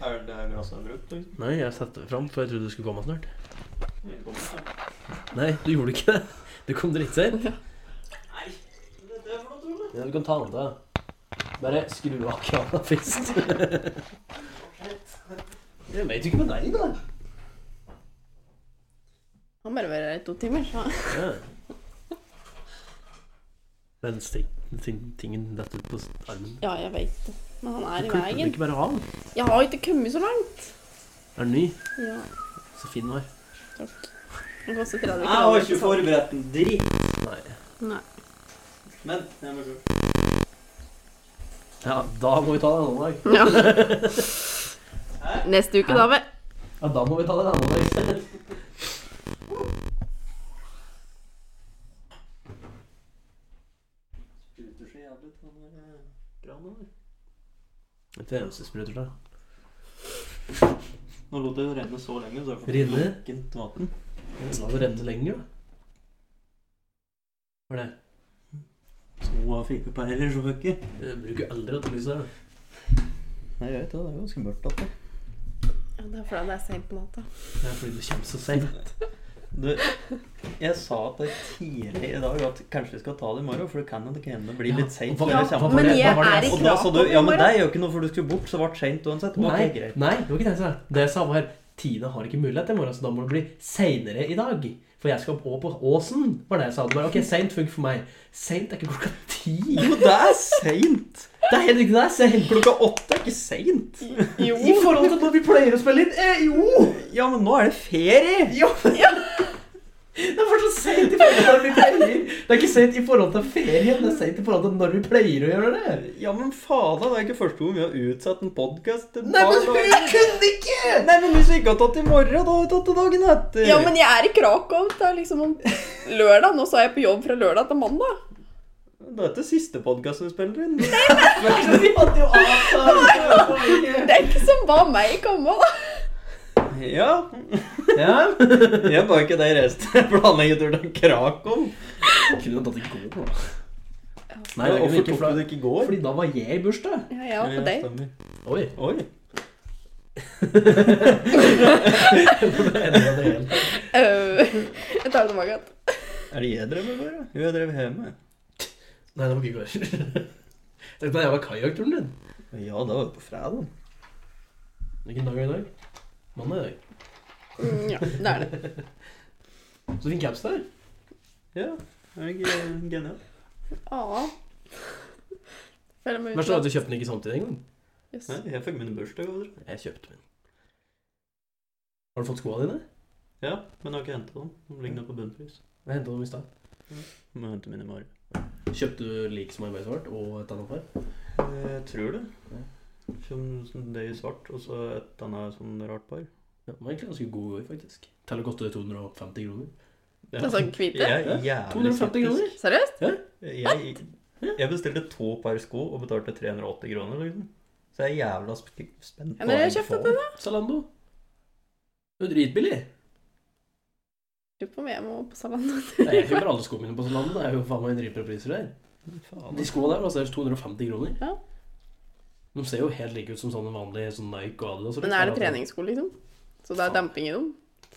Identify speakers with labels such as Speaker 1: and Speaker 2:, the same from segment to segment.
Speaker 1: Er det her rasen er brukt, liksom?
Speaker 2: Nei, jeg setter det fram, for jeg trodde du skulle komme snart.
Speaker 1: Ikke kommet, ja.
Speaker 2: Nei, du gjorde ikke det. Du kom drittseint.
Speaker 1: Nei, dette er for noe tull,
Speaker 2: Ja, du kan ta den til. Bare skru av krana først. Jeg vet jo ikke med deg, da.
Speaker 3: Han bare vært her i to timer, så
Speaker 2: Ja. Men sting, ting- tingen detter ut på armen.
Speaker 3: Ja, jeg veit det. Men han er i
Speaker 2: Kan du
Speaker 3: veien.
Speaker 2: ikke bare ha den?
Speaker 3: Jeg har ikke kommet så langt.
Speaker 2: Er den ny?
Speaker 3: Ja,
Speaker 2: Så fin den var.
Speaker 3: takk. Den koster 30
Speaker 1: Jeg har ikke forberedt en dritt,
Speaker 2: Nei.
Speaker 3: Nei.
Speaker 1: men jeg må se.
Speaker 2: Ja, da må vi ta den annen dag.
Speaker 3: Ja. Neste uke, da vel.
Speaker 2: Ja, da må vi ta den annen dag.
Speaker 1: Spruter så jævlig på den der, eh, kranen, eller?
Speaker 2: Et eneste spruter da.
Speaker 1: Nå lot jeg det renne så lenge, så jeg får
Speaker 2: Renne?
Speaker 1: lukkent vann.
Speaker 2: La det renne lenger, da. Hva er det?
Speaker 1: To av fire pærer, så fucker.
Speaker 2: Jeg bruker aldri at det lyser.
Speaker 1: Nei, jeg vet det. Det er ganske mørkt at det.
Speaker 3: Ja, det er fordi det er seint på natta.
Speaker 2: Det er fordi det kommer så sent.
Speaker 1: Du, jeg sa til deg tidlig i dag at kanskje vi skal ta det i morgen, for det kan jo det kan hende det blir
Speaker 2: Ja,
Speaker 1: litt seint.
Speaker 2: hva-
Speaker 1: når jeg
Speaker 2: ja,
Speaker 1: kommer
Speaker 2: men
Speaker 1: hjem.
Speaker 2: jeg
Speaker 1: Hva var det
Speaker 3: er i
Speaker 1: jeg sa? Og da sa du,
Speaker 3: Krakow i
Speaker 1: Ja, men
Speaker 3: morgen.
Speaker 1: det er jo ikke noe, for du skulle bort, så ble det seint uansett. Ok,
Speaker 2: Nei,
Speaker 1: greit.
Speaker 2: nei, det var ikke det jeg sa. Det jeg sa var Tina har ikke mulighet i morgen, så da må det bli seinere i dag. For jeg skal opp også på Åsen, var det jeg sa. Det bare, ok, Seint funker for meg. Seint er ikke klokka ti.
Speaker 1: Jo, det er seint!
Speaker 2: Det er helt riktig, det er seint.
Speaker 1: Klokka åtte er ikke seint.
Speaker 3: Jo.
Speaker 2: I forhold til når vi pleier å spille inn. Eh, jo!
Speaker 1: Ja, men nå er det ferie!
Speaker 2: Ja, ja. Det er fortsatt sent i forhold til når vi pleier. Det er ikke sent i forhold til ferien, det er sent i forhold til når vi pleier å gjøre det.
Speaker 1: Ja, men faen, da, det er ikke første gang vi har utsatt en podkast.
Speaker 2: Nei, men vi kunne ikke!
Speaker 1: Nei, men hvis vi ikke har tatt i morgen, da har vi tatt det dagen etter.
Speaker 3: Ja, men jeg er i Krakow. Det er liksom om lørdag. Nå så er jeg på jobb fra lørdag til mandag.
Speaker 1: Det er ikke siste podkast vi spiller inn.
Speaker 2: Men vi hadde jo avtalt
Speaker 3: Det er ikke som ba meg komme, da.
Speaker 1: Ja,
Speaker 2: Ja.
Speaker 1: jeg bare ikke det i resten. Planlegger tur til Krakow.
Speaker 2: Kunne tatt i går, Nei,
Speaker 1: Nei,
Speaker 2: det kunne vi
Speaker 1: Hvorfor
Speaker 2: ikke,
Speaker 1: tok du
Speaker 2: for
Speaker 1: det ikke i går?
Speaker 2: fordi da var jeg i bursdag.
Speaker 3: Ja, jeg var på date.
Speaker 1: stemmer.
Speaker 2: Oi.
Speaker 1: Oi.
Speaker 3: Øh, Jeg tar det tilbake. igjen.
Speaker 1: Er det jeg drev med før? da? Jo, jeg drev hjemme.
Speaker 2: Nei, det var ikke i går. Dette var jævla kajakkturen din.
Speaker 1: Ja, da var det på fredag.
Speaker 2: Hvilken dag er det i dag? Mandag i dag.
Speaker 3: Mm, Ja, det er det.
Speaker 2: Så fin caps der.
Speaker 1: Ja. Er det ikke eh, genialt?
Speaker 3: Ja. Føler meg
Speaker 2: Vær så snill at
Speaker 3: utelatt.
Speaker 2: du kjøpte den ikke samtidig engang.
Speaker 3: Yes.
Speaker 1: Nei, jeg fikk min bursdag over.
Speaker 2: Jeg kjøpte min. Har du fått skoene dine?
Speaker 1: Ja, men jeg har ikke hentet den. Den ligger nå på bunnpris.
Speaker 2: Jeg hentet dem i stad.
Speaker 1: Må hente min i morgen.
Speaker 2: Kjøpte du lik som arbeidet vårt og et annet par?
Speaker 1: Jeg Eh, tror det.
Speaker 2: Ja.
Speaker 1: Som, som det i svart, og så et annet sånn rart par.
Speaker 2: Ja, det var egentlig ganske god i går, faktisk. Teller godt over 250 kroner.
Speaker 3: Det er sånn hvite?
Speaker 1: Jeg er jævlig
Speaker 2: 250
Speaker 1: skeptisk.
Speaker 2: kroner?
Speaker 3: Seriøst?
Speaker 1: Jeg, jeg bestilte to par sko og betalte 380 kroner, liksom. Så jeg er jævla sp- spent
Speaker 3: Ja, men jeg kjøpte den,
Speaker 1: da.
Speaker 2: Zalando. Det er jo dritbillig.
Speaker 3: Lurer på om jeg må på Salando.
Speaker 2: Nei, Jeg kjøper alle skoene mine på Zalando. Det er jo faen meg dritbra priser der.
Speaker 1: Faen.
Speaker 2: De skoene der koster 250 kroner.
Speaker 3: Ja.
Speaker 2: De ser jo helt like ut som sånne vanlige sånn Nike og Adidas. og
Speaker 3: Men
Speaker 2: litt,
Speaker 3: er det
Speaker 2: bare at de-
Speaker 3: treningssko, liksom? Så det er demping i dem?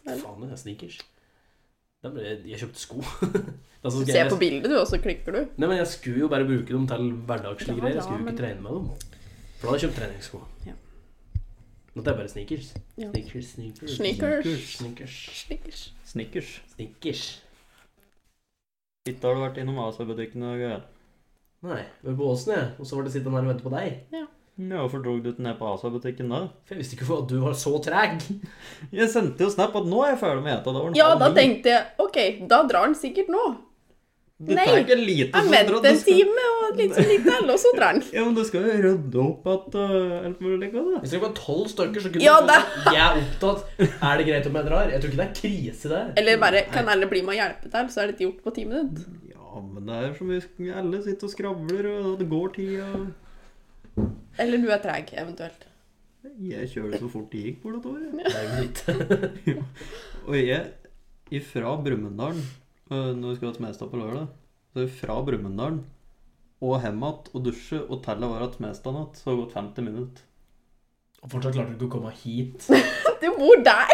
Speaker 2: Faen, det er sneakers. Det er bare- Jeg kjøpte sko. Det er sånn
Speaker 3: Du
Speaker 2: greier-
Speaker 3: ser på bildet, du, og så klikker du.
Speaker 2: Nei, men jeg skulle jo bare bruke dem til hverdagslige
Speaker 3: Ja,
Speaker 2: greier. Jeg
Speaker 3: ja,
Speaker 2: skulle jo ikke
Speaker 3: men-
Speaker 2: trene med dem. For da hadde jeg kjøpt treningssko.
Speaker 3: Ja.
Speaker 2: Nå er det bare sneakers.
Speaker 3: Ja.
Speaker 2: Sneakers, sneakers.
Speaker 3: Sneakers.
Speaker 2: Sneakers.
Speaker 3: Snickers.
Speaker 1: Snickers.
Speaker 2: Sneakers.
Speaker 1: Ikke har du vært innom Asa-butikken og greier.
Speaker 2: Nei, vi var på Åsen, jeg. Og så var det sittende her og vente på deg.
Speaker 1: Ja, Hvorfor dro du ikke ned på Asa-butikken da?
Speaker 2: For jeg visste ikke at du var så treg.
Speaker 1: Jeg sendte jo snap at nå er jeg ferdig med eta. Da var den
Speaker 3: Ja,
Speaker 1: halv
Speaker 3: da
Speaker 1: ni.
Speaker 3: tenkte jeg OK, da drar han sikkert nå.
Speaker 1: Det tar
Speaker 3: Nei,
Speaker 1: ikke lite
Speaker 3: Jeg
Speaker 1: så tror
Speaker 3: venter
Speaker 1: at du
Speaker 3: en
Speaker 1: skal-
Speaker 3: time og litt som litt til, og så drar han.
Speaker 1: Ja, men du skal jo rydde opp at uh, Eller noe lignende.
Speaker 2: Hvis det var tolv stykker, så kunne
Speaker 3: Ja,
Speaker 2: du fått at Jeg er opptatt. Er det greit om jeg drar? Jeg tror ikke det er krise der.
Speaker 3: Eller bare kan alle bli med og hjelpe til, så er dette gjort på ti minutter.
Speaker 1: Ja, men det er så mye Alle sitter og skravler, og det går tida.
Speaker 3: Eller du er treg, eventuelt.
Speaker 1: Jeg kjører så fort det gikk på det året.
Speaker 2: Det er jo litt.
Speaker 1: Og jeg, ifra Brumunddal øh, Når vi skulle til Smestad på lørdag Så fra Brumunddal og hjem igjen og dusje og til å være til Smestad igjen, så har det gått 50 minutter.
Speaker 2: Og fortsatt klarte du ikke å komme hit.
Speaker 3: Du bor der!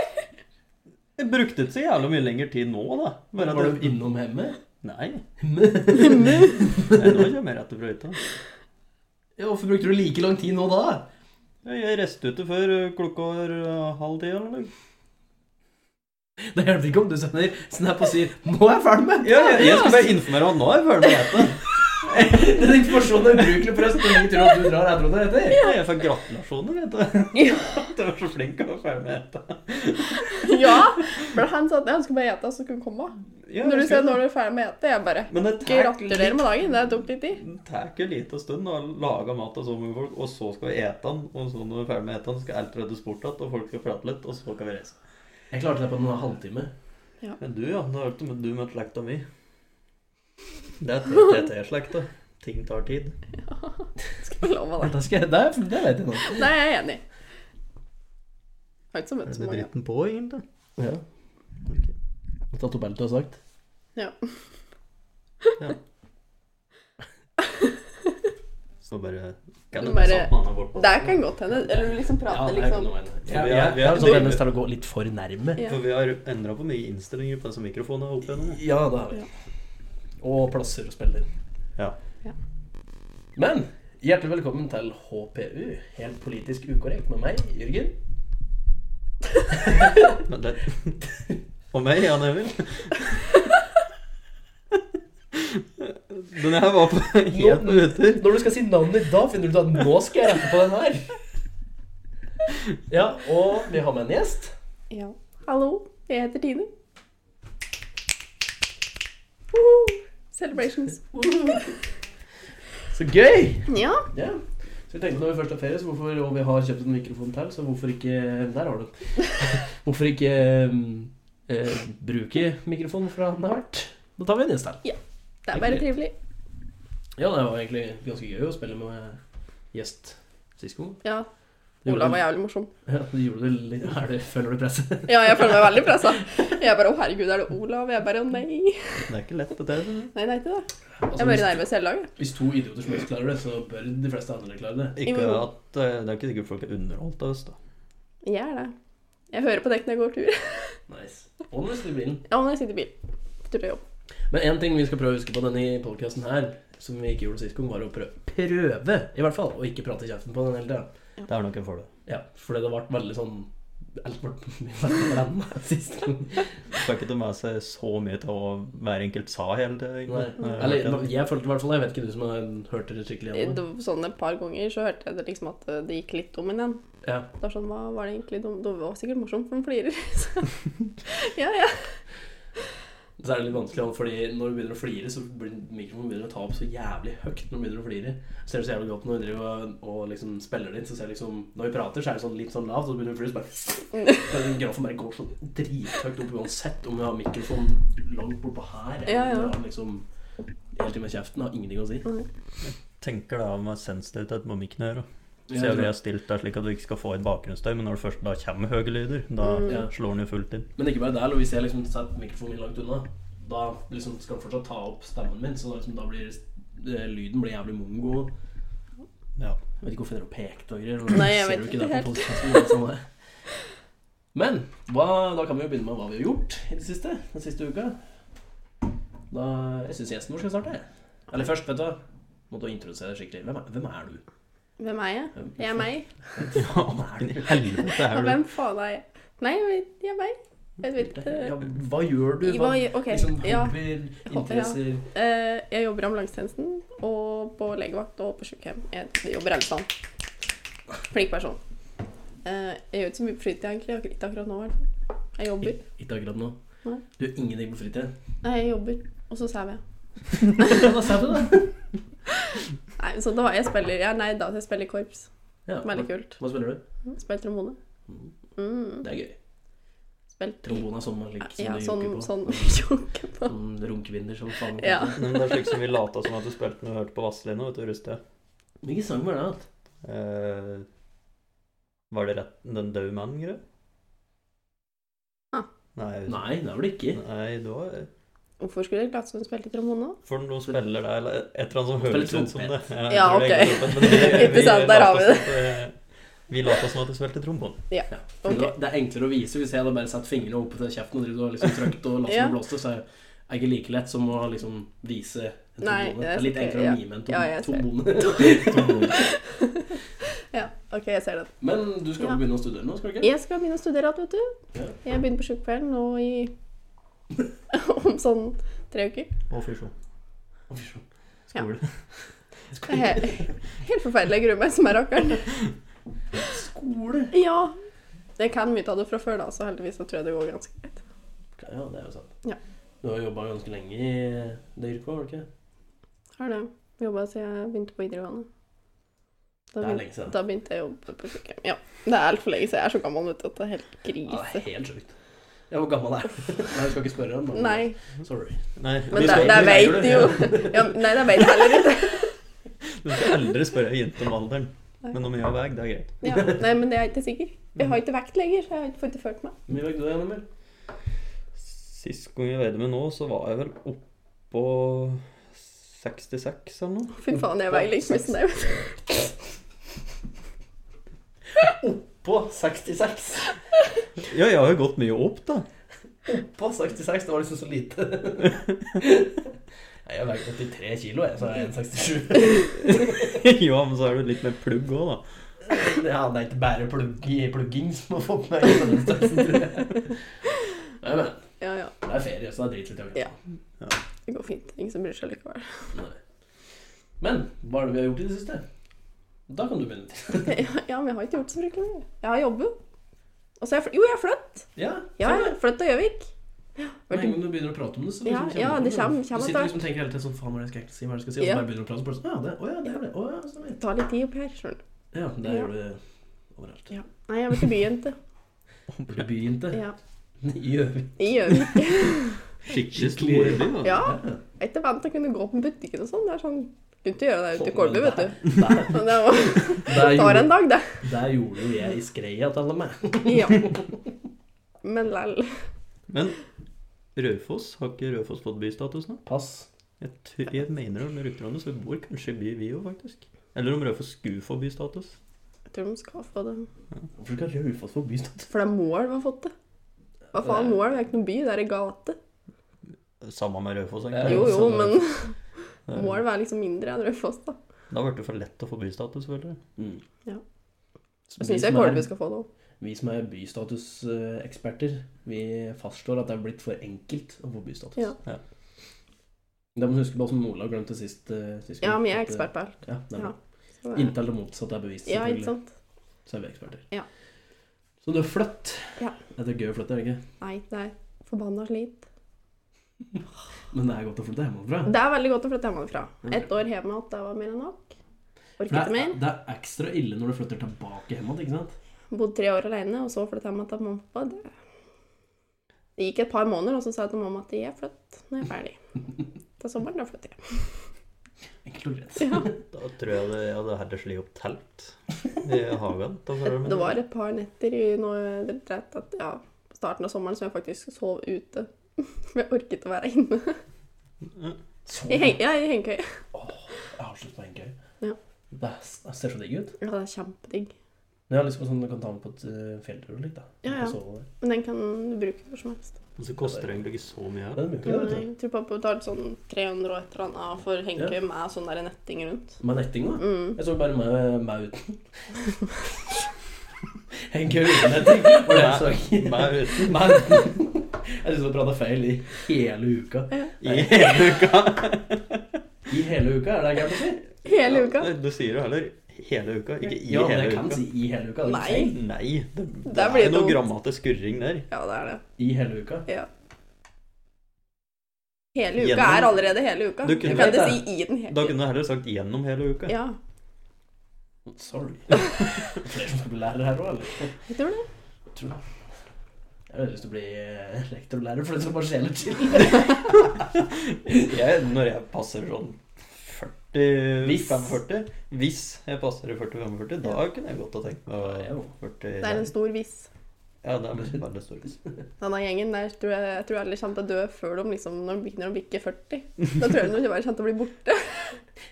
Speaker 1: Jeg brukte ikke så jævlig mye lenger tid nå, da. Bare
Speaker 2: Var
Speaker 1: at
Speaker 2: du
Speaker 1: jeg...
Speaker 2: innom hjemmet?
Speaker 1: Nei.
Speaker 2: ja,
Speaker 1: Nei, nå kommer jeg rett fra hytta.
Speaker 2: hvorfor brukte du like lang tid nå da?
Speaker 1: Jeg reiste ute før eh, klokka var eh, halv ti eller noe.
Speaker 2: Det hjelper ikke om du sender snap og sier 'Nå er jeg ferdig med
Speaker 1: Ja, jeg, jeg skal bare informere om at nå er jeg ferdig med dette.
Speaker 2: det'. Den informasjonen er ubrukelig for oss. Ingen tror at du drar etter det etter.
Speaker 1: Ja, jeg får gratulasjoner, vet du.
Speaker 3: Ja.
Speaker 1: Du var så flink til å være ferdig med dette.
Speaker 3: ja. For han sa at han skulle bare ete, så skulle han komme.
Speaker 1: Ja,
Speaker 3: Når du
Speaker 1: jeg
Speaker 3: sier
Speaker 1: skulle-
Speaker 3: 'når du er ferdig med å ete', jeg bare
Speaker 1: Men det tar
Speaker 3: Gratulerer med dagen. Det tok litt tid.
Speaker 1: Det tar ikke lite stund å lage mat til så mange folk, og så skal vi ete den. Og så når vi er ferdig med å ete den, skal alt reddes bort igjen, og folk skal prate litt, og så kan vi reise.
Speaker 2: Jeg klarte det på en halvtime.
Speaker 1: Men du, ja. Da hørte du med slekta mi. Det er TT-slekta. Ting tar tid.
Speaker 3: Skal jeg love deg.
Speaker 2: Det, skal jeg, det, er- det vet jeg nå.
Speaker 3: Nei, jeg er enig. Har ikke så møtt
Speaker 1: Er det
Speaker 3: så mange.
Speaker 1: dritten på, egentlig?
Speaker 2: Ja.
Speaker 1: Ok.
Speaker 2: Og Tatt opp alt du har sagt.
Speaker 3: Ja.
Speaker 1: Så bare Kan
Speaker 3: Du
Speaker 1: du
Speaker 3: bare-
Speaker 1: satt med han her bortpå?
Speaker 3: Det kan godt hende. Eller du liksom prater
Speaker 2: det er
Speaker 3: liksom
Speaker 2: noe med det.
Speaker 1: Ja,
Speaker 2: Jeg,
Speaker 1: ja,
Speaker 2: jeg, jeg har
Speaker 1: ja.
Speaker 2: sånn tendens til å gå litt for nærme.
Speaker 3: Ja.
Speaker 1: For vi har endra på mye innstillinger på disse mikrofonene opp igjennom.
Speaker 2: Ja, det har vi. Og plasser og spiller.
Speaker 1: Ja.
Speaker 2: Men hjertelig velkommen til HPU, helt politisk ukorrekt, med meg, Jørgen.
Speaker 1: Men det Og meg, Jan Emil. Den her var på helt uter.
Speaker 2: Når du skal si navnet ditt, da finner du ut at nå skal jeg rette på den her. Ja, og vi har med en gjest.
Speaker 3: Ja. Hallo, jeg heter Tine. Woohoo! Celebrations.
Speaker 2: Så gøy!
Speaker 3: Ja.
Speaker 2: Ja. Så vi tenkte når vi først har ferie, så hvorfor, og vi har kjøpt en mikrofon til, så hvorfor ikke Der har du den. Hvorfor ikke um, eh, bruke mikrofonen fra den det har vært? Da tar vi en gjest her.
Speaker 3: Det er bare trivelig.
Speaker 2: Ja, det var egentlig ganske gøy å spille med gjest sist gang.
Speaker 3: Ja. Olav var jævlig morsom.
Speaker 2: Ja, du gjorde det litt er det, Føler du presset?
Speaker 3: Ja, jeg føler meg veldig pressa. Jeg bare 'Å, herregud, er det Olav?' Jeg bare 'Å, nei'.
Speaker 1: Det er ikke lett, dette her. skjønner du.
Speaker 3: Nei, det er ikke det.
Speaker 2: Altså,
Speaker 3: Jeg er bare
Speaker 2: hvis,
Speaker 3: nervøs hele dagen.
Speaker 2: hvis to idioter som helst klarer det, så bør de fleste andre klare det.
Speaker 1: Ikke
Speaker 3: Jo.
Speaker 1: at, eh, det er ikke sikkert folk er underholdt av oss, da.
Speaker 3: Jeg er det. Jeg hører på dekk når jeg går tur.
Speaker 2: Nice. Og når vi sitter i bilen.
Speaker 3: Ja, når jeg sitter i bil. Tur til jobb.
Speaker 2: Men én ting vi skal prøve å huske på denne podkasten her, som vi ikke gjorde sist gang, var å prøve, prøve i hvert fall, å ikke prate i kjeften på den hele tida.
Speaker 1: Det er nok en fordel.
Speaker 2: Ja, fordi det ble veldig sånn Alt ble veldig blanda sist gang.
Speaker 1: Skal ikke ta med seg så mye til å hver enkelt sa hele tiden.
Speaker 2: Nei.
Speaker 1: egentlig. Nei,
Speaker 2: Eller
Speaker 1: jeg vet ikke.
Speaker 2: jeg følte det i hvert fall Jeg vet ikke du som har hørt det skikkelig
Speaker 3: I-
Speaker 2: igjen.
Speaker 3: det- Sånn et par ganger så hørte jeg det liksom at eh, det gikk litt om igjen.
Speaker 2: Ja.
Speaker 3: Da sånn, hva var det egentlig dum? Det var sikkert morsomt, for de flirer. Så- ja, ja.
Speaker 2: Så er det litt vanskelig også, fordi når du begynner å flire, så blir mikrofonen begynner å ta opp så jævlig høyt. når du begynner å flire. Så ser du så jævlig godt når du driver og, og liksom spiller det inn, så ser du liksom Når vi prater, så er det sånn litt sånn lavt, og så begynner du å flire, så bare så den Grafen bare går sånn drithøyt opp uansett om vi har mikrofonen langt bortpå her. eller
Speaker 3: Ja,
Speaker 2: om
Speaker 3: ja.
Speaker 2: vi har Liksom, Helt inn med kjeften har ingenting å si.
Speaker 1: Tenker det om sensitivitet på mikken her. da.
Speaker 2: Ja,
Speaker 1: Så jeg
Speaker 2: det-
Speaker 1: vil ha stilt det slik at du ikke skal få inn bakgrunnsstøy, men når det først da kommer høye lyder, da
Speaker 2: Ja.
Speaker 1: slår den jo fullt inn.
Speaker 2: Men ikke bare der, hvis jeg liksom setter mikrofonen min langt unna, da liksom skal den fortsatt ta opp stemmen min, så da, liksom, da blir eh, lyden blir jævlig mongo.
Speaker 1: Ja.
Speaker 2: Jeg vet ikke hvorfor dere har pekt og greier.
Speaker 3: Nei, jeg
Speaker 2: ser
Speaker 3: vet
Speaker 2: jo ikke
Speaker 3: ikke
Speaker 2: det på podcasten, men sånn er det. Men hva, da kan vi jo begynne med hva vi har gjort i det siste. Den siste uka. Da, jeg syns gjesten vår skal starte. Eller først, vet du hva. Måtte du introdusere deg skikkelig. Hvem er, hvem er du?
Speaker 3: Hvem er jeg? Jeg er meg.
Speaker 2: Hvem er du?
Speaker 1: Helvete
Speaker 3: Og
Speaker 1: er du.
Speaker 3: hvem faen er jeg? Nei, jeg vet, jeg er meg. Jeg vet eh,
Speaker 2: Ja, hva gjør du? Hva,
Speaker 3: hva- ok,
Speaker 2: liksom
Speaker 3: ja.
Speaker 2: hobbyer,
Speaker 3: Ja.
Speaker 2: interesser
Speaker 3: eh, Jeg jobber i ambulansetjenesten og på legevakt og på sykehjem. Jeg jobber hele tiden. Flink person. Eh, jeg gjør ikke så mye på fritida egentlig. Jeg har ikke akkurat nå. i hvert fall. Jeg jobber.
Speaker 2: Ik- Ikke akkurat nå.
Speaker 3: Nei.
Speaker 2: Du gjør ingenting på fritida.
Speaker 3: Nei, jeg jobber. Og så sover jeg.
Speaker 2: Hva sa du, da?
Speaker 3: Nei, så da jeg spiller jeg, Nei, da jeg spiller i korps.
Speaker 2: Ja,
Speaker 3: Veldig
Speaker 2: hva,
Speaker 3: kult.
Speaker 2: hva spiller du?
Speaker 3: Spiller trombone. Mm,
Speaker 2: Det er gøy.
Speaker 3: spiller
Speaker 2: Trombone er sånn man liker, som
Speaker 3: Ja,
Speaker 2: du
Speaker 3: sånn,
Speaker 2: joker på.
Speaker 3: sånn joker på.
Speaker 2: Sånn runkebinder som faen.
Speaker 3: Ja.
Speaker 1: Men det er slik som vi lata som at du spilte når vi hørte på Vazelina, vet du, Ruste.
Speaker 2: Hvilken sang var det? altså. da?
Speaker 1: Eh, var det rett Den døde mannen-greia?
Speaker 3: Ah.
Speaker 1: Nei, jeg husker-
Speaker 2: Nei, det er vel ikke.
Speaker 1: Nei, det var
Speaker 3: Hvorfor skulle jeg late som hun spilte trombone?
Speaker 1: For noen spiller der, eller et eller annet som
Speaker 2: Spiller
Speaker 1: høres ut som det.
Speaker 2: trompet.
Speaker 1: jeg
Speaker 3: Ja,
Speaker 1: tror det er
Speaker 3: ok.
Speaker 1: trompet, men vi- vi
Speaker 3: Interessant, der har vi
Speaker 1: later som at det. Vi lata som at jeg spilte trombon.
Speaker 2: For
Speaker 3: Ok.
Speaker 2: det, det er enklere å vise hvis jeg hadde bare satt fingrene opp til kjeften og drevet og liksom trøkt og latt som
Speaker 3: Ja.
Speaker 2: det blåste, så er det ikke like lett som å liksom vise en
Speaker 3: Nei,
Speaker 2: trombone. Det
Speaker 3: jeg
Speaker 2: er litt
Speaker 3: ser-
Speaker 2: enklere
Speaker 3: ja.
Speaker 2: å mime en
Speaker 3: Ja, jeg ser.
Speaker 2: tom-
Speaker 1: Trombon.
Speaker 2: trombone.
Speaker 3: Ja, ok, jeg ser den.
Speaker 2: Men du skal
Speaker 3: Ja.
Speaker 2: begynne å studere nå, skal du ikke?
Speaker 3: Jeg skal begynne å studere igjen, vet du.
Speaker 2: Ja.
Speaker 3: Jeg begynner på sykepleien nå i Om sånn tre uker.
Speaker 1: Og fusjon.
Speaker 2: Å, fy søren.
Speaker 1: Skole.
Speaker 3: Det er he- Helt forferdelig. Jeg gruer meg som er rakkeren.
Speaker 2: Skole!
Speaker 3: Ja. Jeg kan mye av det fra før, da, så heldigvis så tror jeg det går ganske greit.
Speaker 2: Ja, det er jo sant.
Speaker 3: Ja.
Speaker 2: Du har jobba ganske lenge i det yrket, har du ikke?
Speaker 3: Har det. Jobba siden jeg begynte på videregående. Da
Speaker 2: Det er
Speaker 3: begynte,
Speaker 2: lenge siden.
Speaker 3: da begynte jeg å jobbe på sykehjem. Ja. Det er altfor lenge siden. Jeg er så gammel vet du, at det er helt
Speaker 2: Ja, det
Speaker 3: krise.
Speaker 2: er helt sjukt. Ja, hvor gammel er jeg? Nei, jeg skal ikke spørre om det.
Speaker 3: Nei.
Speaker 2: Sorry.
Speaker 1: Nei,
Speaker 3: Men
Speaker 1: du
Speaker 3: det,
Speaker 1: skal,
Speaker 3: det
Speaker 2: vi
Speaker 3: vet
Speaker 2: leier
Speaker 3: jo ja, Nei, det vet jeg heller ikke.
Speaker 1: du skal aldri spørre ei jente om alderen.
Speaker 3: Nei.
Speaker 1: Men om jeg har vei, det er greit.
Speaker 3: Ja. Nei, men det er jeg ikke sikker. Jeg har ikke vekt lenger, så jeg har ikke fått det ført meg.
Speaker 2: Hvor mye vekk du deg, Emil?
Speaker 1: Sist gang jeg veide med nå, så var jeg vel oppå 66 eller noe.
Speaker 3: Fy faen, jeg veier liksom ikke det.
Speaker 2: På 66.
Speaker 1: Ja, jeg har jo gått mye opp, da.
Speaker 2: På 66, det var liksom så lite. Nei, jeg veier 83 kilo, jeg, så er jeg 1,67.
Speaker 1: ja, men så er du litt mer plugg òg, da.
Speaker 2: Ja, det er ikke bare plugg i plugging som har fått meg i denne størrelsen, tror jeg. Nei, men
Speaker 3: Ja, ja.
Speaker 2: det er ferie, så det er dritlitt jogg.
Speaker 3: Ja. Det går fint. Ingen som bryr seg likevel.
Speaker 2: Nei. Men hva er det vi har gjort i det siste? Da kan du begynne. til.
Speaker 3: Ja, men jeg har ikke gjort så fryktelig mye. Jeg har jobbet. Og så har jeg flytt. Jo, jeg har flytt!
Speaker 2: Ja,
Speaker 3: Ja, jeg har flytt til Gjøvik. Ja,
Speaker 2: Med
Speaker 3: vært
Speaker 2: en
Speaker 3: i-
Speaker 2: gang du begynner å prate om det, så
Speaker 3: Ja,
Speaker 2: liksom
Speaker 3: ja, det kommer-
Speaker 2: Du
Speaker 3: kommer
Speaker 2: sitter
Speaker 3: etter.
Speaker 2: liksom og tenker hele tiden sånn Faen, hva er det jeg skal si? Hva er det jeg skal si? Og
Speaker 3: Ja.
Speaker 2: så bare begynner du å prate, og så bare sånn Å ja, det, å, ja, det er det. Å ja, stemmer.
Speaker 3: det tar litt tid oppi her, skjønner du.
Speaker 2: Ja, det
Speaker 3: Ja.
Speaker 2: gjør du overalt.
Speaker 3: Ja. Nei, jeg har vært i byen til.
Speaker 2: Du begynte
Speaker 3: Ja.
Speaker 2: i Gjøvik.
Speaker 3: I Gjøvik.
Speaker 1: Skikkelig store by, da.
Speaker 3: Ja, jeg er ikke vant til å kunne gå på butikken og sånn. Det er sånn Kunne ikke gjøre det ute i
Speaker 2: Sånn,
Speaker 3: Kolbu, vet du.
Speaker 2: Der,
Speaker 3: Men det var,
Speaker 2: der,
Speaker 3: tar en
Speaker 2: gjorde,
Speaker 3: dag, det.
Speaker 2: der gjorde jo jeg i skreia til alle meg.
Speaker 3: Ja. Men lell.
Speaker 1: Men Raufoss, har ikke Raufoss fått bystatus nå?
Speaker 2: Pass.
Speaker 1: Jeg, tr- jeg mener det med ryktene, så vi bor kanskje i by, vi òg, faktisk. Eller om Raufoss skulle få bystatus.
Speaker 3: Jeg tror de skal få det.
Speaker 2: Hvorfor skal Raufoss få bystatus?
Speaker 3: For det er Moelv som har fått det. Hva faen, Moelv er ikke noen by, det er en gate.
Speaker 1: Samme med Raufoss,
Speaker 2: Ja,
Speaker 1: egentlig.
Speaker 3: Jo jo,
Speaker 2: så-
Speaker 3: men
Speaker 1: Det er-
Speaker 3: Moelv er liksom mindre enn Raufoss, da.
Speaker 1: Da ble det for lett å få bystatus, føler jeg.
Speaker 2: Mm.
Speaker 3: Ja.
Speaker 2: Så
Speaker 3: Jeg
Speaker 2: vi
Speaker 3: syns jeg
Speaker 2: som er-
Speaker 3: Kolbu skal få det òg.
Speaker 2: Vi som er bystatuseksperter, vi fastslår at det er blitt for enkelt å få bystatus.
Speaker 3: Ja.
Speaker 1: Ja.
Speaker 2: Det må du huske på som Ola glemte sist. eh, sist
Speaker 3: Ja,
Speaker 2: gang,
Speaker 3: men jeg er
Speaker 2: at, eh,
Speaker 3: ekspert på alt.
Speaker 2: Ja, det er bra.
Speaker 3: Ja. Så det er-
Speaker 2: Inntil det motsatte er bevist,
Speaker 3: Ja, ikke
Speaker 2: selvfølgelig.
Speaker 3: sant?
Speaker 2: så er vi eksperter.
Speaker 3: Ja.
Speaker 2: Så du har flytt.
Speaker 3: Ja.
Speaker 2: Det er gøy å flytte, er det ikke?
Speaker 3: Nei, det er forbanna slit.
Speaker 2: Men det er godt å flytte hjemmefra.
Speaker 3: Det er veldig godt å flytte hjemmefra. Ett år hjemme igjen, det var mer enn nok. Orket
Speaker 2: For
Speaker 3: ikke
Speaker 2: det, er,
Speaker 3: mer.
Speaker 2: det er ekstra ille når du flytter tilbake hjem igjen, ikke sant?
Speaker 3: Bodde tre år alene, og så flyttet jeg meg til mamma. og pappa. Det, det gikk et par måneder, og så sa jeg til mamma at jeg er flytt når jeg er ferdig. Til sommeren, da flytter jeg.
Speaker 2: Enkelt og greit.
Speaker 3: Ja.
Speaker 1: Da tror jeg det, jeg hadde heller slitt opp telt i hagen. Da får jeg med
Speaker 3: Det var et par netter i nå, det er rett at, ja, på starten av sommeren som jeg faktisk sov ute. For jeg orket å være inne.
Speaker 2: Så,
Speaker 3: I heng, ja, i hengekøye.
Speaker 2: Jeg har slutt på hengekøy.
Speaker 3: Ja.
Speaker 2: Det, er- det ser så digg ut.
Speaker 3: Ja, det er kjempedigg.
Speaker 2: Men jeg har lyst på sånn du kan ta med på et eh, fjelltur og litt, da.
Speaker 3: Ja, ja.
Speaker 2: Og sove der.
Speaker 3: Men den kan du bruke hvor som helst.
Speaker 1: Og så koster det egentlig ikke så mye
Speaker 2: Det
Speaker 1: her.
Speaker 2: er mulig, vet du.
Speaker 3: Jeg tror pappa betalte sånn 300 og et eller annet av for hengekøye med sånn der netting rundt.
Speaker 2: Med netting, da.
Speaker 3: Mm.
Speaker 2: Jeg så bare meg, meg uten. Hengekøy uten netting. Var det jeg så.
Speaker 1: Meg uten.
Speaker 2: Men jeg syns jeg prata feil i hele uka.
Speaker 1: I hele uka.
Speaker 2: I hele uka, er det gærent å si?
Speaker 3: Hele uka.
Speaker 1: Ja, du sier jo heller hele uka, ikke i
Speaker 2: Ja, men
Speaker 1: hele
Speaker 2: jeg
Speaker 1: uka.
Speaker 2: kan si i hele uka. det er
Speaker 3: Nei.
Speaker 2: feil.
Speaker 1: Nei, det, det,
Speaker 3: Der blir
Speaker 1: er
Speaker 3: det
Speaker 1: noe
Speaker 3: dumt.
Speaker 1: grammatisk skurring der.
Speaker 3: Ja, det er det.
Speaker 2: I hele uka.
Speaker 3: Ja. Hele uka
Speaker 1: Gjennom-
Speaker 3: er allerede hele uka.
Speaker 1: Du
Speaker 3: Du
Speaker 1: kunne-
Speaker 3: kan ikke
Speaker 2: Jeg vet
Speaker 3: si i den
Speaker 1: Da
Speaker 3: hele
Speaker 1: kunne du heller sagt 'gjennom hele uka'.
Speaker 3: Ja,
Speaker 2: Sorry. Flere som skal bli lærer her òg, eller?
Speaker 3: jeg tror det.
Speaker 2: Jeg tror det. Jeg har lyst til å bli eh, lektorlærer, for det skal bare skje litt til.
Speaker 1: Jeg, når jeg passer sånn 40
Speaker 2: Hvis.
Speaker 1: 45 Hvis jeg passer i 40-45, da kunne jeg godt ha tenkt meg å
Speaker 2: Ja, jo.
Speaker 1: 40
Speaker 3: Det er en stor hvis.
Speaker 1: Ja, det er liksom veldig stor hvis.
Speaker 3: Denne gjengen der tror jeg, jeg tror alle kommer til å dø før de liksom, når de bik- når de bikker 40. Da tror jeg de bare kommer til å bli borte.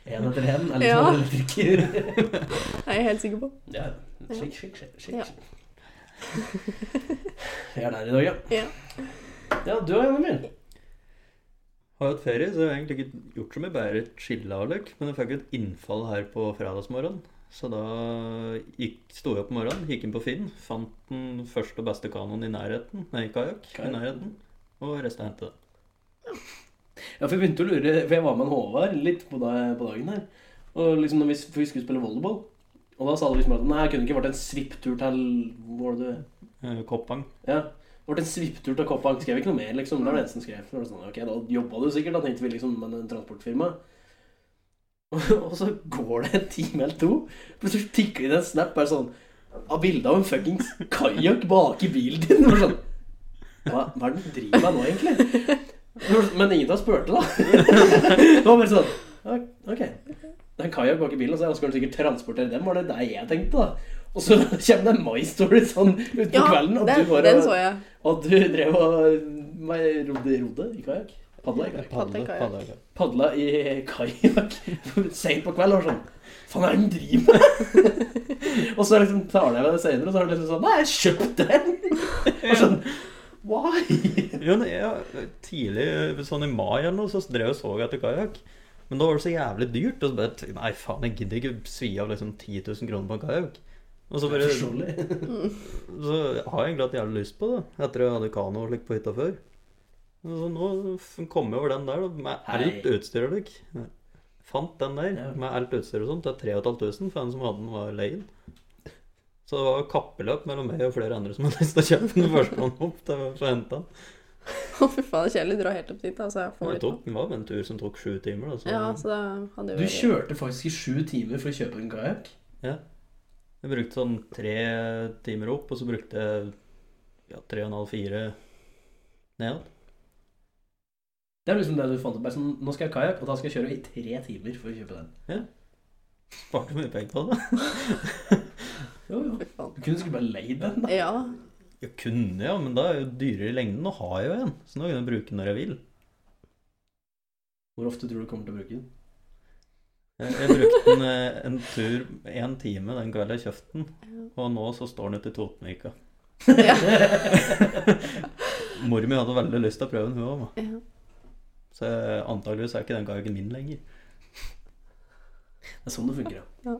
Speaker 2: Én etter én. Eller
Speaker 3: Ja.
Speaker 2: ja. elektriker.
Speaker 3: Det er jeg helt sikker på.
Speaker 2: Ja. Skikk, skikk, skikk. skikk. Vi er der i dag, ja.
Speaker 3: Ja.
Speaker 2: Ja, du og Jan Emil.
Speaker 1: Har hatt ferie, så jeg har egentlig ikke gjort så mye bare chilla og løk. Men jeg fikk et innfall her på fredagsmorgenen. Så da gikk, sto jeg opp om morgenen, gikk inn på Finn, fant den første og beste kanoen i nærheten, nei, kajakk i
Speaker 2: Kajakk.
Speaker 1: nærheten, og resten hentet den.
Speaker 2: Ja, for jeg begynte å lure, for jeg var med en Håvard litt på, da- på dagen her. Og liksom når vi, for vi skulle spille volleyball. Og da sa det liksom at nei, kunne det ikke vært en svipptur til Hvor var det du
Speaker 1: Eh, Koppang.
Speaker 2: Ja. Det ble en svipptur til Koppang. Skrev ikke noe mer, liksom. Det var det eneste han skrev. Så var det Sånn, ok, da jobba du sikkert, da tenkte vi liksom, med en transportfirma. Og så går det en time eller to, plutselig tikker det inn en snap bare sånn Av bilde av en fuckings kajakk bak i bilen din. Det var sånn Hva, hva er det du driver med nå, egentlig? sånn, Men ingen har spurt, da. Det var bare sånn ja, Ok. Det er en kajakk bak i bilen, og så skal han sikkert transportere dem. Var det det jeg tenkte, da? Og så kommer det en My Story sånn utpå
Speaker 3: ja
Speaker 2: kvelden, og
Speaker 3: den,
Speaker 2: du bare
Speaker 3: den så jeg.
Speaker 2: og du drev og meg- rodde, rodde i kajakk? Padla i kajakk?
Speaker 3: Padle, kajakk.
Speaker 2: Padla i kajakk seint på kvelden og var sånn Faen, hva er det den driver med? og så liksom tar jeg meg det senere, og så er det liksom sånn Nei, jeg kjøpte den! og sånn Why?
Speaker 1: Jo, nei, ja, tidlig, sånn i mai eller noe, så drev jeg og så etter kajakk. Men da var det så jævlig dyrt. Og så bare t- Nei, faen, jeg gidder ikke svi av liksom 10 000 kroner på en kajakk. Og så bare Så
Speaker 2: Forståelig.
Speaker 1: har jeg egentlig hatt jævlig lyst på det, etter jeg hadde kano og slikt på hytta før. Så nå f- kom jeg over den der, da, med
Speaker 2: Hei.
Speaker 1: alt utstyr og slik. Fant den der
Speaker 2: Ja.
Speaker 1: med alt utstyr og sånt til 3500, for den som hadde den, var leid. Så det var kappeløp mellom meg og flere andre som hadde lyst til å kjøpe den førstemann opp til å få hente den.
Speaker 3: Å, fy faen, det er kjedelig. Dra helt opp dit, da. Så jeg får
Speaker 1: Det
Speaker 3: litt
Speaker 1: tok, det var en tur som tok sju timer. Da, så
Speaker 3: Ja, så da hadde
Speaker 2: Du
Speaker 3: jo
Speaker 2: kjørte faktisk i sju timer for å kjøpe en kajakk?
Speaker 1: Jeg brukte sånn tre timer opp, og så brukte jeg ja, tre og en halv, fire ned.
Speaker 2: Det er liksom det du fant opp. bare Sånn, nå skal jeg ha kajakk, og da skal jeg kjøre i tre timer for å kjøpe den.
Speaker 1: Sparte mye penger på det.
Speaker 2: Jo, jo.
Speaker 3: Fy faen.
Speaker 2: Du kunne sikkert bare leid den, da.
Speaker 3: Ja.
Speaker 1: Jeg kunne, ja, men da er det jo dyrere i lengden. Nå har jeg jo en, så nå kan jeg bruke den når jeg vil.
Speaker 2: Hvor ofte tror du du kommer til å bruke den?
Speaker 1: Jeg, jeg brukte den eh, en tur én time den kvelden jeg kjøpte den, og nå så står den ute i Totenvika. Mor mi hadde veldig lyst til å prøve den, hun òg,
Speaker 3: ja.
Speaker 1: så jeg- antageligvis er ikke den kajakken min lenger.
Speaker 2: Det er sånn det funker, ja.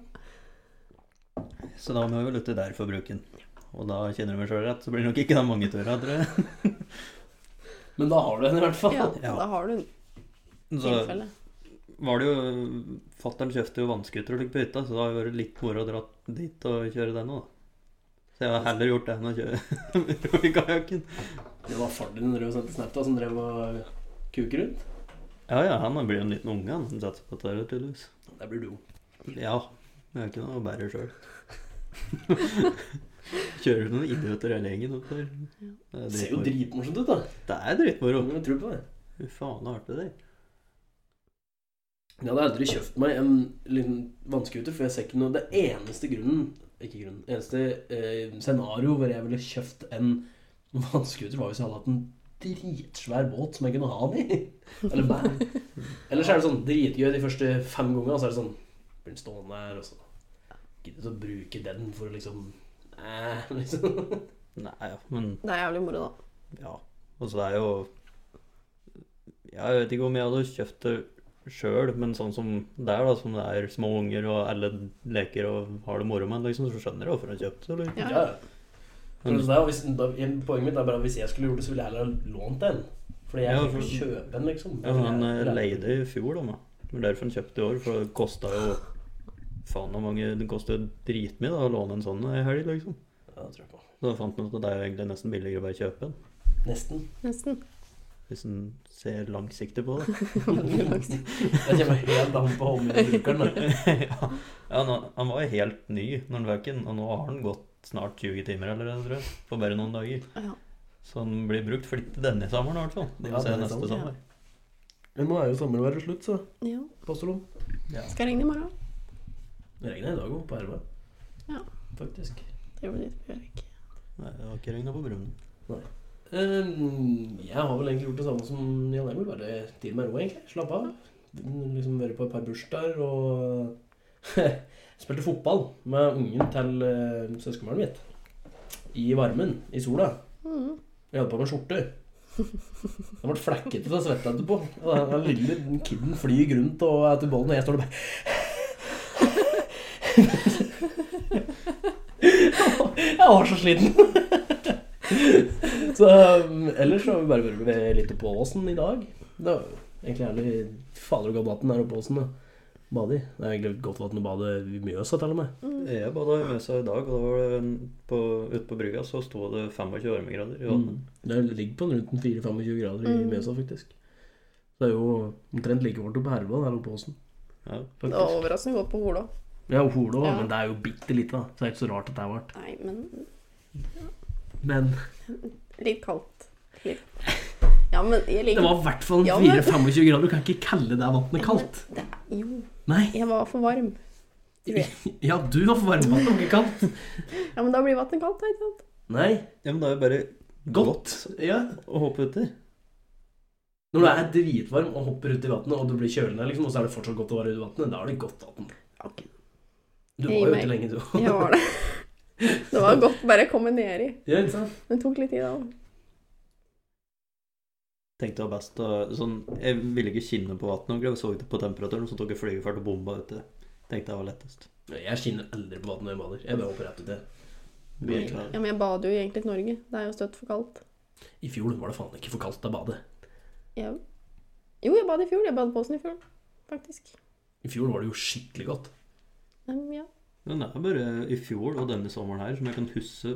Speaker 1: Så da må jeg vel uti der for å bruke den. Og da kjenner du meg sjøl rett, så blir det nok ikke den mange turene, tror jeg.
Speaker 2: Men da har du den i hvert fall.
Speaker 3: ja.
Speaker 1: Ja.
Speaker 3: Da har du en
Speaker 1: Så
Speaker 3: tilfelle.
Speaker 1: var det jo Fattern kjøpte jo vannskuter og fikk på hytta, så det har jo vært litt moro å dra dit og kjøre den òg, da. Så jeg har heller gjort det enn å kjøre ro i kajakken.
Speaker 2: Det var faren din som drev og sendte snap da, som drev og kuker rundt.
Speaker 1: Ja ja, han blir jo en liten unge, han som satser på dette, her, tydeligvis.
Speaker 2: Der blir du god.
Speaker 1: Ja. Jeg er ikke noe bærer sjøl. Kjører noen idioter hele gjengen opp der. Det er
Speaker 2: Det ser jo
Speaker 1: dritmoro.
Speaker 2: dritmorsomt ut, da.
Speaker 1: Det er dritmoro.
Speaker 2: Jeg tror på det.
Speaker 1: Fy faen, så artig det er.
Speaker 2: Jeg hadde aldri kjøpt meg en liten vannskuter, for jeg ser ikke noe Det eneste grunnen Ikke grunnen. Eneste eh, scenario hvor jeg ville kjøpt en vannskuter, var hvis jeg hadde hatt en dritsvær båt som jeg kunne ha den i. Eller meg. Ellers er det sånn dritgøy de første fem gangene, så er det sånn Blir den stående her, og så gidder du ikke å bruke den for å liksom eh, liksom.
Speaker 1: Nei, ja, men
Speaker 3: Det er jævlig moro, da.
Speaker 1: Ja. Og så det er jo Jeg vet ikke om jeg hadde kjøpt det sjøl, men sånn som det er, da, som det er små unger og alle leker og har det moro med, liksom, så skjønner jeg hvorfor han kjøpte det. Eller?
Speaker 3: Ja.
Speaker 2: Ja. For det er jo hvis, da, en- poenget mitt er bare at hvis jeg skulle gjort det, så ville jeg heller ha lånt en. Fordi jeg
Speaker 1: Ja,
Speaker 2: kan
Speaker 1: for-
Speaker 2: ikke kjøpe en, liksom.
Speaker 1: Ja, for han eh, leide i fjor, da. da. Det var derfor han kjøpte i år, for det kosta jo Faen hvor mange Det kosta jo dritmye da, å låne en sånn ei helg, liksom.
Speaker 2: Ja, det tror jeg på.
Speaker 1: Så da fant man ut at det er jo egentlig nesten billigere å bare kjøpe en,
Speaker 2: Nesten.
Speaker 3: Nesten.
Speaker 1: hvis en ser langsiktig på det.
Speaker 3: Veldig langt.
Speaker 2: Jeg kommer helt an på om jeg bruker den. da.
Speaker 1: ja, ja han, han var jo helt ny når han fikk den, og nå har han gått snart 20 timer allerede, tror jeg. På bare noen dager.
Speaker 3: Ja.
Speaker 1: Så han blir brukt flittig denne sommeren i hvert fall. Det
Speaker 2: Ja,
Speaker 1: må se
Speaker 2: denne
Speaker 1: neste
Speaker 3: sommeren,
Speaker 1: sommer.
Speaker 2: Men nå er jo sommeren være slutt, så.
Speaker 3: ja.
Speaker 2: Postolon.
Speaker 1: Ja.
Speaker 3: Skal jeg ringe i morgen?
Speaker 2: Det regner i dag òg, på RV.
Speaker 3: Ja.
Speaker 2: Faktisk.
Speaker 3: Det blir litt bjørk.
Speaker 1: Nei, det har ikke regna på Brumunddal.
Speaker 2: Ehm, jeg har vel egentlig gjort det samme som Jan Emil, bare til meg ro, egentlig. Slapp av. liksom vært på et par bursdager og spilte fotball med ungen til eh, søskenbarnet mitt. I varmen, i sola.
Speaker 3: Mm.
Speaker 2: Jeg hadde på meg skjorte. Den ble flekkete av svette etterpå. Og Den den lille kiden flyr rundt og er til bollen, og jeg står der bare Jeg var så sliten. Så um, ellers så har vi bare vært litt oppå åsen i dag. Det var egentlig jævlig fader og godt vann der oppe åsen. da. Bade i. Det er egentlig godt vann å bade i Mjøsa, til og med.
Speaker 1: Jeg bada i Mjøsa i dag, og da var det en, på, ute på brygga så sto det 25 varmegrader i vannet.
Speaker 2: Mm. Det ligger på rundt en 4-25 grader i
Speaker 3: Mm.
Speaker 2: Mjøsa, faktisk. Det er jo omtrent like fort oppe på Herva der oppe på åsen.
Speaker 1: Ja.
Speaker 3: Det
Speaker 2: faktisk.
Speaker 3: var overraskende godt på Hola.
Speaker 2: Ja, Holo,
Speaker 3: Ja.
Speaker 2: men det er jo bitte lite, da. Så det er ikke så rart at det er varmt.
Speaker 3: Nei, men
Speaker 2: Men
Speaker 3: litt kaldt. Litt. Ja, men jeg
Speaker 2: det
Speaker 3: liker
Speaker 2: var i hvert fall
Speaker 3: Ja, men-
Speaker 2: 4-25 grader. Du kan ikke kalle det vannet kaldt.
Speaker 3: Det er, jo,
Speaker 2: Nei.
Speaker 3: jeg var for varm. Tror jeg.
Speaker 2: Ja, du har varmet vann, ikke kaldt.
Speaker 3: Ja, men da blir vannet kaldt, da, ikke sant?
Speaker 2: Nei.
Speaker 1: ja, men det er jo bare
Speaker 2: Godt. Ja.
Speaker 1: å hoppe uti.
Speaker 2: Når du er dritvarm og hopper uti vannet, og du blir kjølende, liksom, og så er det fortsatt godt å være ute i vannet, da er det godt vann.
Speaker 3: Ok,
Speaker 2: Du var
Speaker 3: Jeg gir
Speaker 2: jo
Speaker 3: meg.
Speaker 2: ute lenge, du.
Speaker 3: jeg var det. Det var godt å bare komme ned i.
Speaker 2: Ja, ikke sant?
Speaker 3: Det tok litt tid, da.
Speaker 1: Tenkte det var best å sånn, Jeg ville ikke kinne på vannet ordentlig. Jeg så ikke på temperaturen, så tok jeg flygefart og bomba uti. Tenkte det var lettest.
Speaker 2: Jeg skinner aldri på vannet når jeg bader. Jeg bare hopper rett uti. Vi er klare.
Speaker 3: Ja, men jeg bader jo egentlig i Norge. Det er jo støtt for kaldt.
Speaker 2: I fjor var det faen ikke for kaldt å bade.
Speaker 3: Jeg... Jo, jeg bad i fjor. Jeg badet på åsen i fjor, faktisk.
Speaker 2: I fjor var det jo skikkelig godt.
Speaker 3: Um, ja.
Speaker 1: Men det er bare i fjor og denne sommeren her som jeg kan huske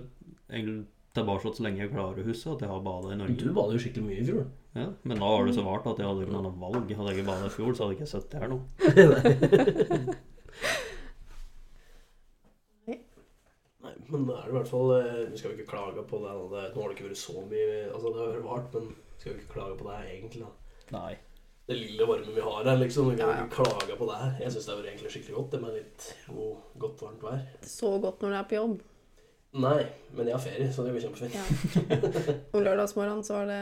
Speaker 1: egentlig tilbake så lenge jeg klarer å huske at jeg har bada i
Speaker 2: Du
Speaker 1: Norge.
Speaker 2: bader jo skikkelig mye i fjor.
Speaker 1: Ja, men da var det så varmt at jeg hadde ikke noe annet valg. Hadde jeg ikke bada i fjor, så hadde jeg ikke sittet her nå.
Speaker 2: Nei, men da er det i hvert fall eh, Vi skal jo ikke klage på det. da. det nå har det ikke vært så mye Altså, det har vært varmt, men vi skal jo ikke klage på det her, egentlig. da.
Speaker 1: Nei.
Speaker 2: Det lille varme vi har her, liksom. Vi kan jo
Speaker 3: Ja, ja.
Speaker 2: ikke klage på det her. Jeg syns det har vært egentlig skikkelig godt, det med litt jo, godt, varmt vær.
Speaker 3: Det er så godt når du er på jobb.
Speaker 2: Nei, men jeg har ferie, så det går kjempefint.
Speaker 3: Ja. Om lørdagsmorgenen så var det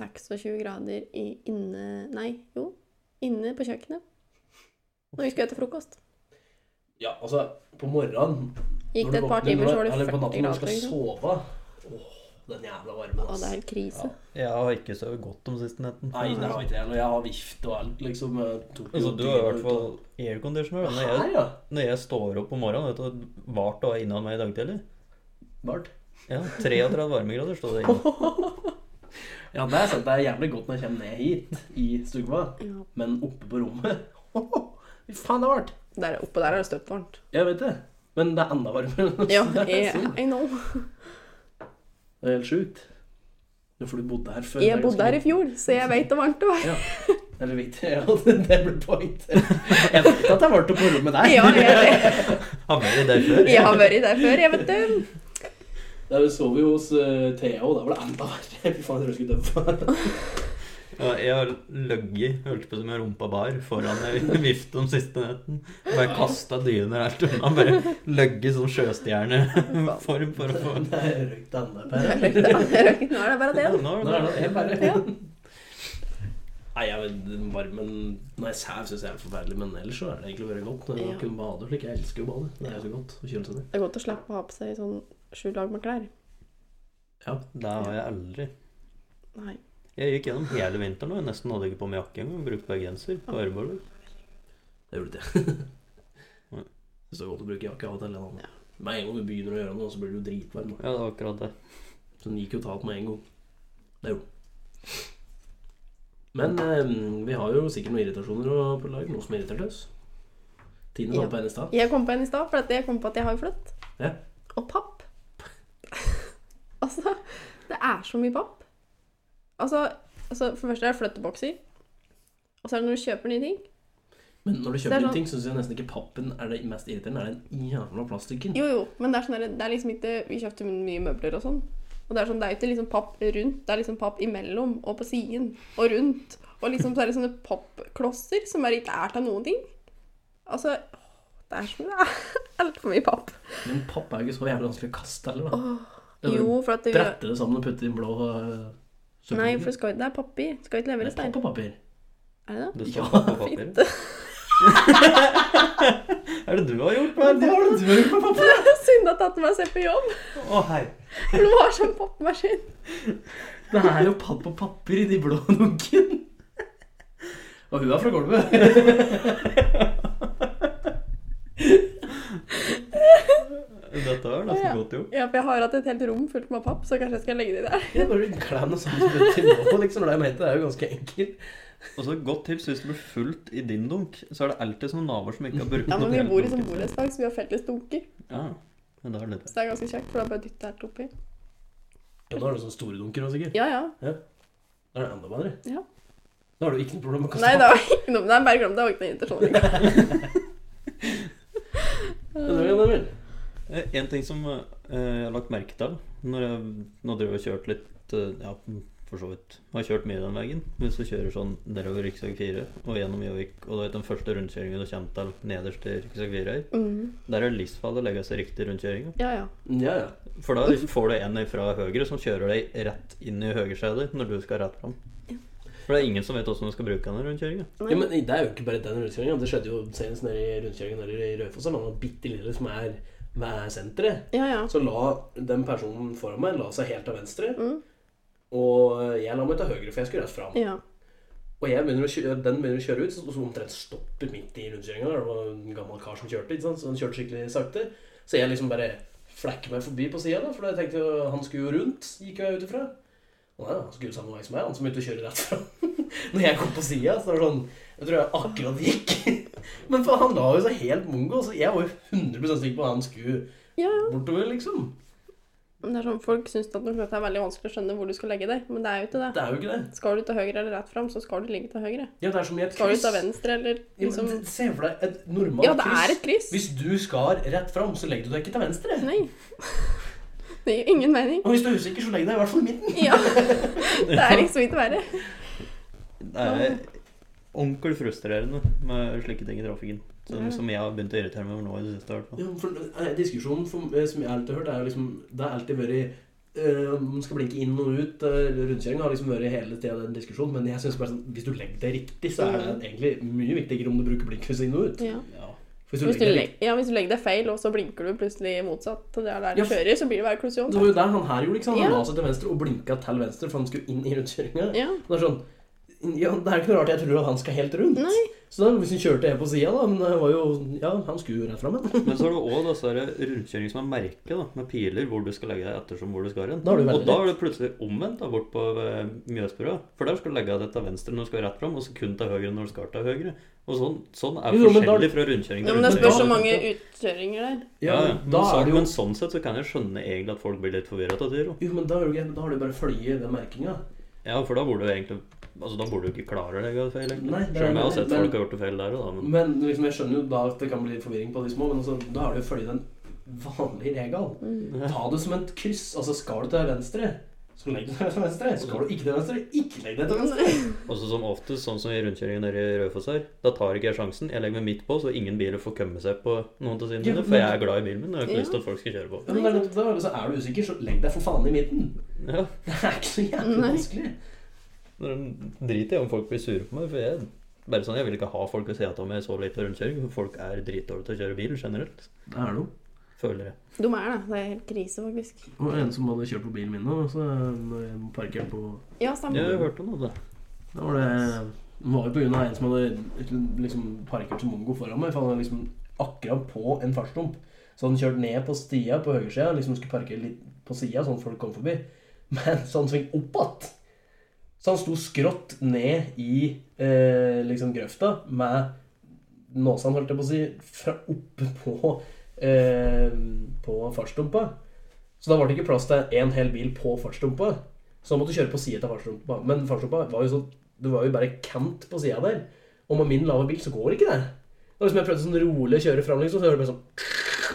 Speaker 3: 26 grader i inne Nei, jo. Inne på kjøkkenet. Når vi skulle spise frokost.
Speaker 2: Ja, altså, på morgenen
Speaker 3: Gikk
Speaker 2: når du
Speaker 3: det et par
Speaker 2: våkner,
Speaker 3: timer,
Speaker 2: når-
Speaker 3: så var det
Speaker 2: Eller på
Speaker 3: 40
Speaker 2: natten når du
Speaker 3: grader.
Speaker 2: skal
Speaker 3: ikke sant?
Speaker 2: sove. Åh, den jævla varmen,
Speaker 3: Å, det er helt krise.
Speaker 2: Ja.
Speaker 1: Jeg har ikke sovet godt om siste netten.
Speaker 2: Nei, det har ikke jeg. Når jeg har vift og alt, liksom. jeg tok jo
Speaker 1: Altså, du har i
Speaker 2: timer
Speaker 1: hvert
Speaker 2: ut
Speaker 1: fall
Speaker 2: av-
Speaker 1: airconditioner. da. Når,
Speaker 2: Her,
Speaker 1: jeg-
Speaker 2: ja.
Speaker 1: når jeg står opp om morgenen, vet du hvor vart det var innan meg i dag tidlig?
Speaker 2: Bart.
Speaker 1: Ja, 33 varmegrader står det inne.
Speaker 2: Ja, det er sant. Det er jævlig godt når jeg kommer ned hit i stukva,
Speaker 3: Ja.
Speaker 2: men oppe på rommet Fy faen, det er varmt!
Speaker 3: Der oppå der er det støpt varmt.
Speaker 2: Jeg vet det. Men det er enda varmere.
Speaker 3: Ja,
Speaker 2: Det er
Speaker 3: jeg,
Speaker 2: sol.
Speaker 3: I know.
Speaker 2: Det er helt sjukt. Ja, For du bodde her før.
Speaker 3: Jeg bodde her i fjor, så jeg veit hvor varmt det var.
Speaker 2: Eller vet jeg, ja, det ble point. Jeg vet at det er varmt på rommet der.
Speaker 3: Ja, jeg,
Speaker 1: Har vært der før.
Speaker 3: jeg har vært der før, jeg, vet du.
Speaker 2: Der sov vi hos eh, Thea, og da var det enda verre. Fy faen, jeg tror jeg skulle dø for det.
Speaker 1: Ja, jeg har løgget, holdt på som en rumpa bar, foran ei vift om siste netten. Bare kasta dyner helt unna. Bare løgget som sjøstjerneform for å få
Speaker 2: Det er røykt enda
Speaker 3: Nå
Speaker 2: verre.
Speaker 3: er det bare det.
Speaker 1: Ja,
Speaker 3: da.
Speaker 1: nå er
Speaker 2: Nå er det helt verre.
Speaker 3: Ja.
Speaker 2: Nei, jeg vet, den varmen Nei, sæv syns jeg er forferdelig, men ellers så er det egentlig bare godt. Når
Speaker 3: Ja.
Speaker 2: man kunne bade slik. Jeg elsker jo å bade. Det er så godt. Og kjøle seg ned.
Speaker 3: Det er godt å slippe å ha på seg sånn sju lag med klær.
Speaker 1: Det har jeg aldri.
Speaker 3: Nei.
Speaker 1: Jeg gikk gjennom hele vinteren og jeg nesten hadde ikke på meg jakke engang. Brukte bare genser på armbåndet.
Speaker 2: Det gjorde det.
Speaker 1: Nei.
Speaker 2: Det er så godt å bruke jakke av og til. eller noe. Med en gang du begynner å gjøre noe, så blir du jo dritvarm. da.
Speaker 1: Ja, det var akkurat det.
Speaker 2: Så den gikk jo talt med en gang. Det gjorde den. Men eh, vi har jo sikkert noen irritasjoner å- på lag. Noe som irriterte oss. Tine
Speaker 3: Ja.
Speaker 2: sa på henne i stad.
Speaker 3: Jeg kom på en i stad, for at jeg kom på at jeg har jo fløtt.
Speaker 2: Ja.
Speaker 3: Og papp. altså, det er så mye papp. Altså, altså for det første er det flyttebokser. Og så er det når du kjøper nye ting.
Speaker 2: Men når du
Speaker 3: Det er
Speaker 2: kjøper inn
Speaker 3: sånn-
Speaker 2: ting, så syns jeg nesten ikke pappen er det mest irriterende. Er den jævla plastikken?
Speaker 3: Jo, jo, men det er, sånn, der- det er liksom ikke Vi kjøpte mye møbler og sånn. Og det er sånn, det er ikke liksom papp rundt, det er liksom papp imellom og på siden og rundt. Og liksom så er det sånne pappklosser som bare ikke er til noen ting. Altså åh, Det er så mye Altfor mye papp.
Speaker 2: Men papp er jo ikke så jævlig vanskelig å kaste heller, da.
Speaker 3: Åh,
Speaker 2: Eller
Speaker 3: jo, for at det,
Speaker 2: Brette det sammen og putte det i en blå uh,
Speaker 3: Nei, for det, skal, det er papir. Det skal ikke leveres,
Speaker 2: det er
Speaker 3: nei.
Speaker 2: papp og papir.
Speaker 3: Er det det?
Speaker 1: Det
Speaker 2: Ja,
Speaker 1: står på papiret. er det du har gjort? Hva er det?
Speaker 2: Hva har du gjort på pappa?
Speaker 3: Synd at tatt meg selv på jobb.
Speaker 1: Å, hei.
Speaker 3: For det var sånn popmaskin.
Speaker 2: Det er jo papp og papir i de blå dunken. Og hun er fra gulvet.
Speaker 1: Dette var nesten
Speaker 3: Å, ja.
Speaker 1: godt gjort.
Speaker 3: Ja, for jeg har hatt et helt rom fullt med papp, så kanskje jeg skal legge det der.
Speaker 2: Jeg bare glem det sånn til nå, liksom. Det er, mente, det er jo ganske enkelt.
Speaker 1: Og så et Godt tips hvis det blir fullt i din dunk, så er det alltid sånne naboer som ikke har brukt
Speaker 3: Ja, men
Speaker 1: opp
Speaker 3: vi
Speaker 1: hele
Speaker 3: bor i sånn
Speaker 1: dunken.
Speaker 3: borettslag, så vi har felles dunker.
Speaker 1: Ja, men da er det litt
Speaker 3: Så det er ganske kjekt, for da bare dytter jeg alt oppi.
Speaker 2: Ja, nå har du sånne store dunker nå, sikkert.
Speaker 3: Ja, ja.
Speaker 2: Da er det enda bedre.
Speaker 3: Ja.
Speaker 2: Da har du ikke noe problem med å kaste
Speaker 3: Nei, det var ikke noe Nei, bare glem det. Det var ikke noe intensjon.
Speaker 2: Ja, det var jo det, vel.
Speaker 1: Eh, En ting som eh, jeg har lagt merke til når jeg nå driver jeg og kjørt litt eh, Ja, for så vidt. Jeg har kjørt mye den veien. Hvis du kjører sånn nedover rv. 4 og gjennom Gjøvik, og du vet den første rundkjøringen du kommer til nederst til rv. 4 her,
Speaker 3: Mm.
Speaker 1: der er det livsfarlig å legge seg riktig i rundkjøringa.
Speaker 3: Ja, ja.
Speaker 2: Ja, ja.
Speaker 1: For da får du en fra høyre som kjører deg rett inn i høyresetet når du skal rett fram. For det er ingen som vet hvordan du skal bruke den rundkjøringa.
Speaker 2: Ja, men Det er jo ikke bare den rundkjøringen. Det skjedde jo senest nede i rundkjøringen nede i Raufoss. Det er noen bitte lille som er ved senteret.
Speaker 3: Ja, ja.
Speaker 2: Så la den personen foran meg la seg helt til venstre.
Speaker 3: Mm.
Speaker 2: Og jeg la meg til høyre, for jeg skulle rett fram.
Speaker 3: Ja.
Speaker 2: Og jeg begynner å kjøre, den begynner å kjøre ut, så- så omtrent stopper midt i rundkjøringa. Det var en gammel kar som kjørte, ikke sant? så han kjørte skikkelig sakte. Så jeg liksom bare flekker meg forbi på sida, for jeg tenkte jo, han skulle jo rundt, gikk jeg ut ifra. Og Nei, han skulle ut samme vei som meg, han som begynte å kjøre rett fram. Når jeg kom på sida, så var det sånn Jeg tror jeg akkurat gikk. Men for han la jo seg helt mongo, så jeg var jo 100 sikker på at han skulle
Speaker 3: ja, ja.
Speaker 2: bortover, liksom.
Speaker 3: Men Det er sånn, Folk syns at det er veldig vanskelig å skjønne hvor du skal legge deg, men det er jo ikke det.
Speaker 2: Det er jo ikke det.
Speaker 3: Skal du til høyre eller rett fram, så skal du ligge til høyre.
Speaker 2: Ja, det er som i et
Speaker 3: Skal du
Speaker 2: kryss.
Speaker 3: til venstre eller
Speaker 2: Ja, men
Speaker 3: liksom
Speaker 2: Se for deg et normalt
Speaker 3: Ja, det
Speaker 2: kryss.
Speaker 3: er et kryss.
Speaker 2: Hvis du skar rett fram, så legger du deg ikke til venstre.
Speaker 3: Nei. Det gir ingen mening.
Speaker 2: Og hvis du er usikker, så legg deg i hvert fall i midten.
Speaker 3: Ja. Det er liksom ikke verre.
Speaker 1: Det er ordentlig frustrerende med slike ting i trafikken. Som,
Speaker 3: Ja.
Speaker 1: som jeg har begynt å irritere meg over nå i det siste. i hvert fall.
Speaker 2: Ja, for eh, Diskusjonen for, eh, som jeg alltid har hørt, er jo liksom Det har alltid vært eh, om man skal blinke inn og ut. eh, Rundkjøringen har liksom vært hele tida den diskusjonen. Men jeg synes bare sånn hvis du legger deg riktig, så er det egentlig mye viktigere om du bruker blinklys inn og ut.
Speaker 3: Mm. Ja.
Speaker 1: Ja.
Speaker 2: For Hvis du
Speaker 3: Hvis
Speaker 2: legger
Speaker 3: du,
Speaker 2: deg riktig
Speaker 3: legger, ja, hvis du legger deg feil, og så blinker du plutselig motsatt til der der
Speaker 2: Ja,
Speaker 3: du
Speaker 2: for-
Speaker 3: kjører, så blir det bare klusjon.
Speaker 2: Det var jo der han her gjorde, ikke sant? Han
Speaker 3: Ja.
Speaker 2: la seg til venstre og blinka til venstre, for han skulle inn i rundkjøringa.
Speaker 3: Ja.
Speaker 2: Det er sånn ja, Det er ikke noe rart jeg tror at han skal helt rundt.
Speaker 3: Nei.
Speaker 2: Så da hvis han kjørte jeg på sida, da. Men det var jo Ja, han skulle jo rett fram. men-
Speaker 1: Men så er det òg disse her rundkjøringer som er merket, da, med piler hvor du skal legge deg ettersom hvor du skal hen.
Speaker 2: Da har du veldig
Speaker 1: og da er det plutselig omvendt da, bort på eh, Mjøsbrua. For der skal du legge deg til venstre når du skal rett fram, og så kun til høyre når du skal til høyre. Og sånn, sånn er
Speaker 2: Jo, jo, men da-
Speaker 1: forskjellig fra rundkjøring
Speaker 3: Ja,
Speaker 1: til
Speaker 3: men det
Speaker 2: er
Speaker 3: spørs
Speaker 1: rundkjøring.
Speaker 3: så mange utkjøringer der.
Speaker 1: Ja, ja. Men,
Speaker 2: da
Speaker 1: så,
Speaker 2: er det jo
Speaker 1: men sånn sett så kan jeg skjønne egentlig at folk blir litt forvirra av det. da.
Speaker 2: Jo, men da, er det jo ikke- da har du bare følge den merkinga.
Speaker 1: Ja, for da burde du egentlig Altså, da burde du ikke klare å legge deg feil, egentlig.
Speaker 2: Nei, det er-
Speaker 1: Selv om jeg har sett
Speaker 2: men-
Speaker 1: folk har gjort det feil der og da, men
Speaker 2: Men liksom, jeg skjønner jo da at det kan bli litt forvirring på de små, men altså, da er det jo følge den vanlige regel.
Speaker 3: Mm.
Speaker 2: Ta det som et kryss. Altså, skal du til venstre, så legg deg til venstre. Skal du ikke til venstre, ikke legg deg til venstre.
Speaker 1: Også som oftest, sånn som i rundkjøringen nede i Raufoss her, da tar ikke jeg sjansen. Jeg legger meg midt på, så ingen biler får komme seg på noen til siden
Speaker 2: Ja,
Speaker 1: sine. For
Speaker 2: men-
Speaker 1: jeg er glad i bilen min, og jeg har ikke
Speaker 3: Ja.
Speaker 1: lyst til at folk skal kjøre på.
Speaker 2: Ja, men det er nettopp det, altså, er du usikker, så legg deg for faen i midten.
Speaker 1: Ja,
Speaker 2: Det er ikke så jævlig
Speaker 3: Nei.
Speaker 2: vanskelig.
Speaker 1: men Drit i om folk blir sure på meg, for jeg bare sånn, jeg vil ikke ha folk å se at om jeg er så lite rundkjøring. For folk er dritdårlige til å kjøre bil generelt,
Speaker 2: Det er noe.
Speaker 1: føler jeg.
Speaker 3: De er det. Det er helt krise, faktisk.
Speaker 2: Det var en som hadde kjørt på bilen min nå, så når jeg parkerte på
Speaker 3: Ja, stemmer.
Speaker 1: Jeg har hørt om det.
Speaker 2: Da var det det var jo på grunn av en som hadde liksom parkert som mongo foran meg. For han var liksom akkurat på en fartsdump. Så han kjørte ned på stia på høyresida, liksom skulle parkere litt på sida, sånn at folk kom forbi. Men så han sving opp igjen. Så han sto skrått ned i eh, liksom grøfta med nåsa, holdt jeg på å si, fra oppe på, eh, på fartsdumpa. Så da var det ikke plass til en hel bil på fartsdumpa. Så han måtte kjøre på sida til fartsdumpa. Men fartsdumpa var jo sånn det var jo bare kant på sida der. Og med min lave bil så går ikke det. Det var liksom Jeg prøvde sånn rolig å kjøre fram, liksom, så hører du bare sånn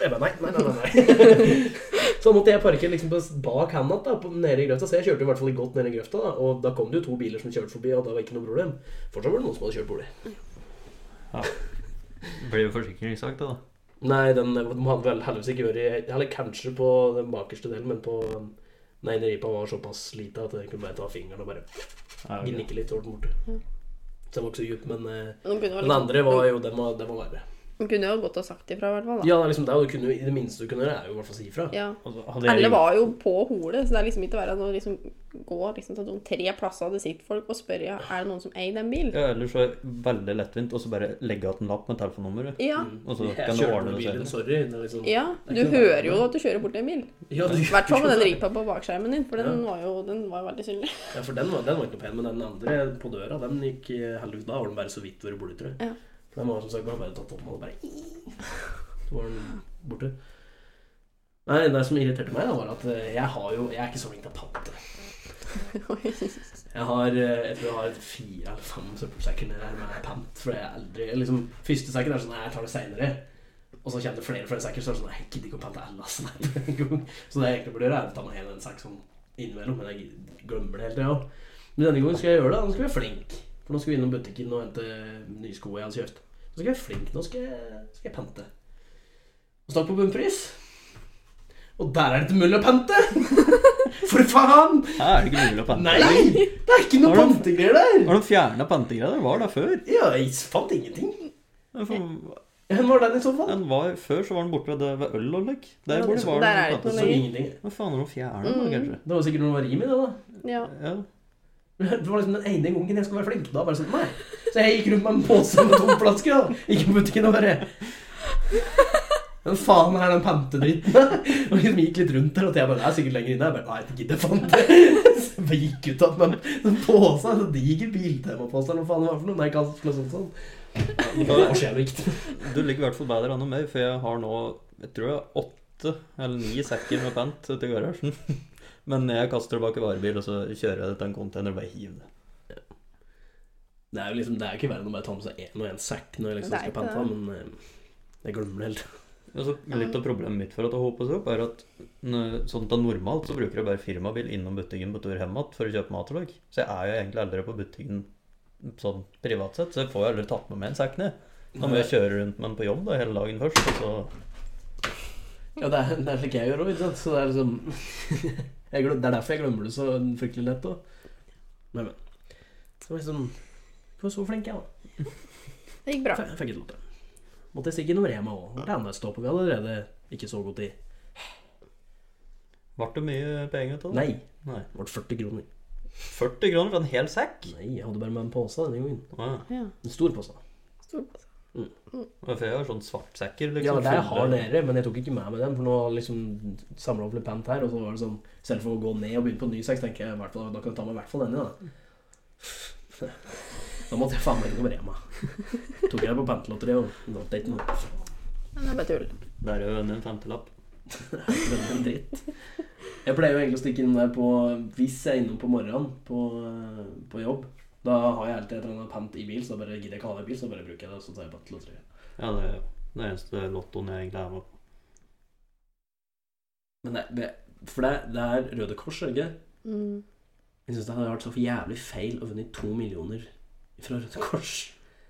Speaker 2: jeg bare, nei, nei, nei, nei, nei. Så da måtte jeg parkere liksom på bak han igjen, da, på- nede i grøfta. Så jeg kjørte i hvert fall godt nede i grøfta, da, og da kom det jo to biler som kjørte forbi, og da var ikke noe problem. Fortsatt var det noen som hadde kjørt bolig.
Speaker 1: Det blir jo forsikringssak, da.
Speaker 2: Nei, den eh, de hadde vel heldigvis ikke vært i- Eller kanskje på den bakerste delen, men på den ene ripa var såpass lita at jeg kunne bare ta fingeren og bare
Speaker 1: Ja,
Speaker 2: gnikke litt hårdt borte. Den var ikke så djup, men eh,
Speaker 3: Men hun kunne, jo
Speaker 2: den
Speaker 3: liksom,
Speaker 2: andre var jo Den var, den var verre.
Speaker 3: hun kunne jo godt ha sagt ifra, i hvert fall. da.
Speaker 2: Ja, liksom, det, er jo- du kunne, jo- i det minste du kunne gjøre, er jo i hvert fall si ifra.
Speaker 3: Ja.
Speaker 1: Altså, hadde jeg-
Speaker 3: Alle var jo på hole, så det er liksom ikke verre enn å liksom gå liksom, til de tre plasser det sitter folk og spørre ja, er det noen som eier den bilen.
Speaker 1: Ja, ellers så er det veldig lettvint, og så bare legge igjen en lapp med telefonnummeret.
Speaker 3: Ja.
Speaker 2: Mm.
Speaker 1: Og så
Speaker 2: Jeg
Speaker 1: kan du
Speaker 2: kjørte
Speaker 1: ordne
Speaker 2: med
Speaker 1: det
Speaker 2: bilen,
Speaker 1: selv.
Speaker 2: sorry. Det er liksom,
Speaker 3: ja.
Speaker 2: Det
Speaker 3: Du
Speaker 2: er ikke noe
Speaker 3: hører
Speaker 2: verre.
Speaker 3: jo at du kjører bort en bil.
Speaker 2: Ja, du-
Speaker 3: I hvert fall med den ripa på bakskjermen din, for den var jo, den var jo veldig synlig.
Speaker 2: Ja, for den var, den var ikke noe pen, men den andre på døra, den gikk eh, heldigvis Da var den bare så vidt vært borte, tror jeg.
Speaker 3: Ja.
Speaker 2: For den var som sagt bare tatt hånda og bare Så var den borte. Nei, det som irriterte meg, da, var at eh, jeg har jo Jeg er ikke så flink til å pante. Jeg har eh, jeg tror jeg har fire eller fem søppelsekker nede her med pant. For jeg er aldri liksom, Første sekken er sånn Nei, jeg tar det seinere. Og så kommer det flere og flere sekker, så er det sånn Nei, jeg gidder ikke å pante alle. ass, nei. Så det jeg egentlig burde gjøre, er å ta meg en, en sekk sånn innimellom, men jeg glemmer det hele tida. Men denne gangen skal jeg gjøre det. Nå skal jeg være flink. For nå skal vi innom butikken og hente nye sko jeg hadde kjøpt. Nå skal jeg være flink. Nå skal jeg, skal jeg pente. Og snart på bunnpris. Og der er det ikke mulig å pente! For faen!
Speaker 1: Her er det ikke mulig å pante.
Speaker 2: Nei! Det er ikke noe
Speaker 1: Har du-
Speaker 2: pantegreier der!
Speaker 1: Har de fjerna pantegreia? Den var der før.
Speaker 2: Ja, jeg fant ingenting.
Speaker 1: Den for-
Speaker 2: Hvor var den i så fall?
Speaker 1: Den var, før så var den borte ved, det- ved øl og lekk. Der
Speaker 2: Ja,
Speaker 1: hvor det
Speaker 2: så-
Speaker 1: var noen
Speaker 3: der er det ikke noe
Speaker 1: pante-
Speaker 2: Så
Speaker 3: lenger. Mm.
Speaker 2: ingenting.
Speaker 1: Hva faen har de fjerna den, da, kanskje?
Speaker 2: Det var sikkert noe rim i det, da.
Speaker 3: Ja.
Speaker 1: Ja.
Speaker 2: Det var liksom den ene gangen jeg skulle være flink. Da var det sånn, nei. Så jeg gikk rundt med en pose med tom flaske. da. Gikk på butikken og bare Hvem faen er den pantedritten? Og liksom gikk litt rundt der, og jeg bare Det er sikkert lenger inne. Jeg bare Nei, jeg gidder faen ikke. Så jeg bare gikk ut av med en pose, en diger biltemapose eller hva faen det var for noe. Nei, kanskje noe sånt sånn. Det var skjevvikt.
Speaker 1: Du ligger i hvert fall bedre an enn meg, for jeg har nå jeg tror jeg har åtte eller ni sekker med pant ute i garasjen. Men jeg kaster det bak i varebil, og så kjører jeg det til en container og bare hiver det.
Speaker 2: Det er jo liksom, det er jo ikke verre enn å bare ta med seg én og én sekk når jeg liksom
Speaker 3: Det er
Speaker 2: skal
Speaker 3: ikke
Speaker 2: pante,
Speaker 3: det.
Speaker 2: da, men eh, jeg glemmer det helt.
Speaker 1: Og så Litt av problemet mitt for at det hoper seg opp, er at når- sånn til normalt så bruker jeg bare firmabil innom butikken på tur hjem igjen for å kjøpe mat og slik. Så jeg er jo egentlig aldri på butikken sånn privat sett, så jeg får jo aldri tatt med meg en sekk ned. Da må jeg kjøre rundt med den på jobb da, hele dagen først, og så
Speaker 2: Ja, det er, det er slik jeg gjør òg, ikke sant. Så det er liksom jeg glem, Det er derfor jeg glemmer det så fryktelig lett òg. Men, men. Så var jeg liksom Jeg var så flink, jeg, da.
Speaker 3: Det gikk bra.
Speaker 2: F- Fikk ikke lov til det. Måtte jeg stikke innom Rema òg. Det andre stoppet vi hadde allerede ikke så god tid.
Speaker 1: Ble det mye penger til det?
Speaker 2: Nei.
Speaker 1: Nei.
Speaker 2: Det ble 40 kroner.
Speaker 1: 40 kroner for en hel sekk?
Speaker 2: Nei, jeg hadde bare med en pose denne gangen.
Speaker 1: Wow.
Speaker 3: Ja.
Speaker 2: En stor pose.
Speaker 3: Stor pose.
Speaker 1: Ja, For jeg har sånn svartsekker.
Speaker 2: Ja,
Speaker 1: Liksom,
Speaker 2: det er eh, jeg har
Speaker 1: fulle-
Speaker 2: nede, men jeg tok ikke med meg den, for nå har jeg liksom samla opp litt pant her, og så var det sånn Selv for å gå ned og begynne på en ny seks, tenker jeg i hvert fall, da kan jeg ta med i hvert fall denne, da. Da måtte jeg faen meg innom Rema. Tok jeg det på pantelotteriet og nå ble det ikke noe.
Speaker 3: Men det er bare tull.
Speaker 1: Det er jo en en femtelapp.
Speaker 2: Det er en dritt. Jeg pleier jo egentlig å stikke innom der på Hvis jeg er innom på morgenen på, på jobb, da har jeg alltid et eller annet pant i bil, så da bare gidder jeg ikke ha det i bil, så da bare bruker jeg det, og så tar jeg pantelotteriet.
Speaker 1: Ja, det er det eneste lottoen jeg egentlig er med på.
Speaker 2: Men det, det, for det, det er Røde Kors, er det ikke?
Speaker 3: Mm.
Speaker 2: Jeg syns det hadde vært så jævlig feil å vinne to millioner fra Røde Kors.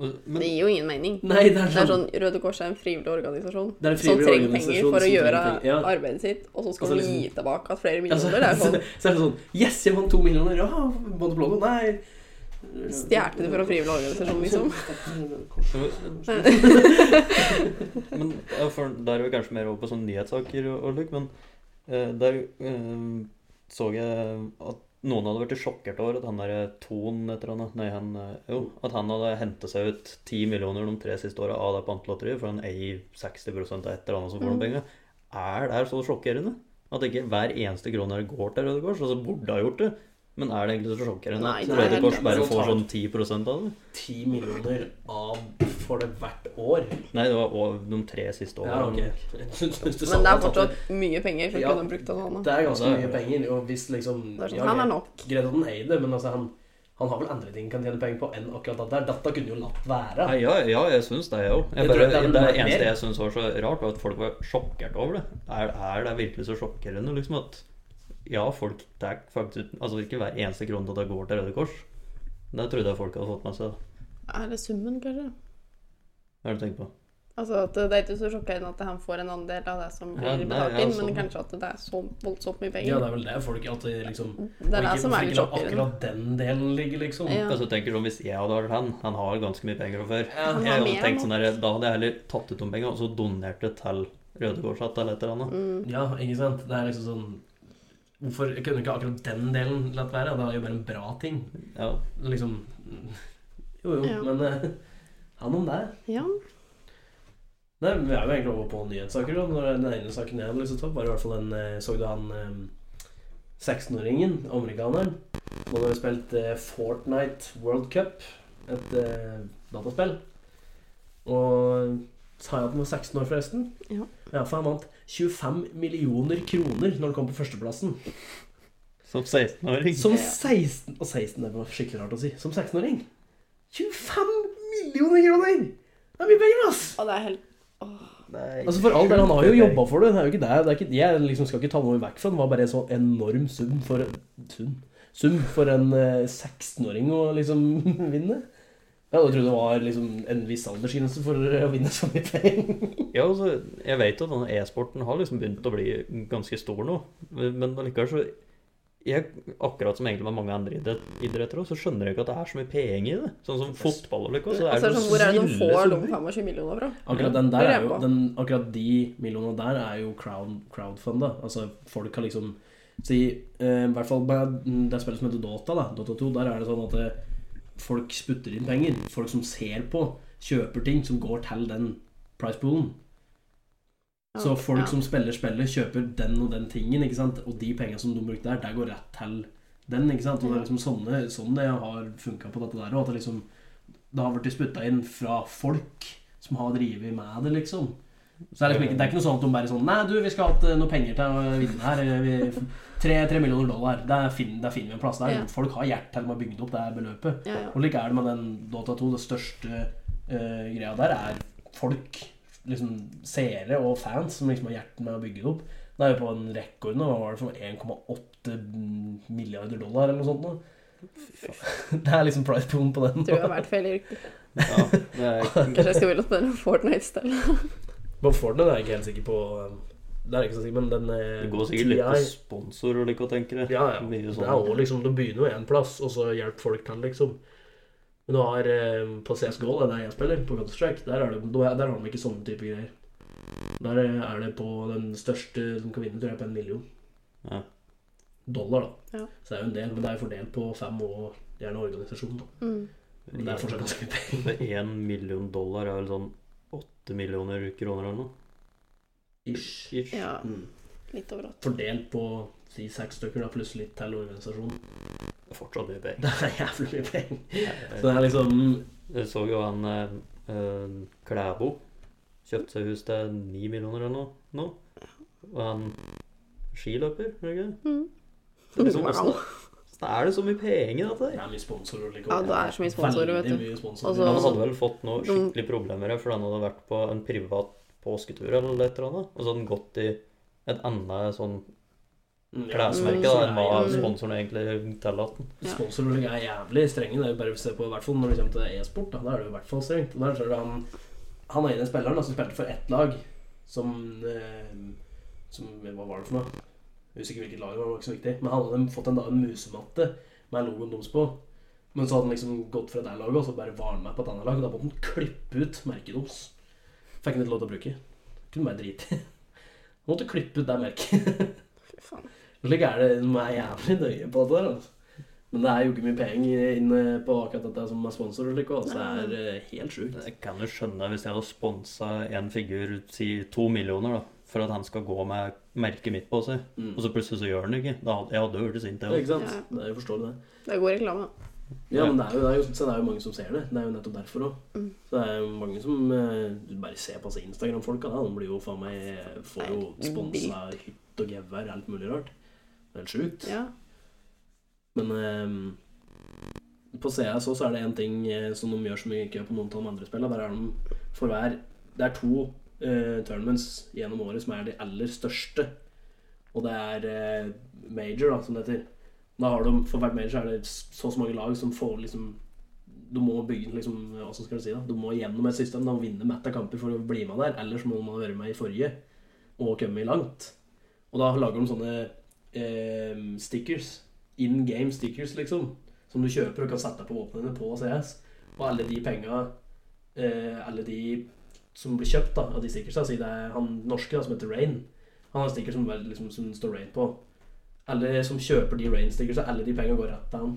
Speaker 1: Og-
Speaker 3: Det
Speaker 1: Men
Speaker 3: gir jo ingen mening.
Speaker 2: Nei, det er
Speaker 3: Det er sånn, Røde Kors er en frivillig organisasjon
Speaker 2: Det er en
Speaker 3: som
Speaker 2: frivillig organisasjon
Speaker 3: trenger penger for å
Speaker 2: som
Speaker 3: gjøre
Speaker 2: trenger penger, ja.
Speaker 3: arbeidet sitt, og så skal
Speaker 2: Altså,
Speaker 3: du
Speaker 2: liksom- Altså,
Speaker 3: gi tilbake flere
Speaker 2: Ja, så,
Speaker 3: millioner. Det er
Speaker 2: så,
Speaker 3: sånn,
Speaker 2: så er det sånn Yes, jeg vant to millioner! Ja, vant bloggen! Nei!
Speaker 3: Stjerte det fra en frivillig organisasjon, liksom.
Speaker 1: men ja, for Der er vi kanskje mer over på sånne nyhetssaker og, og slik, men eh, der eh, så jeg at noen hadde vært sjokkert over at han der Ton et eller annet Nei, han eh, Jo, at han hadde henta seg ut 10 millioner de tre siste åra av det pantelotteriet, for han eier 60 av et eller annet som
Speaker 3: Mm.
Speaker 1: får de pengene. Er det her så sjokkerende? At ikke hver eneste krone her går til Røde Kors? Altså burde ha gjort det, men er det egentlig så sjokkerende
Speaker 3: Nei,
Speaker 1: at
Speaker 3: det er
Speaker 1: Røde
Speaker 3: helt-
Speaker 1: Kors bare får sånn 10 av det?
Speaker 2: Ti millioner av for det hvert år.
Speaker 1: Nei, det var over de tre siste åra.
Speaker 2: Ja, ok. Men
Speaker 3: men det er fortsatt mye penger, for
Speaker 2: Ja.
Speaker 3: kunne de brukt av noe annet.
Speaker 2: Det er ganske mye penger, og hvis liksom
Speaker 3: Det er
Speaker 2: ja,
Speaker 3: sånn, han
Speaker 2: greit.
Speaker 3: er nok.
Speaker 2: Greit at han eier det, men altså, han, han har vel andre ting han kan tjene penger på enn akkurat dette. her. Dette kunne jo latt være.
Speaker 1: Nei, ja, ja, jeg syns det, jeg òg.
Speaker 2: Jeg
Speaker 1: Det,
Speaker 2: tror det
Speaker 1: det,
Speaker 2: er vel
Speaker 1: det
Speaker 2: mer-
Speaker 1: eneste jeg syns var så rart, var at folk var sjokkert over det. Er, er det virkelig så sjokkerende liksom at ja, folk tar faktisk Altså ikke hver eneste krone til at det går til Røde Kors. Det trodde jeg folk hadde fått med seg.
Speaker 3: Er det summen, kanskje?
Speaker 1: Hva er det du tenker på?
Speaker 3: Altså at Det er ikke så sjokkerende at han får en andel av det som blir
Speaker 1: Ja, nei,
Speaker 3: betalt
Speaker 1: ja,
Speaker 3: inn,
Speaker 1: sånn,
Speaker 3: men
Speaker 1: ja.
Speaker 3: kanskje at det er så voldsomt mye
Speaker 2: altså- Ja, det
Speaker 3: penger.
Speaker 2: er vel det folk at de liksom
Speaker 3: det er det
Speaker 2: og ikke-
Speaker 3: som er
Speaker 2: hvorfor
Speaker 3: litt
Speaker 2: ikke la
Speaker 3: sjokkerende.
Speaker 2: Akkurat den delen ligger, liksom.
Speaker 3: Ja.
Speaker 1: Altså, tenker sånn, Hvis jeg hadde vært han Han har ganske mye penger fra før.
Speaker 2: Ja.
Speaker 3: Han
Speaker 1: Jeg
Speaker 3: har
Speaker 1: hadde
Speaker 3: mer
Speaker 1: tenkt
Speaker 3: nå.
Speaker 1: sånn der, Da hadde jeg heller tatt ut noen penger og så donert det til Røde Kors eller et eller annet.
Speaker 3: Mm.
Speaker 2: Ja, ikke sant? Det er liksom sånn Hvorfor kunne ikke akkurat den delen latt være? Det er jo bare en bra ting.
Speaker 1: Ja.
Speaker 2: Liksom Jo, jo,
Speaker 3: Ja.
Speaker 2: men eh, han om det.
Speaker 3: Ja.
Speaker 2: Nei, men Vi er jo egentlig over på nyhetssaker. da Når Den ene saken jeg hadde lyst til å ta, opp, var i hvert fall den eh, Så du han eh, 16-åringen, amerikaneren? Han hadde spilt eh, Fortnite World Cup, et eh, dataspill. Og sa jeg at han var 16 år, forresten?
Speaker 3: Ja.
Speaker 2: for han vant 25 millioner kroner når han kom på førsteplassen.
Speaker 1: Som 16-åring.
Speaker 2: Som
Speaker 3: Ja.
Speaker 2: 16 Og 16 det var skikkelig rart å si. Som 16-åring. 25 millioner kroner! Det er mye penger, ass!
Speaker 3: Og det er helt
Speaker 2: Altså For all del, han har jo jobba for det. det, er jo ikke det. det er ikke, jeg liksom skal ikke ta noe vekk fra det. Det var bare en så enorm sum for, sum, sum for en eh, 16-åring å liksom vinne. Jeg hadde trodd det var liksom en viss aldersgrense for å vinne så mye penger.
Speaker 1: Ja, altså, jeg vet jo at denne e-sporten har liksom begynt å bli ganske stor nå, men men allikevel så jeg, Akkurat som egentlig med mange andre idrett- idretter også, så skjønner jeg ikke at det er så mye penger i det. Sånn som fotball og liksom, så
Speaker 3: Altså,
Speaker 1: er det
Speaker 3: sånn,
Speaker 1: noen
Speaker 3: hvor er det de
Speaker 1: snille
Speaker 3: får de
Speaker 1: summer.
Speaker 3: 25 millioner fra?
Speaker 2: Akkurat, den der er jo, den, akkurat de millionene der er jo crowd, crowdfunda. Altså, folk har liksom Si, eh, i hvert fall med det spillet som heter Dota, da, Dota 2, der er det sånn at eh, folk sputter inn penger. Folk som ser på, kjøper ting som går til den price poolen.
Speaker 3: Ja.
Speaker 2: Så folk
Speaker 3: Ja.
Speaker 2: som spiller spillet, kjøper den og den tingen, ikke sant? og de pengene som de brukte der, der går rett til den. ikke sant? Og det er liksom sånne, sånn det har funka på dette der òg. At det liksom det har blitt spytta inn fra folk som har drevet med det, liksom. Så det er, liksom ikke, det er ikke noe sånn at de bare sånn Nei, du, vi skal ha hatt eh, noe penger til å vinne her. eh, Vi, tre, tre millioner dollar. Der finner, der finner vi en plass. Der.
Speaker 3: Ja.
Speaker 2: Folk har hjerte til de har bygd opp det her beløpet.
Speaker 3: Ja, ja.
Speaker 2: Og like er det med den Dota 2. Det største eh, greia der er folk, liksom seere og fans, som liksom har hjertet med å bygge det opp. Det er jo på en rekord nå. Hva var det for noe? 1,8 milliarder dollar eller noe sånt nå? Det er liksom price pool på den.
Speaker 3: Tror jeg har vært feil yrke.
Speaker 1: Ja, det er
Speaker 3: Kanskje jeg skal ville på den Fortnite-stillen.
Speaker 2: Bare for den er jeg ikke helt sikker på. eh, Det er jeg ikke så sikker, men den eh,
Speaker 1: Det går sikkert litt på sponsor og like, tenker jeg.
Speaker 2: Ja, ja.
Speaker 1: Mye
Speaker 2: Det
Speaker 1: sånn.
Speaker 2: er også liksom, Du begynner jo én plass, og så hjelper folk til, liksom. Men du har eh, på CSGO, det er der jeg spiller, på Counter-Strike, der, er det- der har de ikke sånne type greier. Der eh, er det på den største som kan vinne, tror jeg, på en million
Speaker 1: Ja.
Speaker 2: dollar, da.
Speaker 3: Ja.
Speaker 2: Så det er jo en del, men det er jo fordelt på fem og gjerne organisasjon, da.
Speaker 3: Mm.
Speaker 2: Men det er fortsatt ganske mye penger.
Speaker 1: Men En million dollar er vel sånn åtte millioner kroner eller noe?
Speaker 2: Ish.
Speaker 1: Ish.
Speaker 3: Ja,
Speaker 2: Mm.
Speaker 3: litt over åtte.
Speaker 2: Fordelt på si seks stykker, da, pluss litt til organisasjon.
Speaker 1: Fortsatt mye penger.
Speaker 2: Det er jævlig mye penger. Så
Speaker 1: Jeg-
Speaker 2: det er liksom
Speaker 1: Jeg så jo han eh, eh, Klæbo kjøpte seg hus til ni millioner eller noe nå. Og han skiløper, er det ikke det?
Speaker 3: Mm.
Speaker 1: Det er
Speaker 2: sånn,
Speaker 1: liksom
Speaker 2: altså.
Speaker 3: Wow.
Speaker 1: også- Så er det så mye penger i dette
Speaker 2: Det
Speaker 1: der.
Speaker 2: er mye sponsorer. Liksom.
Speaker 3: Ja, det er så mye sponsorer, vet du.
Speaker 2: Veldig mye
Speaker 3: Og så-
Speaker 2: sponsorer.
Speaker 1: Han hadde vel fått noe skikkelig problemer her, for han hadde vært på en privat påsketur eller et eller annet. Og så hadde han gått i et annet sånn
Speaker 2: Mm, ja,
Speaker 1: klesmerke da,
Speaker 2: sponsorer
Speaker 1: enn
Speaker 2: er
Speaker 1: hva
Speaker 2: jævlig-
Speaker 1: sponsoren egentlig tillater.
Speaker 3: Ja.
Speaker 2: Sponsorer er jævlig strenge. Det er jo bare å se på, i hvert fall når det kommer til e-sport. Da, da er det jo i hvert fall strengt. Og Der ser du han, han ene spilleren da, som spilte for ett lag, som, eh, som Hva var det for noe? Jeg husker ikke hvilket lag det var, det var ikke så viktig. Men han hadde fått en, da, en musematte med logoen deres på. Men så hadde han liksom gått fra det laget og så bare var han med på et annet lag. Og da måtte han klippe ut merket deres. Fikk han ikke lov til å bruke. Kunne bare drite i. Måtte klippe ut det merket.
Speaker 3: Fy faen.
Speaker 2: Slik er det de er jævlig nøye på dette. her, Altså. Men det er jo ikke mye penger inne på akkurat dette som er sponsor. og slik, altså. Det er eh, helt sjukt.
Speaker 1: Jeg kan jo skjønne hvis jeg hadde sponsa en figur, si to millioner, da, for at han skal gå med merket mitt på seg,
Speaker 2: Mm.
Speaker 1: og så plutselig så gjør han det ikke. Da hadde, jeg hadde jo blitt sint,
Speaker 2: Ja,
Speaker 1: jeg òg.
Speaker 2: ikke sant?
Speaker 3: Ja.
Speaker 2: Det er jo forståelig, det.
Speaker 3: Det er god reklame. da.
Speaker 2: Ja, men det er, jo, det, er jo, så det er jo mange som ser det. Det er jo nettopp derfor òg.
Speaker 3: Mm.
Speaker 2: Så det er jo mange som eh, Du bare ser på altså, Instagram-folka. da, De blir jo faen meg Får jo
Speaker 3: Nei,
Speaker 2: sponsa hytt og gevær, alt mulig rart. Det er helt sjukt.
Speaker 3: Ja.
Speaker 2: Men ehm, på CS også så er det en ting eh, som de gjør som vi ikke gjør på noen av de andre spillene. Der er de for hver Det er to eh, tournaments gjennom året som er de aller største. Og det er eh, major, da, som det heter. Da har de, For hvert major er det s- så og så mange lag som får liksom Du må bygge liksom, hvordan skal du si det? Du må gjennom et system da, og vinne mett av kamper for å bli med der. Ellers må man være med i forrige og komme langt. Og da lager de sånne eh, stickers. In game stickers, liksom. Som du kjøper og kan sette på våpnene på CS. Og alle de penga eh, Alle de som blir kjøpt da, av de stickersa, si det er han norske da, som heter Rain Han har en sticker som, vel- liksom, som det står Rain på. Alle som kjøper de Rain-stickersa, alle de penga går rett til han.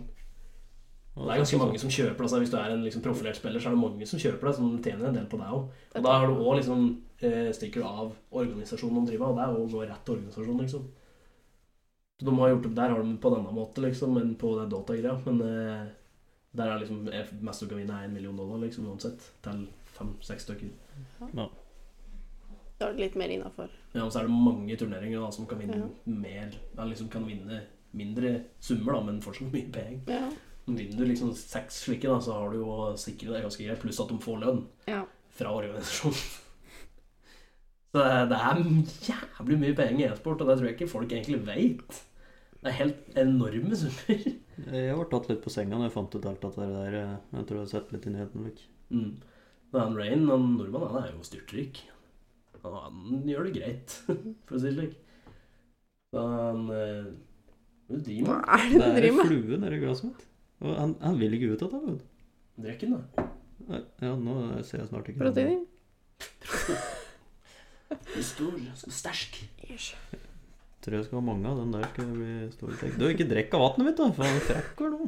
Speaker 2: Det er ganske mange som kjøper det. Altså, hvis du er en liksom, profilert spiller, så er det mange som kjøper det, som tjener en del på deg òg. Og da har du òg liksom, eh, stikker av organisasjonen de driver av. Det er jo går rett til organisasjonen, liksom. Så de har gjort det der har de på denne måten, liksom, enn på den Dota-greia. Men eh, der er liksom er mest du kan vinne, er en million dollar, liksom, uansett. Til fem-seks stykker.
Speaker 3: Da er det litt mer innafor.
Speaker 2: Ja, og så er det mange turneringer da, som kan vinne
Speaker 3: Ja.
Speaker 2: mer Eller liksom kan vinne mindre summer, da, men fortsatt mye penger.
Speaker 3: Ja.
Speaker 2: Vinner du liksom seks slike, da, så har du jo sikret deg ganske greit, pluss at de får lønn
Speaker 3: ja.
Speaker 2: fra organisasjonen. Så det er jævlig mye penger i e-sport, og det tror jeg ikke folk egentlig vet. Det er helt enorme summer.
Speaker 1: Jeg ble tatt litt på senga når jeg fant ut alt dette der. eh, Jeg tror jeg har sett litt i nyheten. Vik.
Speaker 2: Mm. Men han Rain, han nordmannen, han er jo styrtrik. Han, han gjør det greit, for å si det slik. Så han eh, Du driver med
Speaker 3: Hva er
Speaker 1: Det
Speaker 3: det
Speaker 1: er
Speaker 3: du
Speaker 1: en
Speaker 3: driver med?
Speaker 1: flue nedi glasset mitt. Og han, han vil ikke ut av det. vet du.
Speaker 2: drikken, da.
Speaker 1: Nei, Ja, nå ser jeg snart ikke
Speaker 3: Proteiner?
Speaker 2: Du er stor, så sterk.
Speaker 3: Yes.
Speaker 1: Jeg tror jeg skal ha mange av den der. skal jeg bli stor tek. Du, ikke drikk av vannet mitt, da! Faen, frekk var nå.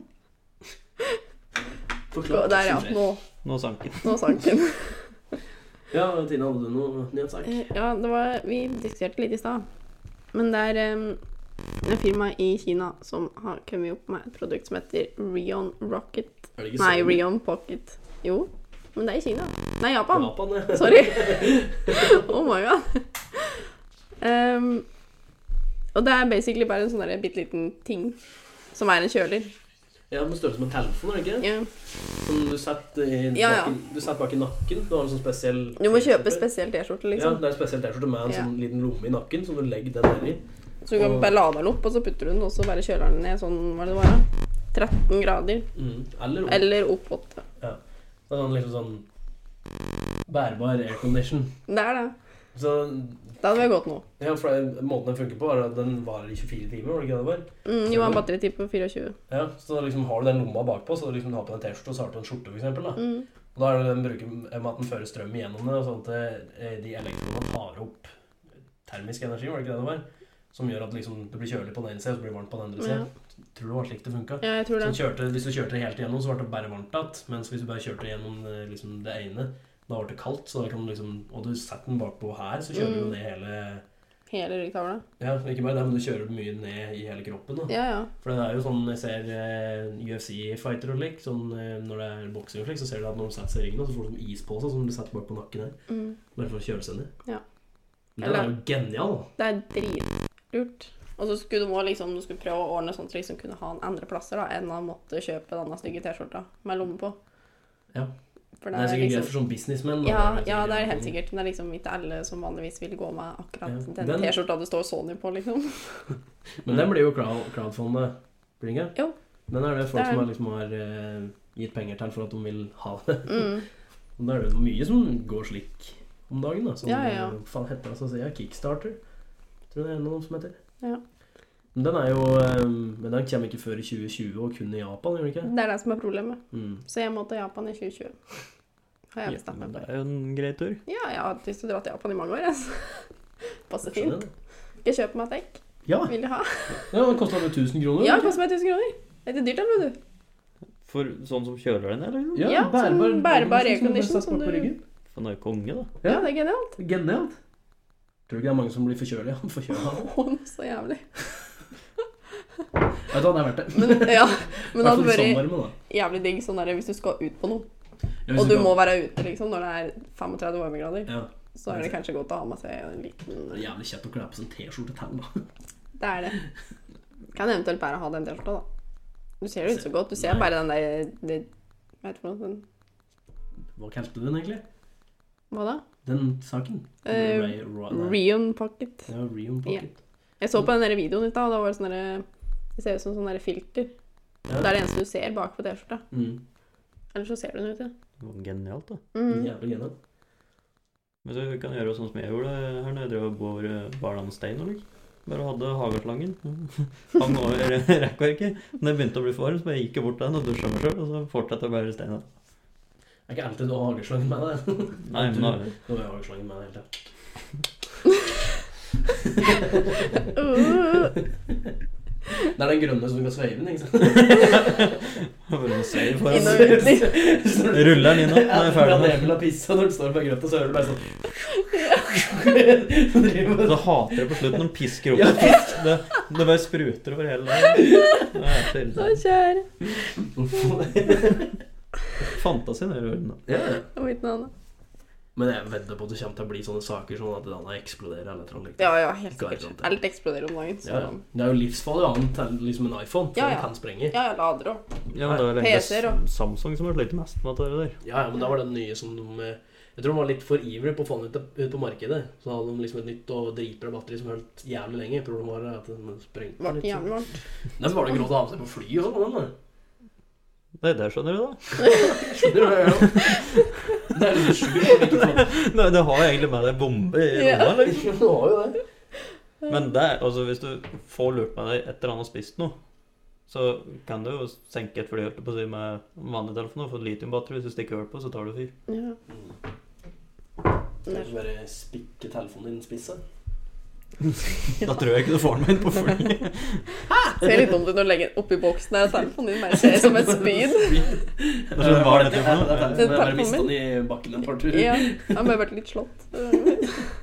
Speaker 3: Å, Der, ja. Nå,
Speaker 1: Nå sank den.
Speaker 3: nå sank den.
Speaker 2: Ja, Tina, hadde du noe nyhetssak?
Speaker 3: Eh, Ja, det var Vi diskuterte litt i stad. Men det er um, et firma i Kina som har kommet opp med et produkt som heter Rion Rocket.
Speaker 2: Er det ikke
Speaker 3: Nei,
Speaker 2: sånn?
Speaker 3: Rion Pocket. Jo, men det er i Kina. Nei, Japan.
Speaker 2: Japan, ja.
Speaker 3: Sorry. oh my god. Ehm, og det er basically bare en sånn der bitte liten ting som er en kjøler.
Speaker 2: Ja, men størrelse som en telefon, er det ikke?
Speaker 3: Ja.
Speaker 2: Som du setter, i
Speaker 3: Ja, ja.
Speaker 2: Nakken, du setter bak i nakken. Du har en sånn spesiell
Speaker 3: Du må kjøpe spesiell T-skjorte,
Speaker 2: Ja,
Speaker 3: liksom.
Speaker 2: det er en spesiell T-skjorte med en
Speaker 3: Ja.
Speaker 2: sånn liten lomme i nakken, så du legger den nedi.
Speaker 3: Så du kan bare lade den opp, og så putter du den, og så bare kjøler den ned sånn hva er det det var da? 13 grader.
Speaker 2: Mm. Eller om.
Speaker 3: Eller opp 8.
Speaker 2: Det er sånn liksom sånn bærbar aircondition.
Speaker 3: Det er det.
Speaker 2: Så
Speaker 3: Det hadde vært godt nå.
Speaker 2: ja, for det- måten den funker på, er at den varer i 24 timer, var det ikke det det var?
Speaker 3: Mm, jo, en batteritid på 24.
Speaker 2: Ja, så da liksom har du den lomma bakpå, så du liksom har på deg en T-skjorte, og så har du på en skjorte, for eksempel, da.
Speaker 3: Mm.
Speaker 2: Og Da er det den bruker eh, med at den fører strøm igjennom det, sånn at eh, de elektronene tar opp termisk energi, var det ikke det det var? Som gjør at liksom, det blir kjølig på den ene siden, og så blir det varmt på den andre
Speaker 3: Ja.
Speaker 2: siden. Tror du det var slik det funka?
Speaker 3: ja, jeg tror det.
Speaker 2: Kjørte, hvis du kjørte det helt igjennom, så ble det bare varmt igjen. Mens hvis du bare kjørte gjennom eh, liksom, det ene, da ble det kaldt. Så da kan du liksom, og du setter den bakpå her, så kjører du jo
Speaker 3: Mm.
Speaker 2: det hele
Speaker 3: Hele ryggtavla.
Speaker 2: Ja, ikke bare det, men du kjører mye ned i hele kroppen. da.
Speaker 3: Ja, ja.
Speaker 2: For det er jo sånn jeg ser UFC-fighter og slik, sånn, eh, når det er boksing og slik, så ser du at når de setter seg i ringen, så får de sånn is på seg som de setter bak på nakken her.
Speaker 3: Mm.
Speaker 2: Bare for å kjøle seg ned.
Speaker 3: Ja.
Speaker 2: Den er jo genial. da.
Speaker 3: Det er dritlurt. Og så skulle du må liksom, du skulle prøve å ordne sånn at du liksom kunne ha den andre plasser da, enn å måtte kjøpe denne stygge T-skjorta med lomme på.
Speaker 2: Ja.
Speaker 3: For
Speaker 2: Det
Speaker 3: det
Speaker 2: er sikkert greit
Speaker 3: liksom,
Speaker 2: for sånn businessmenn. da.
Speaker 3: ja,
Speaker 2: sikkert
Speaker 3: ja, det er
Speaker 2: greit.
Speaker 3: helt sikkert. Men det er liksom ikke alle som vanligvis vil gå med akkurat
Speaker 2: Ja.
Speaker 3: den,
Speaker 2: Den-
Speaker 3: T-skjorta det står Sony på, liksom.
Speaker 2: Men den blir jo crowd- crowdfundet, blir den ikke?
Speaker 3: Jo.
Speaker 2: Den er det folk
Speaker 3: Det er
Speaker 2: som har,
Speaker 3: den.
Speaker 2: liksom har eh, gitt penger til for at de vil ha det.
Speaker 3: Mm.
Speaker 2: Og da er det jo mye som går slik om dagen, da. Som,
Speaker 3: Ja, ja, ja.
Speaker 2: Hva faen heter det altså, så sier jeg? Kickstarter? Tror jeg det er noe som heter.
Speaker 3: Ja.
Speaker 2: Men den er jo eh, Men den kommer ikke før i 2020, og kun i Japan, gjør den ikke?
Speaker 3: Det er det som er problemet.
Speaker 2: Mm.
Speaker 3: Så jeg må til Japan i 2020. Har jeg bestemt meg
Speaker 1: Det
Speaker 3: for.
Speaker 1: er jo en grei tur.
Speaker 3: Ja, jeg har hatt lyst til å dra til Japan i mange år, altså. Passer
Speaker 2: Skjønner
Speaker 3: fint.
Speaker 2: jeg det.
Speaker 3: Skal jeg kjøpe meg et dekk?
Speaker 2: Ja,
Speaker 3: Vil du ha?
Speaker 2: ja den kosta 1000 kroner.
Speaker 3: Ja, det koster meg 1000 kroner. Det er ikke dyrt, da, vet du.
Speaker 1: For sånn som kjøler den, eller?
Speaker 2: Ja, liksom,
Speaker 3: Ja, sånn bærbar aircondition
Speaker 2: som
Speaker 3: som
Speaker 2: du bare setter bak på
Speaker 3: du-
Speaker 2: ryggen.
Speaker 1: For den er jo konge, da.
Speaker 2: Ja.
Speaker 3: Ja, det er genialt.
Speaker 2: Genialt. Tror du ikke det er mange som blir forkjøla? Forkjøla.
Speaker 3: Å, så jævlig.
Speaker 2: Vet du hva, det er verdt det.
Speaker 3: Men, ja, men det
Speaker 2: Hvertfall
Speaker 3: hadde
Speaker 2: i
Speaker 3: vært
Speaker 2: sommervarme, da.
Speaker 3: jævlig digg sånn der, hvis du skal ut på noe.
Speaker 2: Ja, hvis
Speaker 3: Og du
Speaker 2: kan-
Speaker 3: må være ute liksom når det er 35 varmegrader.
Speaker 2: Ja.
Speaker 3: Så er det kanskje godt å ha med seg en liten
Speaker 2: Det er jævlig kjett å kle på seg en T-skjorte til, da.
Speaker 3: Det er det. Kan eventuelt bare ha den T-skjorta, da. Du ser det ikke så godt. Du ser
Speaker 2: Nei.
Speaker 3: bare den der det, Hva heter det for noe? Den-
Speaker 2: Hva kalte du den egentlig?
Speaker 3: Hva da?
Speaker 2: Den saken?
Speaker 3: Eh,
Speaker 2: Ray- Ra- nei.
Speaker 3: Rion Pocket.
Speaker 2: Ja, Real Pocket.
Speaker 3: Jeg så på den der videoen i stad, og da var det sånn derre Det ser ut som sånn derre filter.
Speaker 2: Ja.
Speaker 3: Det er det eneste du ser bak på T-skjorta.
Speaker 2: Mm.
Speaker 3: Ellers så ser du den ut, ja.
Speaker 1: Det var Genialt, da.
Speaker 3: Mm.
Speaker 2: Jævlig genial.
Speaker 1: Men så vi kan gjøre sånn som jeg gjorde her når jeg drev og bor eh, barna en stein. Eller? Bare hadde hageslangen. Hang over rekkverket. Når jeg begynte å bli for varm, så bare gikk jeg bort til den og dusja meg sjøl, og så fortsatte jeg å bære steina.
Speaker 2: Det er ikke alltid du har hageslangen med deg.
Speaker 1: Nei, men da
Speaker 2: Nå har jeg hageslangen med deg hele tiden.
Speaker 3: Uh,
Speaker 2: Det er den grønne som du kan sveive den, ikke sant?
Speaker 1: Bare noe seier
Speaker 3: inn
Speaker 1: foran.
Speaker 3: og ut.
Speaker 1: Ruller den inn nå? Nå er jeg
Speaker 2: med
Speaker 1: ferdig med
Speaker 2: det.
Speaker 1: det.
Speaker 2: Emil har pissa når du står på grøtta, så hører du bare sånn Så driver
Speaker 1: Så
Speaker 2: du
Speaker 1: hater jeg på slutten når de pisker opp en fisk. Det, det bare spruter over hele veien. Det er så
Speaker 3: Å,
Speaker 1: irriterende.
Speaker 3: kjære.
Speaker 1: Fantasien er i orden. da.
Speaker 2: Ja.
Speaker 3: Det var ikke noe annet.
Speaker 2: Men jeg vedder på at det kommer til å bli sånne saker sånn at Dana eksploderer eller noe
Speaker 3: Ja, ja, helt
Speaker 2: Garantert.
Speaker 1: sånn.
Speaker 3: sikkert. Alt eksploderer om dagen. Så.
Speaker 2: Ja, ja. Det er jo livsfarlig å ha den til liksom en iPhone, for
Speaker 3: Ja, ja.
Speaker 2: den kan sprenge.
Speaker 3: Ja, ja, lader òg.
Speaker 1: Ja, men det er
Speaker 3: PC-er
Speaker 1: egentlig
Speaker 3: og-
Speaker 1: Samsung som har slitt mest med det der.
Speaker 2: Ja, ja, men da var den nye som de eh, Jeg tror de var litt for ivrig på å få den ut, ut på markedet. Så hadde de liksom et nytt og dritbra batteri som holdt jævlig lenge. Problemet var eh, at den sprengte
Speaker 3: Ble
Speaker 2: litt.
Speaker 1: sånn.
Speaker 3: ikke
Speaker 2: så-
Speaker 3: jævlig varmt.
Speaker 2: Den var det grått å ha med seg på fly og sånn. den, da.
Speaker 1: Nei, det skjønner du, da.
Speaker 2: Skjønner du? Ja, ja. Det er litt sjukt.
Speaker 1: Nei, det har egentlig med deg bombe i
Speaker 3: Ja.
Speaker 1: lomma, eller?
Speaker 2: Du har jo det.
Speaker 1: Men det, er- altså, hvis du får lurt med deg et eller annet og spist noe, så kan du jo senke et fly holdt jeg på å si, med vanlig telefon og få et litiumbatteri. Hvis du stikker hull på, så tar du fyr.
Speaker 3: Ja.
Speaker 2: Kan du bare spikke telefonen din spisse?
Speaker 1: Da tror jeg ikke du får den med inn på flyet.
Speaker 3: Ser litt dumt ut når du legger den oppi boksen der, og telefonen din bare ser ut som et spyd.
Speaker 1: Det er sånn, hva er dette for noe?
Speaker 2: Jeg bare mista den i bakken en par turer.
Speaker 3: Ja, Han har vært litt slått.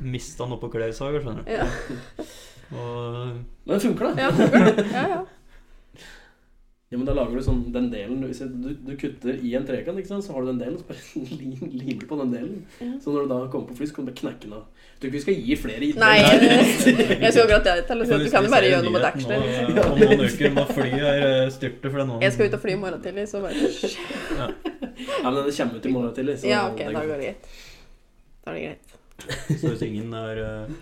Speaker 1: Mista den oppå klessager, skjønner du.
Speaker 3: Ja,
Speaker 1: Og eh,
Speaker 2: Men det funker, da.
Speaker 3: ja, funker det? ja, ja.
Speaker 2: Ja, men da lager du sånn den delen du, hvis du, du kutter i en trekant, ikke sant? så har du den delen, så bare lim- limer du på den delen.
Speaker 3: Ja.
Speaker 2: Så når du da kommer på fly, så kan du bare knekke den av. Jeg tror ikke vi skal gi flere ideer.
Speaker 3: Nei, jeg skulle akkurat det til å si at du kan jo bare gjøre noe med
Speaker 1: Nyheten
Speaker 3: dagsler.
Speaker 1: nå, eh, Om noen uker må flyet eh, styrte for det nå.
Speaker 3: Jeg skal ut og fly i morgen tidlig, så bare
Speaker 2: Ja, men den kommer ut i morgen tidlig. så
Speaker 3: Ja, ok,
Speaker 2: det er
Speaker 3: da
Speaker 2: godt.
Speaker 3: går det greit. Da er det greit.
Speaker 1: Så hvis ingen er eh,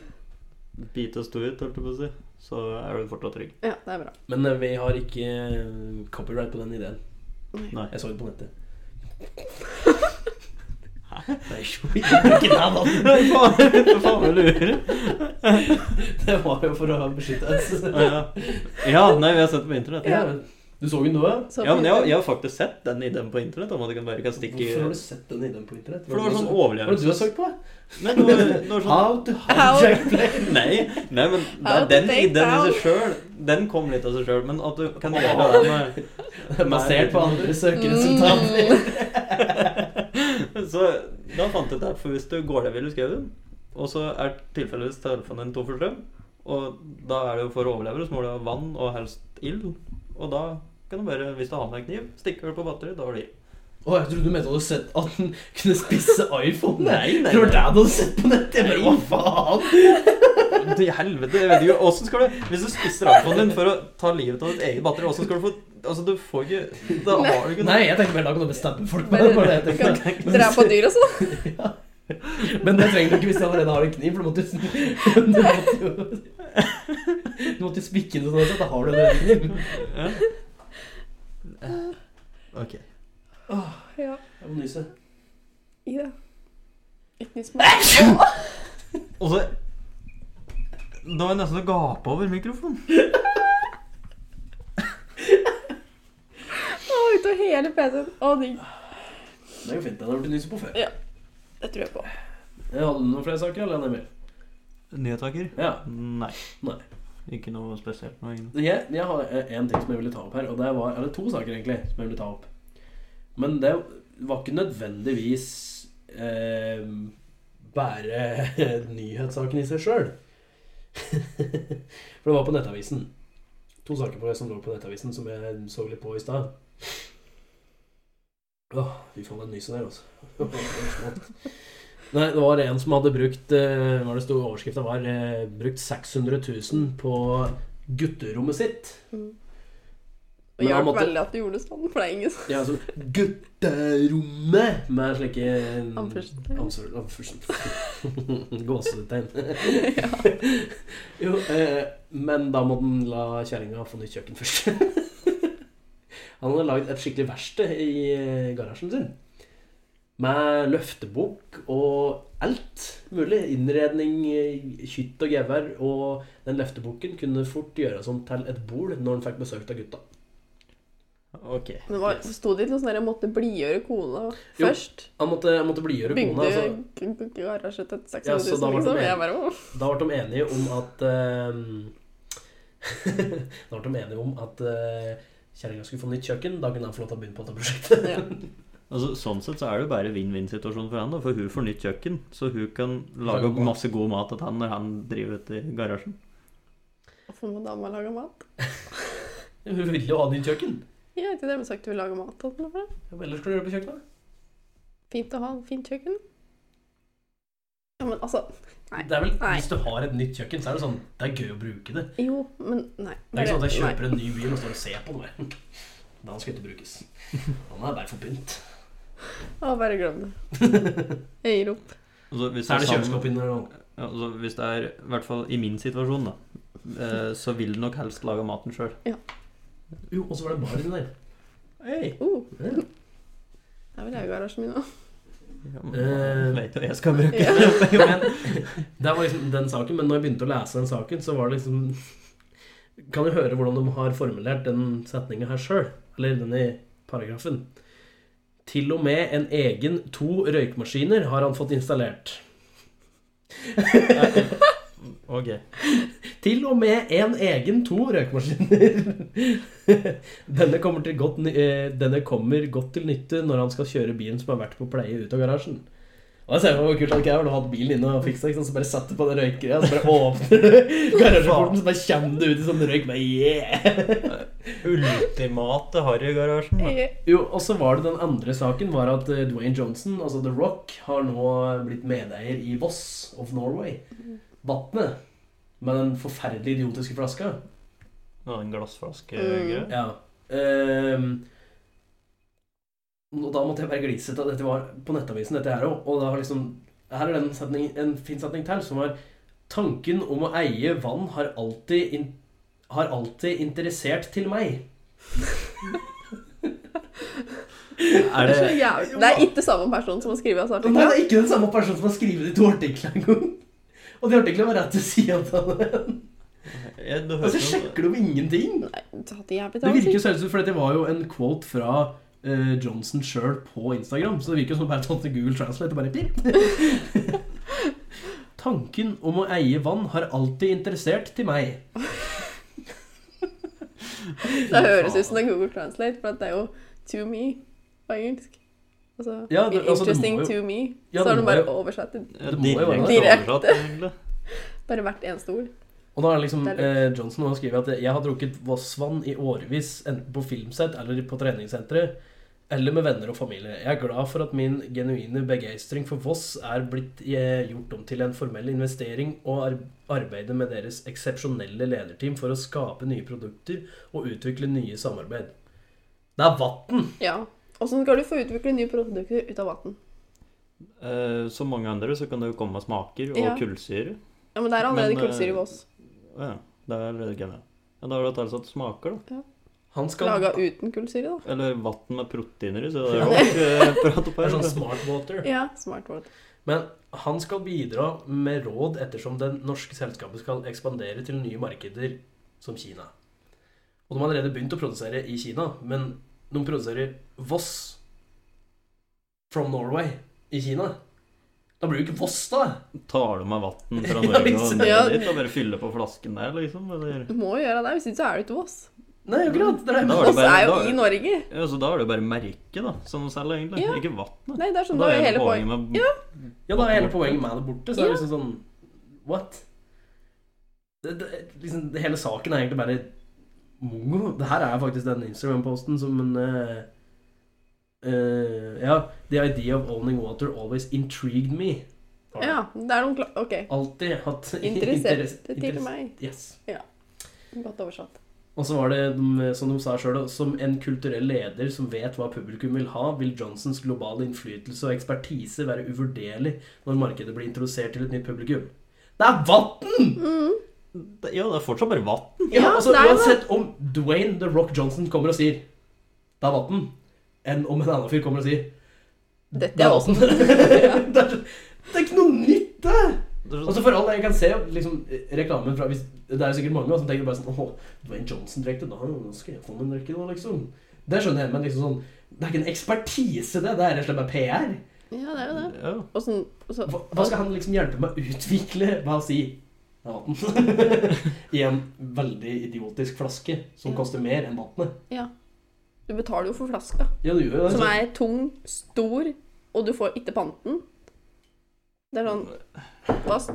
Speaker 1: bit og stå ut, holdt jeg på å si, så er du fortsatt trygg.
Speaker 3: Ja, det er bra.
Speaker 2: Men eh, vi har ikke eh, copyright på den ideen.
Speaker 1: Nei.
Speaker 2: Jeg så det på nettet. Nei, jo, jeg gjør ikke det, da.
Speaker 1: Hva faen vil du gjøre?
Speaker 2: Det var jo for å beskytte oss.
Speaker 1: Ja, ja nei, vi har sett det på internett.
Speaker 3: Ja.
Speaker 2: Du så den du òg?
Speaker 3: Så
Speaker 1: Ja, men jeg,
Speaker 3: fint.
Speaker 1: jeg har faktisk sett den ideen på internett. Om at du kan bare kan stikke
Speaker 2: Hvorfor har du sett den ideen på internett?
Speaker 1: For det var
Speaker 2: Hva er det
Speaker 1: sånn
Speaker 2: du har
Speaker 1: overlevelse.
Speaker 2: søkt på?
Speaker 1: Nei, det var, det var sånn
Speaker 2: How to hijack plane.
Speaker 1: Nei, nei, men det
Speaker 3: How
Speaker 1: er
Speaker 3: to
Speaker 1: den
Speaker 3: take
Speaker 1: ideen i
Speaker 3: down.
Speaker 1: seg sjøl. Den kom litt av seg sjøl. Men at du kan gjøre det med
Speaker 2: Basert på andre
Speaker 3: Mm.
Speaker 2: søkeresultater.
Speaker 1: Så da fant jeg ut det, for hvis du går deg vill i skauen, og så er tilfeldigvis telefonen din tom for strøm, og da er det jo for å overleve, så må du ha vann og helst ild, og da kan du bare, hvis du har med deg kniv, stikke hull på batteriet, da har du ild.
Speaker 2: Å, jeg trodde du mente at du hadde sett at den kunne spisse iPhone.
Speaker 1: Nei, nei,
Speaker 2: Det var det
Speaker 1: nei.
Speaker 2: du hadde sett på nettet. Jeg bare, hva faen?
Speaker 1: Til helvete, jeg vet ikke, hvordan skal du, hvis du spisser iPhonen din for å ta livet av ditt eget batteri, hvordan skal du få, altså du får ikke, da har du ikke
Speaker 2: Nei, jeg tenkte bare da kan du bare stabbe folk med
Speaker 3: Bare-
Speaker 2: det. var det jeg tenkte.
Speaker 3: kan Drepe dyr og sånn.
Speaker 2: Men det trenger du ikke hvis du allerede har en kniv, for du måtte jo Du måtte jo, du måtte jo spikke den sånn at da har du allerede en kniv.
Speaker 1: Ja. Ok.
Speaker 3: Ja.
Speaker 2: Jeg må nyse.
Speaker 3: I det. Ikke nytt smak.
Speaker 1: Og så Da var jeg nesten å gape over mikrofonen.
Speaker 3: Å, utover hele PC-en. Å, digg.
Speaker 2: Det er jo fint. Den har blitt nyse på før.
Speaker 3: Det tror jeg på.
Speaker 2: Jeg hadde noen flere saker, eller er det mer?
Speaker 1: Nyhetaker?
Speaker 2: Ja.
Speaker 1: Nei.
Speaker 2: Nei.
Speaker 1: Ikke noe spesielt. Noe egentlig.
Speaker 2: Jeg, jeg har eh, en ting som jeg ville ta opp her, og det var Eller to saker, egentlig, som jeg ville ta opp. Men det var ikke nødvendigvis eh, bare nyhetssaken i seg sjøl. For det var på Nettavisen. To saker på, som lå på Nettavisen, som jeg så litt på i stad. Åh, fy faen, den nyset der, altså. Nei, det var en som hadde brukt eh, Hva var det sto i overskrifta var? eh, Brukt 600 000 på gutterommet sitt.
Speaker 3: Mm. Det
Speaker 2: Men han
Speaker 3: hjalp
Speaker 2: måtte-
Speaker 3: veldig at du gjorde det sånn, for det er ingen
Speaker 2: Ja, altså gutterommet med slike um,
Speaker 3: Anførselstegn.
Speaker 2: Anførsel- anførsel- Gåsetegn. jo, eh, men da må den la kjerringa få nytt kjøkken først. Han hadde lagd et skikkelig verksted i eh, garasjen sin. Med løftebok og alt mulig. Innredning, eh, kytt og gevær. Og den løfteboken kunne fort gjøres om til et bord når han fikk besøk av gutta.
Speaker 1: Ok.
Speaker 3: Men hva,
Speaker 2: Yes.
Speaker 3: Sto det ikke noe sånn der jeg måtte blidgjøre kona
Speaker 2: Jo,
Speaker 3: først?
Speaker 2: Han måtte, han måtte blidgjøre kona.
Speaker 3: Bygde
Speaker 2: Altså.
Speaker 3: garasje til
Speaker 2: Ja, så
Speaker 3: 600
Speaker 2: da var det
Speaker 3: 000, liksom?
Speaker 2: mer.
Speaker 3: Jeg bare, «Åh».
Speaker 2: Da ble de enige om at eh, Da ble de enige om at eh, kjerringa skulle få nytt kjøkken. Da kunne han få lov til å begynne på dette prosjektet.
Speaker 3: Ja.
Speaker 1: Altså, sånn sett så er det jo bare vinn-vinn-situasjon for han, da, for hun får nytt kjøkken. Så hun kan lage
Speaker 2: Lage mat.
Speaker 1: masse god mat til han når han driver ute i garasjen.
Speaker 3: Hvorfor må dama lage mat?
Speaker 2: Hun ville jo ha nytt kjøkken.
Speaker 3: Jeg vet ikke det, men sagt du vil lage mat. og sånn, eller?
Speaker 2: Hva ellers skulle du gjøre på kjøkkenet?
Speaker 3: Fint å ha fint kjøkken. Ja, men altså Nei.
Speaker 2: Det er vel,
Speaker 3: Nei.
Speaker 2: Hvis du har et nytt kjøkken, så er det sånn Det er gøy å bruke det.
Speaker 3: Jo, men nei.
Speaker 2: Det er ikke sånn at jeg
Speaker 3: Bare-
Speaker 2: kjøper en ny bil og står og ser på den. bare. Den skal ikke brukes. Den er bare for pynt.
Speaker 3: Nei. Å, bare glem det. Jeg gir opp.
Speaker 1: Altså, hvis
Speaker 2: Så er det
Speaker 1: sammen-
Speaker 2: kjøleskap inni der nå.
Speaker 1: Ja, altså, hvis det er, i hvert fall i min situasjon, da, eh, så vil du nok helst lage maten sjøl.
Speaker 2: Jo, og så var det bar inni der.
Speaker 1: Hey.
Speaker 3: Oh,
Speaker 2: Ja.
Speaker 3: der vil jeg i garasjen min òg.
Speaker 1: Ja,
Speaker 2: Eh.
Speaker 1: men vet jo hva jeg skal bruke.
Speaker 3: Ja.
Speaker 2: Jo, men, det var liksom den saken, men når jeg begynte å lese den saken, så var det liksom Kan du høre hvordan de har formulert den setninga her sjøl? Eller denne paragrafen. Til og med en egen to røykmaskiner har han fått installert.
Speaker 1: Ok.
Speaker 2: Til og med en egen to røykmaskiner. denne, kommer til godt, ny- eh, denne kommer godt til nytte når han skal kjøre bilen som har vært på pleie ut av garasjen. Og jeg ser for meg hvor kult at jeg har hatt bilen inne og fiksa, ikke sant? så bare setter du på den røykgreia, så bare åpner du garasjeporten, så bare kommer du ut i sånn røyk. Bare, yeah!
Speaker 1: Ultimate harrygarasjen. da.
Speaker 3: Jeg-
Speaker 2: Jo, og så var det den andre saken, var at eh, Dwayne Johnson, altså The Rock, har nå blitt medeier i Voss of Norway. Vatnet. Med den forferdelig idiotiske flaska.
Speaker 1: Nå, en glassflaske
Speaker 3: Mm.
Speaker 1: greier.
Speaker 2: Ja. Ehm, og da måtte jeg bare glise til at dette var på nettavisen, dette her òg. Og da har liksom Her er den setning, en fin setning til, som var Tanken om å eie vann har alltid, in, har alltid interessert til meg.
Speaker 1: Er
Speaker 3: Det er,
Speaker 1: det
Speaker 3: så jævlig. det er ikke samme person som har skrevet oss
Speaker 2: Og det er
Speaker 3: artikkelen.
Speaker 2: ikke den samme personen som har skrevet de to artiklene engang. Og de artiklene var rett ved sida av den.
Speaker 1: ja, det
Speaker 2: Og
Speaker 3: Altså,
Speaker 1: høres
Speaker 2: så
Speaker 1: jo-
Speaker 2: sjekker de ingenting.
Speaker 3: Nei, det hadde jævlig
Speaker 2: Det virker jo
Speaker 3: talt.
Speaker 2: seriøst ut, for dette var jo en quote fra eh, Johnson sjøl på Instagram. Så det virker jo som bare tante Google Translate og bare pip. Tanken om å eie vann har alltid interessert til meg.
Speaker 3: Det høres ut som det er Google Translate, for at det er jo 'to me' på engelsk. Altså,
Speaker 2: Ja, det- altså, det må
Speaker 3: 'interesting
Speaker 2: jo-
Speaker 3: to me'.
Speaker 2: Ja,
Speaker 3: så har
Speaker 2: det
Speaker 3: de
Speaker 2: må
Speaker 3: bare
Speaker 2: jo-
Speaker 3: oversatt det.
Speaker 1: Ja,
Speaker 2: Det må jo være
Speaker 1: direkte
Speaker 3: det.
Speaker 1: oversatt, egentlig.
Speaker 3: Bare hvert eneste ord.
Speaker 2: Og da er det liksom
Speaker 3: Det
Speaker 2: eh, Johnson har skrevet at jeg har drukket Voss-vann i årevis, enten på filmsett eller på treningssenteret, eller med venner og familie. Jeg er glad for at min genuine begeistring for Voss er blitt eh, gjort om til en formell investering, og ar arbeidet med deres eksepsjonelle lederteam for å skape nye produkter og utvikle nye samarbeid. Det er vann!
Speaker 3: Ja. Åssen skal du få utvikle nye produkter ut av vann?
Speaker 1: Eh, Som mange andre så kan det jo komme smaker og
Speaker 3: Ja.
Speaker 1: kullsyre.
Speaker 3: Ja, men det er allerede
Speaker 1: Men, eh,
Speaker 3: kullsyre i Voss.
Speaker 1: Ja, det er allerede genialt. Ja, da har du tilsatt smaker, da.
Speaker 2: Han skal
Speaker 3: Laga uten kullsyre, da.
Speaker 1: Eller vann med proteiner i, så det er jo ikke eh, prat opp
Speaker 2: Det er sånn
Speaker 1: her.
Speaker 2: smart water.
Speaker 3: Ja, smart word.
Speaker 2: Men han skal bidra med råd ettersom det norske selskapet skal ekspandere til nye markeder som Kina. Og de har allerede begynt å produsere i Kina, men de produserer Voss from Norway i Kina. Da blir det jo ikke Voss, da!
Speaker 1: Tar du med vann
Speaker 2: Ja,
Speaker 1: fra Norge og
Speaker 2: liksom.
Speaker 1: ned
Speaker 3: Ja.
Speaker 1: dit og bare fyller på flasken der, liksom? Eller?
Speaker 3: Du må jo gjøre det, hvis ikke så er du ikke Voss.
Speaker 2: Nei, akkurat. Det er
Speaker 1: Da
Speaker 2: det.
Speaker 1: var det
Speaker 3: Voss
Speaker 1: bare-
Speaker 3: er jo
Speaker 1: da-
Speaker 3: i Norge.
Speaker 1: Ja, så da er det jo bare merket, da, som de selger, egentlig.
Speaker 3: Ja.
Speaker 1: Ikke vannet.
Speaker 3: Nei, det er sånn,
Speaker 1: Da
Speaker 3: det er jo
Speaker 1: er
Speaker 3: hele poenget.
Speaker 1: med
Speaker 3: Ja.
Speaker 2: Ja, da er hele poenget med det borte. Så er
Speaker 3: Ja.
Speaker 2: det liksom sånn What? Det, det, liksom, det hele saken er egentlig bare mongo. Det her er faktisk den Instagram-posten som en eh, eh, Ja. The idea of owning water always intrigued me. Har det.
Speaker 3: Ja, det er noen kla... Ok.
Speaker 2: Alltid hatt
Speaker 3: Interessert
Speaker 2: interesse-
Speaker 3: til
Speaker 2: interesse-
Speaker 3: meg.
Speaker 2: Yes.
Speaker 3: Godt oversatt.
Speaker 2: Og så var det, de- som de sa sjøl, som en kulturell leder som vet hva publikum vil ha, vil Johnsons globale innflytelse og ekspertise være uvurderlig når markedet blir introdusert til et nytt publikum. Det er vann!
Speaker 1: Ja, det er fortsatt bare vann.
Speaker 3: Ja,
Speaker 2: altså,
Speaker 3: det er det.
Speaker 2: uansett om Dwayne The Rock Johnson kommer og sier det er vann, enn om en annen fyr kommer og sier
Speaker 3: Dette er
Speaker 2: vann.
Speaker 3: åsen.
Speaker 2: det, er så- det er ikke noe nytt, det!
Speaker 1: sånn-
Speaker 2: Altså For all det jeg kan se liksom, reklamen fra hvis, Det er jo sikkert mange også som tenker bare sånn Åh, Dwayne Johnson direkte, da nå skal jeg få meg en drikke nå, liksom. Det skjønner jeg, men liksom sånn Det er ikke en ekspertise, det. Det er rett og slett bare PR.
Speaker 3: Ja, det er jo det.
Speaker 1: Ja.
Speaker 3: Og sånn, og så,
Speaker 2: Hva, hva skal han liksom hjelpe meg å utvikle ved å si vann? I en veldig idiotisk flaske som
Speaker 3: Ja.
Speaker 2: koster mer enn vannet.
Speaker 3: ja. Du betaler jo for flaska,
Speaker 2: Ja, du gjør jo det. altså.
Speaker 3: som
Speaker 2: så-
Speaker 3: er tung, stor, og du får ikke panten. Det er sånn hva, s-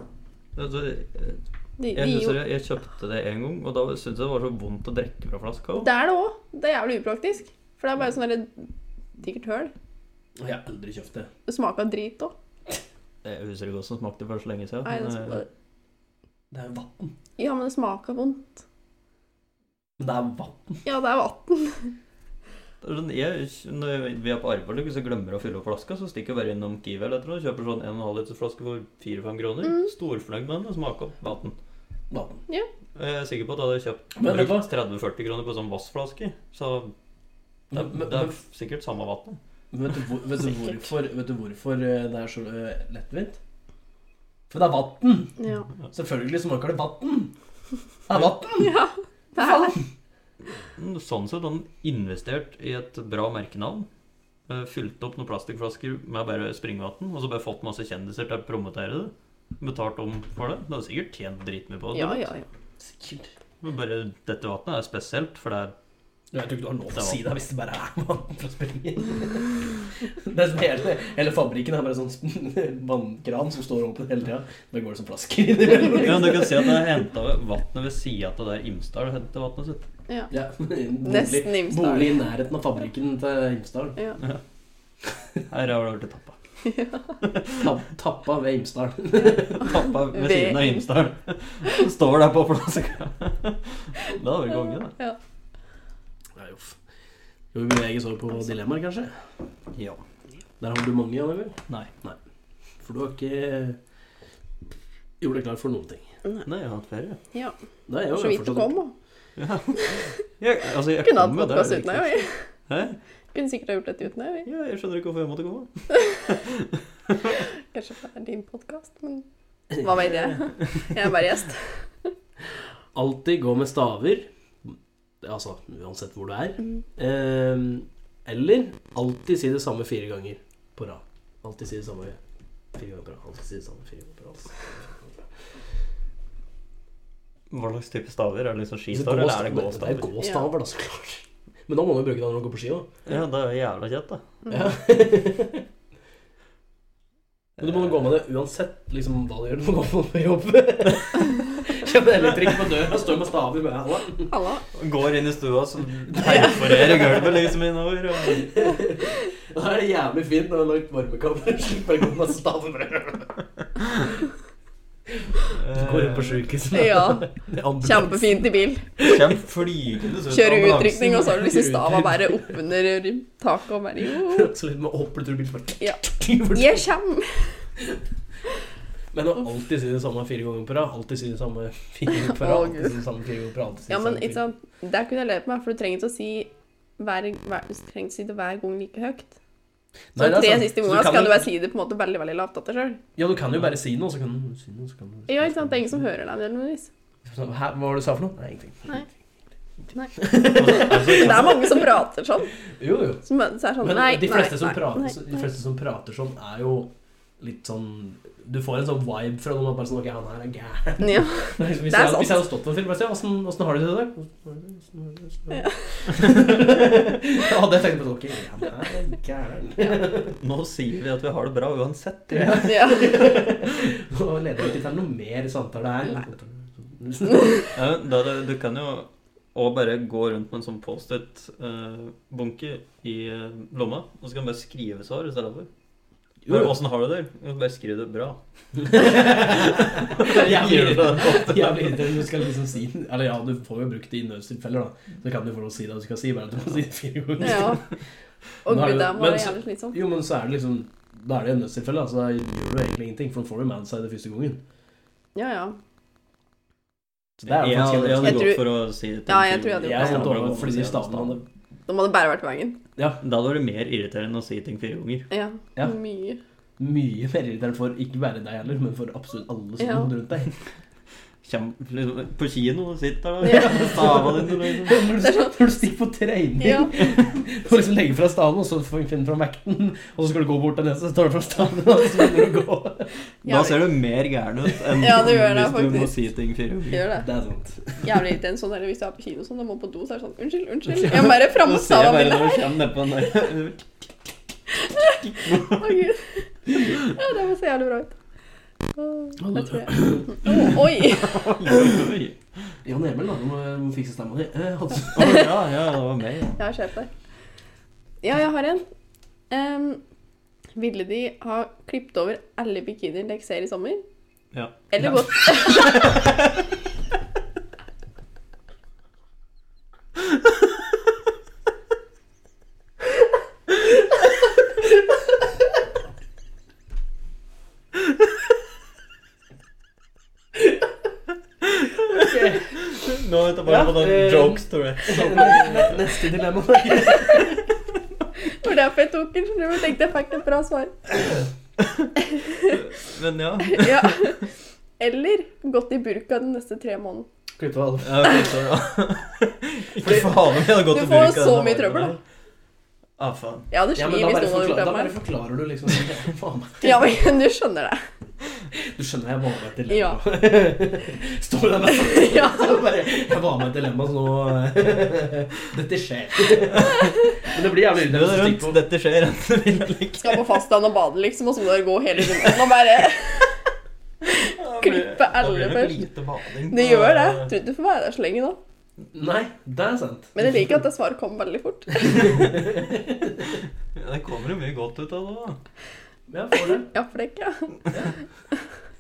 Speaker 1: Altså,
Speaker 3: de, de
Speaker 1: jeg,
Speaker 3: gir jo,
Speaker 1: husker jeg, jeg kjøpte det en gang, og da syntes jeg det var så vondt å drikke fra flaska. også.
Speaker 3: Det er det òg. Det er jævlig upraktisk. For det er bare sånn derre digert høl.
Speaker 2: Og Jeg har aldri kjøpt det.
Speaker 3: Det smaker drit òg.
Speaker 1: Jeg husker ikke hvordan det smakte for så lenge siden. men, eh,
Speaker 3: Ja,
Speaker 2: Det er jo vann.
Speaker 3: men det smaker vondt.
Speaker 2: Men det er vann.
Speaker 3: Ja, det er vann.
Speaker 1: det er sånn, jeg, når vi er på arbeid og glemmer å fylle opp flaska, så stikker jeg bare innom Kiwi eller et eller annet og kjøper sånn 1,5 liters flaske for 4-5 kroner.
Speaker 3: Mm.
Speaker 1: Storfornøyd med den og smaker opp vann.
Speaker 2: vann.
Speaker 1: Jeg er sikker på at jeg hadde kjøpt
Speaker 2: Men vet du
Speaker 1: brukt 30-40 kroner på sånn vassflaske. Så det,
Speaker 2: Men, men,
Speaker 1: det
Speaker 2: men
Speaker 1: er sikkert samme vann.
Speaker 2: Men Vet du, hvor, vet, du
Speaker 3: Sikkert.
Speaker 2: hvorfor, vet du hvorfor eh, det er så eh, lettvint? For det er vann!
Speaker 3: Ja.
Speaker 2: Selvfølgelig smaker det vann! Det er vann!
Speaker 3: ja. Det er det.
Speaker 1: Sånn sett har den investert i et bra merkenavn. eh, Fylt opp noen plastikkflasker med bare springvann, og så bare fått masse kjendiser til å promotere det. Betalt om for det. Du har sikkert tjent dritmye på det.
Speaker 3: Ja, ja, ja.
Speaker 2: Sikkert.
Speaker 1: Men bare dette vannet er spesielt, for det er
Speaker 2: Jeg tror ikke du har lov
Speaker 1: Det
Speaker 2: til
Speaker 1: er
Speaker 2: å si det hvis det bare er vann fra springen. Det er sånn hele, hele fabrikken er bare sånn sp- vannkran som står åpen hele tida. Da går det som flasker innimellom.
Speaker 1: Ja, du kan se at det er henta vannet ved sida av der Imsdal henter vannet sitt.
Speaker 3: ja.
Speaker 2: Ja, bolig,
Speaker 3: Nesten Imsdal.
Speaker 2: bolig i nærheten av fabrikken til Imsdal.
Speaker 3: ja.
Speaker 1: Her har det blitt tappa.
Speaker 2: Tapp, tappa ved Imsdal.
Speaker 1: Tappa ved
Speaker 3: Ved
Speaker 1: siden av Imsdal. Står der på flaska. Da var det konge, da.
Speaker 3: Ja.
Speaker 2: Nei, uff. Skal vi bevege oss over på dilemmaer, kanskje?
Speaker 1: Ja.
Speaker 2: Der har du mange, Jan Emil.
Speaker 1: Nei.
Speaker 2: For du har ikke gjort deg klar for noen ting.
Speaker 1: Nei, jeg har hatt ferie.
Speaker 3: ja.
Speaker 2: Nei, jeg har
Speaker 3: Så vidt du
Speaker 2: fortsatt-
Speaker 3: kom. og
Speaker 1: Ja. Jeg, altså, jeg
Speaker 3: Kunne hatt
Speaker 1: kom jo der.
Speaker 3: podkast uten deg. vi.
Speaker 1: Hæ?
Speaker 3: Kunne sikkert ha gjort dette uten deg. vi.
Speaker 1: Ja, jeg skjønner ikke hvorfor jeg måtte komme.
Speaker 3: Kanskje det er din podkast, men hva vet jeg? Jeg er bare gjest.
Speaker 2: Alltid gå med staver. Altså uansett hvor du er.
Speaker 3: Mm.
Speaker 2: Ehm, eller alltid si det samme fire ganger på rad. Alltid si det samme fire ganger på rad. Alltid si det samme fire ganger på rad.
Speaker 1: Hva slags type staver? Er det liksom
Speaker 2: Så
Speaker 1: skistaver, eller er det
Speaker 2: gåstaver? Altså, Det er
Speaker 1: gåstaver?
Speaker 2: gåstaver, da, så klart. Men da må man jo bruke det når man går på ski òg.
Speaker 1: Ja, det er jo jævla kjett, da.
Speaker 2: Ja.
Speaker 3: Mm.
Speaker 2: Men du må gå med det uansett liksom, hva du gjør. Du må gå på jobb. Kjenner elektriker på døra og står med staver med halla.
Speaker 3: Halla.
Speaker 1: Går inn i stua, så perforerer gulvet liksom innover. Og...
Speaker 2: Da er det jævlig fint når du har lagt varmekammer. Slipper å gå med staver. Går inn på sjukehuset.
Speaker 3: Ja.
Speaker 2: Det er ambulans.
Speaker 3: Kjempefint i bil.
Speaker 1: Kjem flygende ut
Speaker 3: Kjører
Speaker 1: ambulansen.
Speaker 3: utrykning, og så har du liksom stava bare oppunder taket og bare jo.
Speaker 2: Så liksom, litt med åpnet bil som
Speaker 3: Ja.
Speaker 2: bare-
Speaker 3: Jeg kjem.
Speaker 2: Men å alltid si det samme fire ganger på rad. Alltid si det samme fire ganger på
Speaker 3: Å,
Speaker 2: rad. Alltid
Speaker 3: Gud.
Speaker 2: si det samme fire ganger på rad. alltid si det
Speaker 3: Ja, men
Speaker 2: samme
Speaker 3: ikke
Speaker 2: fire-
Speaker 3: sant. Der kunne jeg levd med, for du trenger ikke å si hver, hver, du trenger ikke å si det hver gang like høyt. Så
Speaker 2: Nei, det er
Speaker 3: tre
Speaker 2: sant.
Speaker 3: siste
Speaker 2: Så du
Speaker 3: ganger
Speaker 2: kan
Speaker 3: skal du
Speaker 2: jo-
Speaker 3: bare si det på en måte veldig veldig lavt etter sjøl.
Speaker 2: Ja, du kan jo bare si noe, så kan du si noe, så kan du
Speaker 3: Ja, ikke sant. Det er ingen som hører deg nødvendigvis.
Speaker 2: Sånn, Hæ, hva var det du sa for noe? Nei, ingenting.
Speaker 3: Nei.
Speaker 1: Altså,
Speaker 3: Det er mange som prater sånn.
Speaker 2: Jo, jo.
Speaker 3: Som er så er sånn
Speaker 2: Men
Speaker 3: Nei,
Speaker 2: de, fleste
Speaker 3: nei,
Speaker 2: som
Speaker 3: nei,
Speaker 2: prater,
Speaker 3: nei,
Speaker 2: de fleste som prater sånn, er jo litt sånn Du får en sånn vibe fra noen. at Bare sånn, ok, han her er gæren.
Speaker 3: nei. Ja.
Speaker 2: Hvis, jeg,
Speaker 3: Det er sant.
Speaker 2: hadde- hvis jeg hadde stått på en film, bare si åssen åssen har du det i dag? Åssen har du det? Åssen har du det? Ja, det tenkte jeg på. sånn, Ok, han er gæren.
Speaker 1: nå sier vi at vi har det bra uansett.
Speaker 2: Ja.
Speaker 3: Ja.
Speaker 2: Nå leder vi ikke til noe mer samtale her.
Speaker 1: Ja, men da, det- du kan jo også bare gå rundt med en sånn Post-It-bunke i eh, lomma, og så kan du bare skrive svar i stedet for.
Speaker 2: Jo, jo.
Speaker 1: Åssen har du det? Jo, Bare skriv det bra.
Speaker 2: Jævlig
Speaker 1: Gjør du det?
Speaker 2: jævlig irriterende. Du skal liksom si Eller ja, du får jo brukt det i nødstilfeller, da. Så kan du få lov å si det du skal si, bare at du må si det fire ganger.
Speaker 3: ja. Og
Speaker 2: Nå er
Speaker 3: gud,
Speaker 2: det-
Speaker 3: det
Speaker 2: men
Speaker 3: må være
Speaker 2: så-
Speaker 3: jævlig slitsomt.
Speaker 2: Jo, men så er det liksom Da er det i nødstilfeller, da, så da gjør du egentlig ingenting, for da får du med seg det første gangen.
Speaker 3: Ja, ja.
Speaker 2: Så det er jo faktisk
Speaker 1: jeg, jeg hadde
Speaker 2: jævlig
Speaker 3: Jeg
Speaker 1: gått
Speaker 3: tror-
Speaker 1: for å si det
Speaker 3: Ja, jeg tror jeg hadde gjort
Speaker 2: Jeg
Speaker 3: det.
Speaker 2: hadde over fordi de stavene hadde
Speaker 3: Da må det bare vært veien.
Speaker 1: Da hadde det vært mer irriterende å si ting fire ganger.
Speaker 3: Ja.
Speaker 2: Ja.
Speaker 3: Mye.
Speaker 2: Mye mer irriterende for ikke bare deg heller, men for absolutt alle som
Speaker 3: Ja.
Speaker 2: rundt deg.
Speaker 1: Kjem, liksom, på kino sitter der,
Speaker 3: Ja.
Speaker 1: stava din liksom.
Speaker 2: Når du, når du stikker på trening
Speaker 3: Ja.
Speaker 2: Du må liksom legge fra staven, og så får du finne fram vekten. Og så skal du gå bort til den, så tar du fra staven, og så begynner du å gå.
Speaker 1: Da ser du mer gæren ut enn
Speaker 3: Ja, det gjør det,
Speaker 1: hvis du må
Speaker 3: faktisk.
Speaker 1: si ting fire ganger.
Speaker 3: Gjør det.
Speaker 2: Det er sant.
Speaker 3: Jævlig irriterende sånn der hvis du er på kino sånn, da må på do, så er det sånn Unnskyld, unnskyld. Jeg må bare fram
Speaker 1: Da
Speaker 3: og
Speaker 1: ser
Speaker 3: stava
Speaker 1: jeg bare
Speaker 3: bildet.
Speaker 1: når du kommer nedpå den der
Speaker 3: Å, Gud. Ja, det var så jævlig bra ut. Åh, jeg tror jeg. Åh,
Speaker 1: Oi,
Speaker 3: oi!
Speaker 1: oi.
Speaker 2: Jan Emil, da. Du må, du må fikse stemma di. Eh, altså.
Speaker 1: Å, Ja, ja, det var meg. ja.
Speaker 3: Jeg har skjerpet deg. Ja, jeg har en. Em, ville de ha klippet over alle bikinier dere ser i sommer?
Speaker 1: Ja.
Speaker 3: Eller
Speaker 2: Ja.
Speaker 3: gått
Speaker 1: Nå er det bare
Speaker 2: Ja,
Speaker 1: på den
Speaker 2: eh,
Speaker 1: jokes, tror jeg.
Speaker 2: Neste dilemma. Nei,
Speaker 3: For derfor jeg tok den, skjønner du, men tenkte jeg fikk et bra svar.
Speaker 1: Men ja.
Speaker 3: Ja. Eller gått i burka de neste tre månedene.
Speaker 2: Klipp av alle.
Speaker 1: ja ok, sorry, da. Ikke faen om jeg hadde gått
Speaker 3: Du
Speaker 1: til
Speaker 3: får
Speaker 1: bruk av
Speaker 3: så
Speaker 1: denne
Speaker 3: mye
Speaker 1: armen
Speaker 3: trøbbel,
Speaker 1: her. Ah, faen.
Speaker 3: Jeg hadde
Speaker 2: Ja,
Speaker 3: slitt
Speaker 2: men da
Speaker 3: hvis
Speaker 2: bare, forklar, da
Speaker 3: noen hadde gjort det
Speaker 2: bare
Speaker 3: med meg.
Speaker 2: forklarer du liksom Faen meg.
Speaker 3: Ja, men du skjønner det.
Speaker 2: Du skjønner jeg var med i et dilemma. Står der med
Speaker 3: Ja.
Speaker 2: Så bare, Jeg var med i et dilemma, så nå Dette skjer. Men det blir jævlig
Speaker 1: Snu deg
Speaker 2: irriterende.
Speaker 1: rundt.
Speaker 2: hvis du stikker på.
Speaker 1: Dette skjer enten du vil eller ikke.
Speaker 3: Skal på fastlandet og bade, liksom, og så må du gå hele runden og bare Klippe alle først. Du gjør det. Jeg Tror ikke du får være der så lenge nå.
Speaker 2: Nei, det er sant.
Speaker 3: Men jeg liker at det svaret kom veldig fort.
Speaker 1: Det kommer jo mye godt ut av det. da.
Speaker 2: Ja, får det.
Speaker 3: Ja, flekk, ja.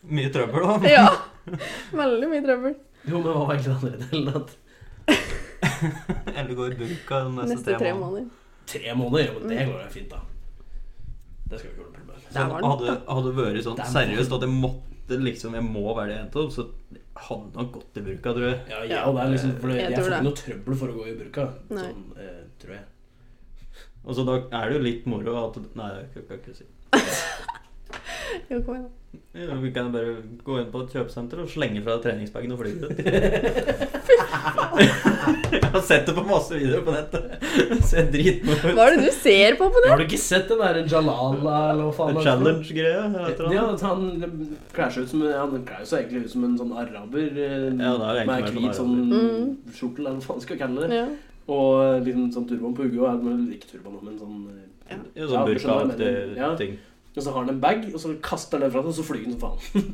Speaker 1: Mye trøbbel òg.
Speaker 3: Ja. Veldig mye trøbbel.
Speaker 2: Jo, men hva var egentlig den andre delen? At
Speaker 1: Eller gå i burka de neste,
Speaker 3: Neste tre måneder.
Speaker 2: tre måneder, jo, men det går jo fint, da. Det skal vi ikke gjøre noe problem med.
Speaker 3: Der var den.
Speaker 1: Hadde, hadde vært
Speaker 2: Der var
Speaker 1: sånn
Speaker 2: den.
Speaker 1: seriøst at jeg måtte liksom Jeg må være det jenta, så hadde det nok gått i burka, tror jeg.
Speaker 2: Ja, ja, og det er liksom, for det,
Speaker 3: Jeg
Speaker 2: jeg,
Speaker 3: tror
Speaker 2: får
Speaker 3: det.
Speaker 2: ikke noe trøbbel for å gå i burka.
Speaker 3: Nei.
Speaker 2: Sånn, eh, tror jeg.
Speaker 1: Og så da er det jo litt moro at Nei, det kan jeg ikke si.
Speaker 3: Jo, kom igjen.
Speaker 1: Ja, Vi kan bare gå inn på et kjøpesenter og slenge fra deg treningsbagen og fly ut. Jeg har sett det på masse videoer på nettet. Ser dritmoro
Speaker 3: Hva er det du ser på på det?
Speaker 2: Har du ikke sett den der Jalala eller hva faen?
Speaker 1: ut.
Speaker 2: det heter?
Speaker 1: Challenge-greia. eller et eller
Speaker 2: Ja,
Speaker 1: annet.
Speaker 2: at han klær seg ut som Han klær seg egentlig ut som en sånn araber eh,
Speaker 1: Ja, det er jo
Speaker 2: med
Speaker 1: egentlig mer sånn
Speaker 2: hvit sånn
Speaker 3: Mm.
Speaker 2: skjorte, eller hva faen skal jeg kalle det.
Speaker 3: Ja.
Speaker 2: Og liksom sånn turban på hodet. og er med- Ikke turban, men sånn eh,
Speaker 3: Ja.
Speaker 1: Ja,
Speaker 2: ja,
Speaker 1: sånn
Speaker 2: du skjønner hva jeg mener.
Speaker 1: burkaaktig
Speaker 2: Ja.
Speaker 1: ting.
Speaker 2: Og så har han en bag, og så kaster han den fra seg, og så flyr han som faen.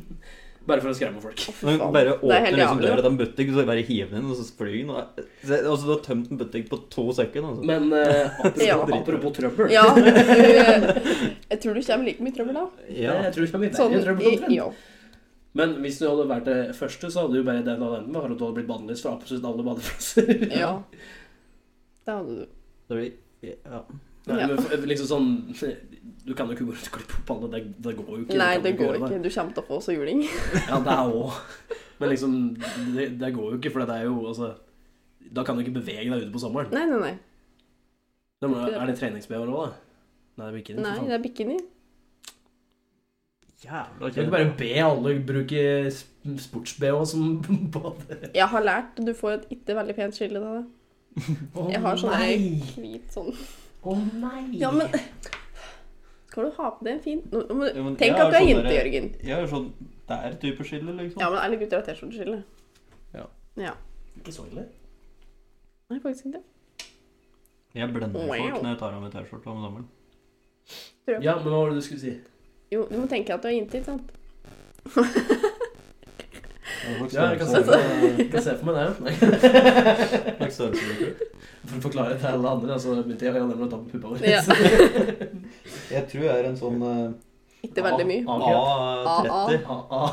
Speaker 2: Bare for å skremme folk.
Speaker 1: Men
Speaker 3: faen.
Speaker 1: bare
Speaker 3: Det er
Speaker 1: åpner
Speaker 3: helt
Speaker 1: liksom
Speaker 3: jævlig,
Speaker 1: døra til en butikk, og så bare hiver den inn, og så flyr den. Og så- altså, du har tømt en butikk på to sekunder. Altså.
Speaker 2: Men eh, apropos,
Speaker 3: Ja.
Speaker 2: apropos trøbbel
Speaker 3: ja du, eh, jeg tror du kommer like mye trøbbel da.
Speaker 2: Eh,
Speaker 1: Ja.
Speaker 2: Jeg tror ikke det er mye
Speaker 3: Sånn,
Speaker 2: verre trøbbel
Speaker 3: i-
Speaker 2: omtrent.
Speaker 3: ja.
Speaker 2: Men hvis du hadde vært det første, så hadde du bare den alene med at du hadde blitt bannlyst fra absolutt alle badeplasser.
Speaker 3: ja. Det hadde du.
Speaker 1: Det blir- ja.
Speaker 2: Nei,
Speaker 3: Ja.
Speaker 2: men for- liksom sånn Du kan jo ikke gå rundt og klippe opp alle. Det, det går jo ikke.
Speaker 3: Nei,
Speaker 2: Du kan
Speaker 3: det
Speaker 2: jo
Speaker 3: går
Speaker 2: gjøre
Speaker 3: ikke. Du kommer til å få så juling.
Speaker 2: Ja, det er òg Men liksom, det, det går jo ikke, for det er jo altså Da kan du ikke bevege deg ute på sommeren.
Speaker 3: Nei, nei, nei.
Speaker 2: Da må, er det treningsbehår òg, da? Nei, det blir ikke det. for
Speaker 3: Nei,
Speaker 2: faen.
Speaker 3: det er bikini.
Speaker 1: Jævla
Speaker 2: Du kan ikke bare be alle bruke sp- sports-BH som bade.
Speaker 3: Jeg har lært, du får et ikke veldig pent skille av det.
Speaker 2: Å
Speaker 3: Jeg har sånn
Speaker 2: nei!
Speaker 3: der hvit sånn.
Speaker 2: Å nei!
Speaker 3: Ja, men Skal du ha på deg en fin Nå- nå må du-
Speaker 1: Ja, men
Speaker 3: Tenk
Speaker 1: jeg
Speaker 3: at du er
Speaker 1: sånn
Speaker 3: jente,
Speaker 1: der-
Speaker 3: Jørgen.
Speaker 1: Jeg er sånn der type skille, liksom.
Speaker 3: Ja, men alle gutter har T-skjorteskille.
Speaker 1: Ja.
Speaker 3: ja.
Speaker 2: Ikke så ille.
Speaker 3: Nei, faktisk ikke.
Speaker 1: Jeg blender
Speaker 3: Wow.
Speaker 1: folk når jeg tar av meg T-skjorta om sommeren.
Speaker 2: Ja, men hva var det du skulle si?
Speaker 3: Jo, du må tenke at du er jente, ikke sant?
Speaker 2: Ja, jeg kan
Speaker 1: sånn-
Speaker 2: se for meg, kan se for meg det. Nei.
Speaker 1: sånn
Speaker 2: For å forklare det til alle andre, så begynte jeg å gjøre det med å ta på puppa vår.
Speaker 3: Ja.
Speaker 1: Jeg tror jeg er en sånn
Speaker 3: Ikke veldig mye.
Speaker 1: A30.
Speaker 2: A-A.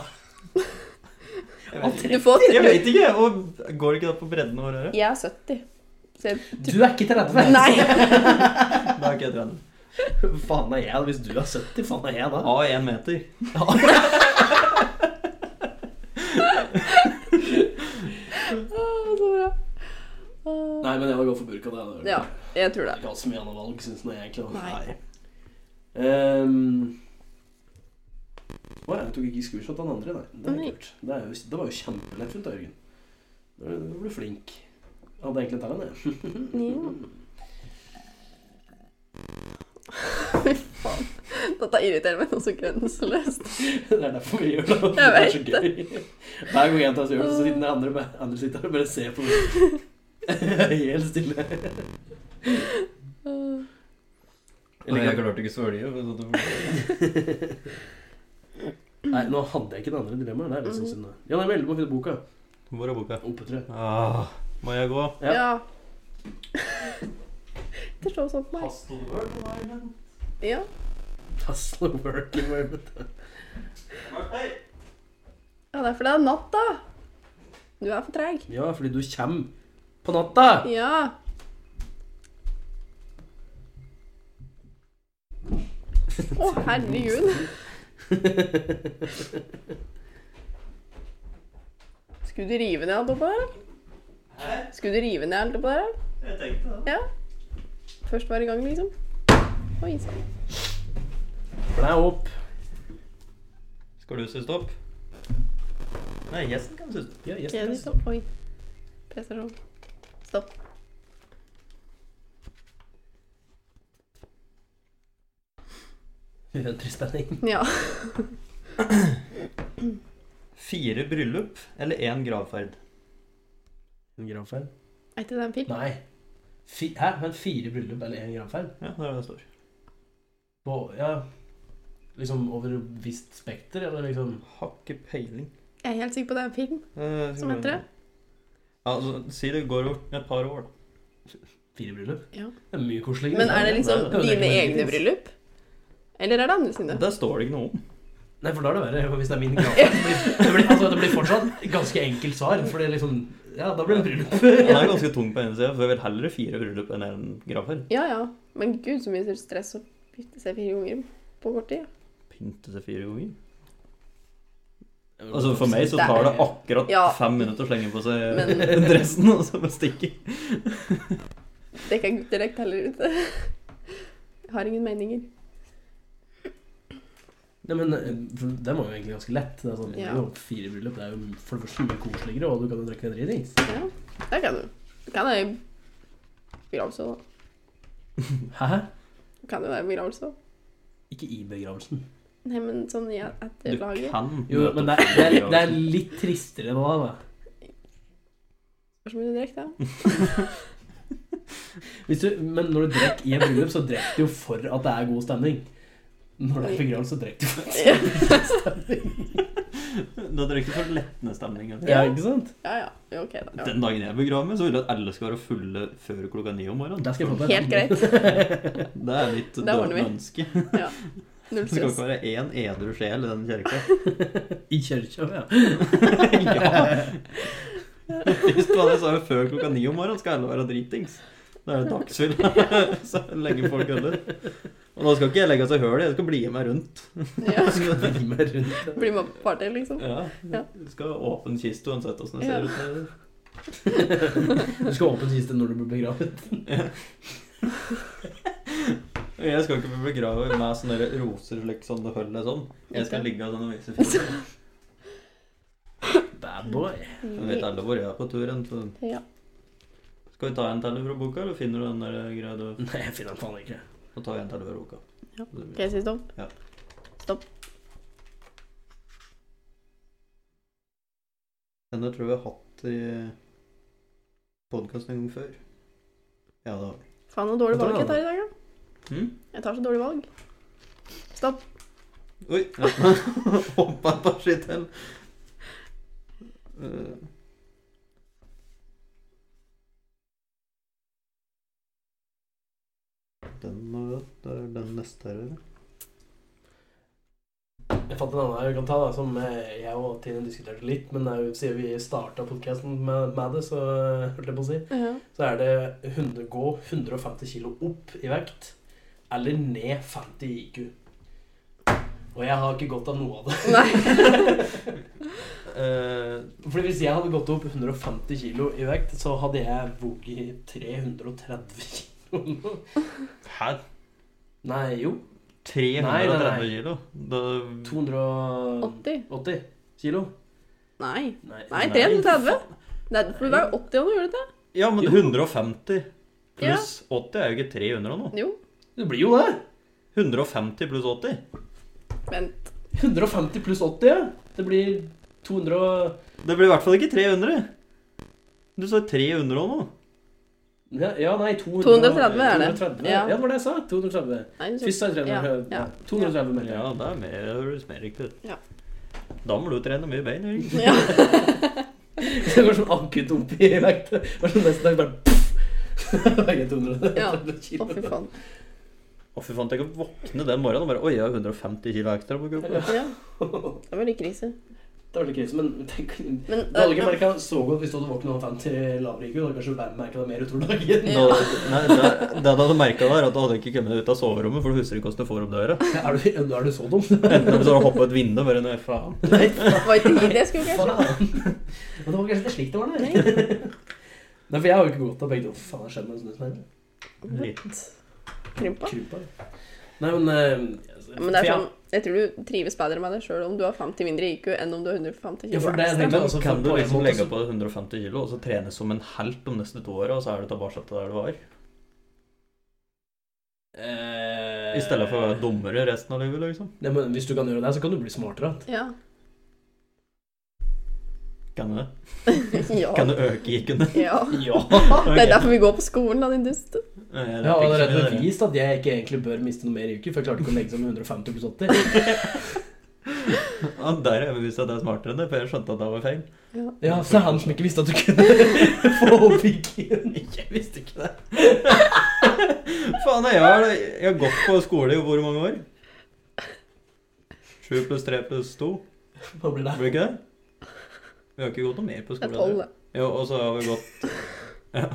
Speaker 3: Du får
Speaker 1: Jeg vet ikke! Og går det ikke da på bredden vår? Her?
Speaker 3: Jeg er 70. Så jeg,
Speaker 2: Du er ikke 30!
Speaker 3: nei!
Speaker 1: Da er ikke jeg 30.
Speaker 2: Faen er jeg, hvis du er 70, faen er jeg da?
Speaker 1: A 1 meter.
Speaker 3: Å, så bra. Å, Ah,
Speaker 2: Nei, men jeg må gå for burka, det.
Speaker 3: Ja. Jeg tror
Speaker 2: Det
Speaker 3: det.
Speaker 2: er ikke alt så mye annet valg, syns jeg egentlig. da.
Speaker 3: Nei.
Speaker 2: Ehm, Å ja, jeg tok ikke screenshot av den andre, nei. Det,
Speaker 3: Nei.
Speaker 2: er kult. det, er jo, det var jo kjempelettfint, da, Jørgen. Du du ble flink. Jeg hadde egentlig talent, jeg.
Speaker 3: Fy faen. Dette irriterer meg noe så grenseløst.
Speaker 2: Det er derfor vi gjør det. Det
Speaker 3: Jeg
Speaker 2: er så gøy. Hver gang en tar seg gjør det, så sitter den andre, bare- andre sitter her og bare ser på meg. Helt stille.
Speaker 3: Uh,
Speaker 1: Eller jeg klarte ikke å svelge. for sånn at det-
Speaker 2: Nei, nå hadde jeg ikke det andre dilemmaet. Det er litt sånn
Speaker 3: Mhm.
Speaker 2: synd. da. Ja, nei, men elleve må finne boka.
Speaker 1: Hvor er boka?
Speaker 2: Oppe, tror jeg.
Speaker 1: Ah, må jeg gå?
Speaker 2: Ja.
Speaker 3: ja. Det slår sånn på meg.
Speaker 1: Hasselbøl på veien.
Speaker 3: Ja.
Speaker 2: Hustle and work environment.
Speaker 3: ja, det er fordi det er natt, da. Du er for treg.
Speaker 2: Ja, fordi du kommer på natta!
Speaker 3: Ja. Å, herregud. Skulle du rive ned alt oppå der? eller? Skulle du rive ned alt oppå der? eller?
Speaker 1: Jeg tenkte det.
Speaker 3: Ja. Først være i gang, liksom. Oi sann.
Speaker 2: Blæ opp.
Speaker 1: Skal du si stopp? Nei, gjesten kan si stopp.
Speaker 2: Ja, yes,
Speaker 3: Kjedelig,
Speaker 2: yes.
Speaker 3: stopp. Oi. Prestasjon. Stopp.
Speaker 2: Uendelig spenning.
Speaker 3: Ja.
Speaker 1: Fire bryllup eller én gravferd?
Speaker 2: En gravferd?
Speaker 3: Er ikke det en film?
Speaker 2: Nei. Fi, hæ? Men fire bryllup eller en gravferd?
Speaker 1: Ja, det er det det står.
Speaker 2: På, ja Liksom over et visst spekter, eller liksom
Speaker 1: Har ikke peiling.
Speaker 3: Jeg er helt sikker på det er en film
Speaker 1: Eh,
Speaker 3: som heter det.
Speaker 1: Ja, altså, Si det går over et par år, da.
Speaker 2: fire bryllup?
Speaker 3: Ja.
Speaker 2: Det er mye koseligere.
Speaker 3: Men er det liksom
Speaker 2: Nei, det er
Speaker 3: dine
Speaker 2: ikke
Speaker 3: egne
Speaker 2: mye.
Speaker 3: bryllup? Eller er det andre sine?
Speaker 1: Det står det ikke noe om.
Speaker 2: Nei, for da er det verre hvis det er min gravferd. Det blir, det blir, altså, det blir fortsatt ganske enkelt svar, for det er liksom Ja, da blir det bryllup.
Speaker 1: Den er ganske tung på ene sida, for jeg vil heller fire bryllup enn én gravferd.
Speaker 3: Ja, ja. Men gud, så mye stress å bytte seg fire ganger på kort tid.
Speaker 1: Pynte seg fire ganger. Altså For meg så
Speaker 3: Det er-
Speaker 1: tar det akkurat
Speaker 3: Ja.
Speaker 1: fem minutter å slenge på seg
Speaker 3: Men-
Speaker 1: dressen, og så bare stikke.
Speaker 3: Det kan guttelekt heller ut. Jeg har ingen meninger.
Speaker 2: Nei, men eh, for Den var jo egentlig ganske lett. Det er sånn,
Speaker 3: Ja.
Speaker 2: jo, Fire bryllup det er jo for det første mye koseligere, og du kan jo drikke deg dritings.
Speaker 3: Ja, det kan du. Du Kan være i begravelse òg, da.
Speaker 2: Hæ?
Speaker 3: Du Kan jo altså. være i begravelse òg.
Speaker 2: Ikke i begravelsen.
Speaker 3: Nei, men sånn i
Speaker 1: Du
Speaker 3: etter laget.
Speaker 1: kan
Speaker 2: Jo, men det er, det er, det er litt tristere nå, da.
Speaker 3: Spørs om du drekk, da.
Speaker 2: Hvis du, men når du drikker i et bryllup, så drikker du jo for at det er god stemning. Når det er begravelse, så drikker du for at det
Speaker 3: Ja,
Speaker 1: Da drikker du for lettende stemning.
Speaker 2: er ja, ikke sant?
Speaker 3: ja. ja. Jo, OK, da. Ja.
Speaker 1: Den dagen jeg begraver meg, så vil jeg at alle skal være fulle før klokka ni om morgenen.
Speaker 2: Der skal jeg få
Speaker 3: Helt greit.
Speaker 1: Det er mitt
Speaker 3: Det ordner vi.
Speaker 1: ønske. Det skal
Speaker 3: Null stress.
Speaker 1: ikke være én edru sjel i den kirka.
Speaker 2: I kirka, ja.
Speaker 1: ja. Hvis du hadde sagt før klokka ni om morgenen, skal alle være dritings. Da er det dagsfylla. Så lenge folk øller. Og nå skal ikke jeg legge seg høl i, jeg skal bli med rundt.
Speaker 3: Ja.
Speaker 2: Jeg skal bli med rundt.
Speaker 3: Bli med på party, liksom.
Speaker 1: Ja.
Speaker 3: Ja.
Speaker 1: Du skal ha åpen kiste uansett åssen det
Speaker 3: Ja.
Speaker 1: ser ut.
Speaker 2: Du skal åpne kiste når du blir begravet.
Speaker 1: Og Jeg skal ikke bli begravet med sånne der roser liksom, det holdet sånn. Jeg skal ligge av sånn og vise fingeren.
Speaker 2: Bad boy.
Speaker 1: Jeg vet alle hvor jeg er på turen. Så.
Speaker 3: Ja.
Speaker 1: Skal vi ta en teller fra boka, eller finner du den der greia du
Speaker 2: Nei, jeg finner den faen ikke.
Speaker 1: Så tar jeg en teller fra boka.
Speaker 3: Ja. Skal jeg si stopp?
Speaker 1: Ja.
Speaker 3: Stopp.
Speaker 1: Denne tror jeg vi har hatt i podkasten en gang før. Ja, det har vi.
Speaker 3: Faen, så dårlig
Speaker 2: Da tar
Speaker 3: valg jeg
Speaker 2: jeg
Speaker 3: tar i dag, da.
Speaker 1: Hm?
Speaker 3: Jeg tar så dårlig valg. Stopp.
Speaker 1: Oi! Ja. Hoppa et par ski til. Eh, Den må vi ha. Det er den neste her, eller?
Speaker 2: Jeg fant en annen jeg kan ta, da, som eh, jeg og Tine diskuterte litt. Men det er jo- siden vi starta podkasten med, med det, så eh, holdt jeg på å si,
Speaker 3: Ja.
Speaker 2: så er det 100, gå 150 kilo opp i vekt eller ned 50 i IQ. Og jeg har ikke godt av noe av det.
Speaker 1: Eh,
Speaker 2: Fordi hvis jeg hadde gått opp 150 kilo i vekt, så hadde jeg voget 330 kilo.
Speaker 1: Hæ?
Speaker 2: Nei, jo.
Speaker 1: 330
Speaker 2: Nei, nei, nei.
Speaker 1: kilo? Da
Speaker 2: 280
Speaker 3: 80?
Speaker 2: kilo.
Speaker 3: Nei.
Speaker 2: Nei,
Speaker 3: Nei, 330. Nei, for det var jo 80 da du gjorde dette.
Speaker 1: Ja, men
Speaker 2: Jo.
Speaker 1: 150 pluss 80 er jo ikke 300 nå.
Speaker 3: Jo,
Speaker 2: Det blir jo det.
Speaker 1: 150 pluss 80?
Speaker 3: vent.
Speaker 2: 150 pluss 80, ja. Det blir 200 og-
Speaker 1: Det blir i hvert fall ikke 300. Du sa 300 og noe.
Speaker 2: Ja, ja nei, 200,
Speaker 3: 230 er det.
Speaker 2: 230. Ja.
Speaker 3: Ja.
Speaker 2: det var det jeg sa. 230.
Speaker 3: Nei, sånn. hun
Speaker 2: Først sa jeg 300.
Speaker 3: Ja, ja.
Speaker 2: 230 melder jeg.
Speaker 1: Ja, det er mer, det høres mer riktig ut.
Speaker 3: Ja.
Speaker 1: Da må du trene mye bein. Jørgen.
Speaker 3: Ja.
Speaker 2: Det var sånn akudump i vekt. Det var sånn nesten dag bare pff. Veier 230
Speaker 3: Ja. Å,
Speaker 2: kilo.
Speaker 3: fy faen.
Speaker 1: Å, fy faen, tenk å våkne den morgenen og bare Oi, jeg har 150 kilo ekstra på kroppen.
Speaker 3: Ja. Det var litt krise.
Speaker 2: Det var litt krise, men tenk Du
Speaker 3: Men eh,
Speaker 2: hadde ikke merka så godt hvis du hadde våknet av 50 lavere IQ. Du hadde kanskje merka det mer utover dagen.
Speaker 1: Da, nei, det, det du hadde merka der, at du hadde ikke kommet deg ut av soverommet, for du husker ikke hvordan du får opp døra.
Speaker 2: Er du, er du så dum?
Speaker 1: Enten så har du hoppet et vindu og bare Nei, faen.
Speaker 2: Nei,
Speaker 3: det var ikke det jeg skulle
Speaker 2: faen.
Speaker 3: kanskje.
Speaker 2: Men det var kanskje det slik det var,
Speaker 3: Nei.
Speaker 2: det. Nei, for jeg har jo ikke godt av begge to. Faen, jeg skjønner meg sånn ut med det.
Speaker 3: Krympa.
Speaker 2: Krypa. Nei, men eh, altså,
Speaker 3: Men det
Speaker 2: for
Speaker 3: er
Speaker 2: jeg-
Speaker 3: sånn, jeg tror du trives bedre med deg sjøl om du har 50 mindre IQ enn om du har 150
Speaker 2: Ja,
Speaker 3: kilo
Speaker 2: for det jeg
Speaker 1: Men
Speaker 2: tenkte- altså,
Speaker 1: kan
Speaker 2: for
Speaker 1: du
Speaker 2: på en
Speaker 1: liksom
Speaker 2: måte
Speaker 1: legge
Speaker 2: så-
Speaker 1: på 150 kilo og så trene som en helt de neste to åra, og så er du tilbake til der du var?
Speaker 3: sånn,
Speaker 2: eh,
Speaker 1: I stedet for å være dummere resten av livet, liksom?
Speaker 2: Nei, men Hvis du kan gjøre det, så kan du bli smartere.
Speaker 3: Ja.
Speaker 1: Kan du, det?
Speaker 3: ja.
Speaker 1: kan du øke IQ-en?
Speaker 3: ja.
Speaker 2: Ja.
Speaker 3: Det er derfor vi går på skolen, da, din dust.
Speaker 2: Jeg har allerede bevist at jeg ikke egentlig bør miste noe mer i uke, for jeg klarte ikke å legge sammen 150 pluss 80.
Speaker 1: Ja, der har jeg bevist at jeg er smartere enn det, for jeg skjønte at det var feil.
Speaker 3: Ja.
Speaker 2: Ja, så det er han som ikke visste at du kunne få opp IQ-en.
Speaker 1: Jeg visste ikke det. Faen, jeg har, jeg har gått på skole i hvor mange år? Sju pluss tre pluss to,
Speaker 2: Hva blir det?
Speaker 1: blir det ikke det? Vi har ikke gått noe mer på
Speaker 3: Det er
Speaker 1: skole.
Speaker 3: tolv,
Speaker 1: tror jeg.
Speaker 3: det.
Speaker 1: Jo, og så har vi gått ja.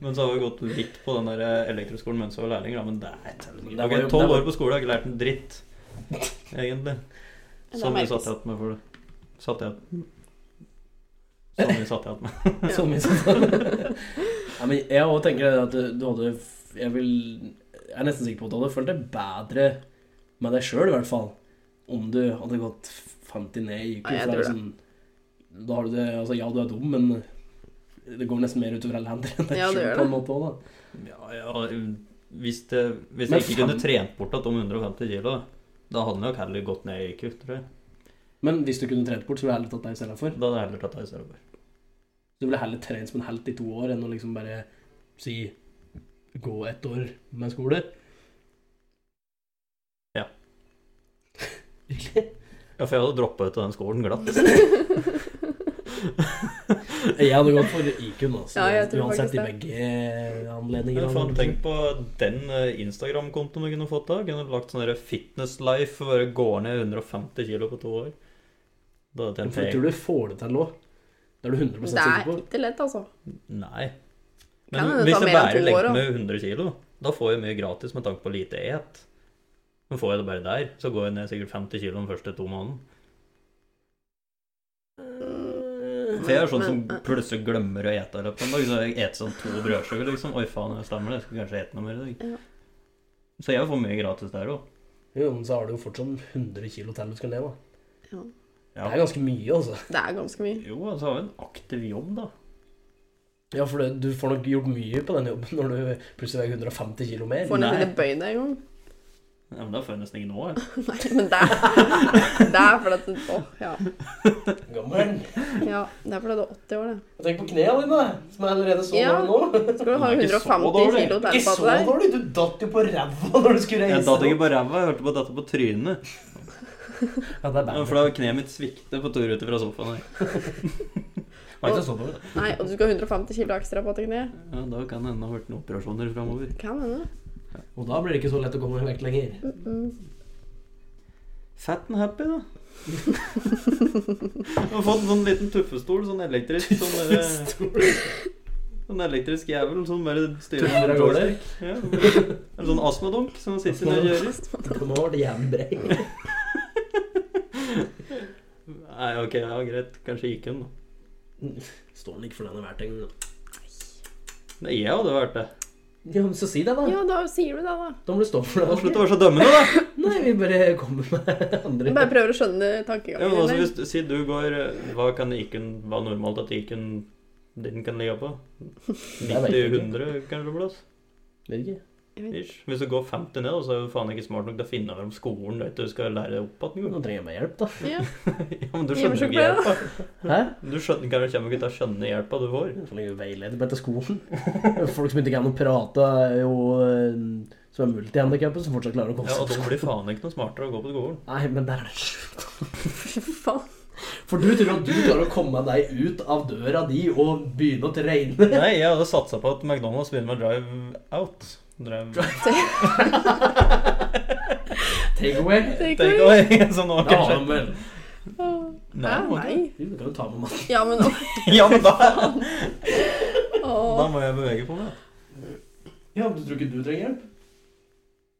Speaker 1: Men så har vi gått litt på den der eh, elektroskolen mens vi var lærlinger, da, men det er
Speaker 2: Det var
Speaker 1: tøll.
Speaker 2: jo-
Speaker 1: Ok, Tolv
Speaker 2: det var-
Speaker 1: år på skole, jeg har ikke lært en dritt, egentlig.
Speaker 3: Det
Speaker 1: Så mye
Speaker 3: merkes.
Speaker 1: satt jeg igjen med for det. Satt jeg Så mye satt jeg igjen med.
Speaker 2: Så mye sånn. Ja, men jeg også tenker det at du hadde Jeg, vil, jeg er nesten sikker på at du hadde følt deg bedre med deg sjøl, i hvert fall, om du hadde gått 50 ned i IQ.
Speaker 3: Ja, jeg
Speaker 2: for det er
Speaker 3: tror det.
Speaker 2: liksom- Da har du det Altså, ja, du er dum, men det går nesten mer utover alle andre enn deg
Speaker 3: Ja, det
Speaker 2: selv
Speaker 3: gjør
Speaker 2: på en måte også, da.
Speaker 1: Ja, ja, hvis, det, hvis
Speaker 2: Men
Speaker 1: jeg ikke kunne
Speaker 2: fem-
Speaker 1: trent bort at de 150 kilo, da hadde jeg nok heller gått ned i IQ, tror jeg.
Speaker 2: Men hvis du kunne trent bort, så ville jeg heller tatt deg istedenfor.
Speaker 1: Da hadde jeg heller tatt deg i stedet for.
Speaker 2: Du ville heller trent som en helt i to år enn å liksom bare si gå ett år med skole.
Speaker 1: Ja.
Speaker 2: Virkelig?
Speaker 1: Ja, for jeg hadde droppa ut av den skolen glatt.
Speaker 2: Jeg hadde gått for IQ-en, altså.
Speaker 3: Ja, jeg tror
Speaker 2: Uansett i
Speaker 3: faktisk
Speaker 2: begge anledninger.
Speaker 1: Men faen, tenk på den eh, Instagram-kontoen du kunne fått da. Kunne lagt sånn der fitness life og bare går ned 150 kilo på to år. Da hadde jeg
Speaker 2: For
Speaker 1: tjent
Speaker 2: tror du du får det til nå? Det er du 100
Speaker 3: Det er
Speaker 2: sikker på?
Speaker 3: ikke lett, altså.
Speaker 1: Nei.
Speaker 3: Kan
Speaker 1: Men
Speaker 3: hende det
Speaker 1: hvis
Speaker 3: tar
Speaker 1: jeg
Speaker 3: mer enn
Speaker 1: bare
Speaker 3: to år,
Speaker 1: legger
Speaker 3: da.
Speaker 1: med 100 kilo, da får jeg mye gratis med tanke på lite et. Men får jeg det bare der, så går jeg ned sikkert 50 kilo de første to månedene. For jeg er sånn som
Speaker 3: Men- eh,
Speaker 1: plutselig glemmer å ete i løpet av en dag. Så jeg eter sånn to brødskiver, liksom. Oi, faen, jeg stemmer det. Jeg skulle kanskje ete noe mer i dag.
Speaker 3: Ja.
Speaker 1: Så jeg får mye gratis der òg.
Speaker 2: Jo, men så har du jo fortsatt 100 kilo til du skal leve. da.
Speaker 3: Ja.
Speaker 1: Ja.
Speaker 2: Det er ganske mye, altså.
Speaker 3: Det er ganske mye.
Speaker 1: Jo, altså har vi en aktiv jobb, da.
Speaker 2: Ja, for det, du får nok gjort mye på den jobben når du plutselig veier 150 kilo mer.
Speaker 3: Får nesten
Speaker 1: Nei.
Speaker 3: ikke bøyd deg engang.
Speaker 1: Ja, men da får jeg nesten ikke noe. jeg.
Speaker 3: Nei, men det er, det er fordi at Åh, ja.
Speaker 2: Gammel.
Speaker 3: ja. Det er fordi du er 80 år, det.
Speaker 2: Tenk på knærne dine, som er allerede så
Speaker 3: Ja.
Speaker 2: dårlige nå.
Speaker 3: Skal du ha
Speaker 1: Det er ikke så
Speaker 3: 150
Speaker 1: dårlig.
Speaker 3: kilo
Speaker 2: Ikke så
Speaker 3: tærne på deg?
Speaker 2: dårlig. Du datt jo på ræva når du skulle
Speaker 1: Jeg
Speaker 2: reise.
Speaker 1: datt ikke
Speaker 2: deg.
Speaker 1: på ræva, jeg hørte på dette på trynet.
Speaker 2: Ja, det er
Speaker 1: Ja,
Speaker 2: bad.
Speaker 1: For da kneet mitt svikte på tur ut fra sofaen. her.
Speaker 2: Det var ikke så dårlig.
Speaker 3: Nei, og du skal ha 150 kilo ekstra på deg kne.
Speaker 1: Ja, da kan det hende ha vært noen operasjoner framover.
Speaker 3: Kan hende.
Speaker 2: Og da blir det ikke så lett å komme i vekt lenger.
Speaker 3: Mm.
Speaker 1: Fat and happy, da. Jeg har fått en sånn liten tuffestol, sånn elektrisk. Sånn derre- En elektrisk jævel som bare styrer
Speaker 2: Tøffer av gårde.
Speaker 1: Ja, en sånn astmadunk som sitter ned og kjører.
Speaker 2: Det må ha vært jævlig brei.
Speaker 1: Nei, ok, ja, greit. Kanskje gikk hun, da.
Speaker 2: Står den ikke for den er verdt engang, da.
Speaker 1: Nei, jeg hadde vært det.
Speaker 2: Ja, men så si det, da.
Speaker 3: Ja, da sier du det, da.
Speaker 2: Da må du stå for det.
Speaker 1: Slutt å være så dømmende, da!
Speaker 2: Nei, vi bare kommer med andre
Speaker 3: Bare prøver å skjønne
Speaker 1: Ja, men
Speaker 3: tankegangen.
Speaker 1: altså,
Speaker 3: eller?
Speaker 1: hvis, du- si du går eh, Hva kan iken Hva er normalt at iken din kan ligge på?
Speaker 2: Jeg vet ikke.
Speaker 1: 90-100, kanskje? plass?
Speaker 2: Vet ikke.
Speaker 3: Jeg vet-
Speaker 1: Ish. Hvis du går 50 ned, da, så er du faen ikke smart nok til å finne over om skolen vet du skal lære deg opp igjen.
Speaker 2: Nå trenger jeg mer hjelp, da.
Speaker 3: Ja.
Speaker 1: Ja, men du skjønner jo ikke
Speaker 3: Hjemmesykepleie,
Speaker 1: hjelpa.
Speaker 2: Hæ?
Speaker 1: Du skjønner, kan du kommer ikke til å skjønne hjelpa du får.
Speaker 2: Jeg får lenge veileder på etter skolen. Folk som ikke kan å prate, er jo eh, som er multihandikappet, som fortsatt klarer å komme
Speaker 1: Ja, og
Speaker 2: seg
Speaker 1: det
Speaker 2: på
Speaker 1: blir faen ikke noe smartere å gå på skolen.
Speaker 2: Nei, men der er det slutt.
Speaker 3: Fy faen.
Speaker 2: For du tror at du klarer å komme deg ut av døra di og begynne å trene.
Speaker 1: Nei, jeg hadde satsa på at McDonald's begynner med drive out. Drive
Speaker 2: Take away.
Speaker 3: Take
Speaker 1: Take
Speaker 3: away.
Speaker 1: away, så nå
Speaker 2: Da har
Speaker 1: kanskje
Speaker 2: de vel
Speaker 3: Åh.
Speaker 1: Nei,
Speaker 3: Hæ?
Speaker 1: må du-
Speaker 3: Ah, Nei.
Speaker 2: Jo, Du kan jo ta med masse
Speaker 3: Ja, men
Speaker 1: Ja, men da, da
Speaker 3: åh.
Speaker 1: må jeg bevege på meg.
Speaker 2: Ja, men du tror ikke du trenger hjelp?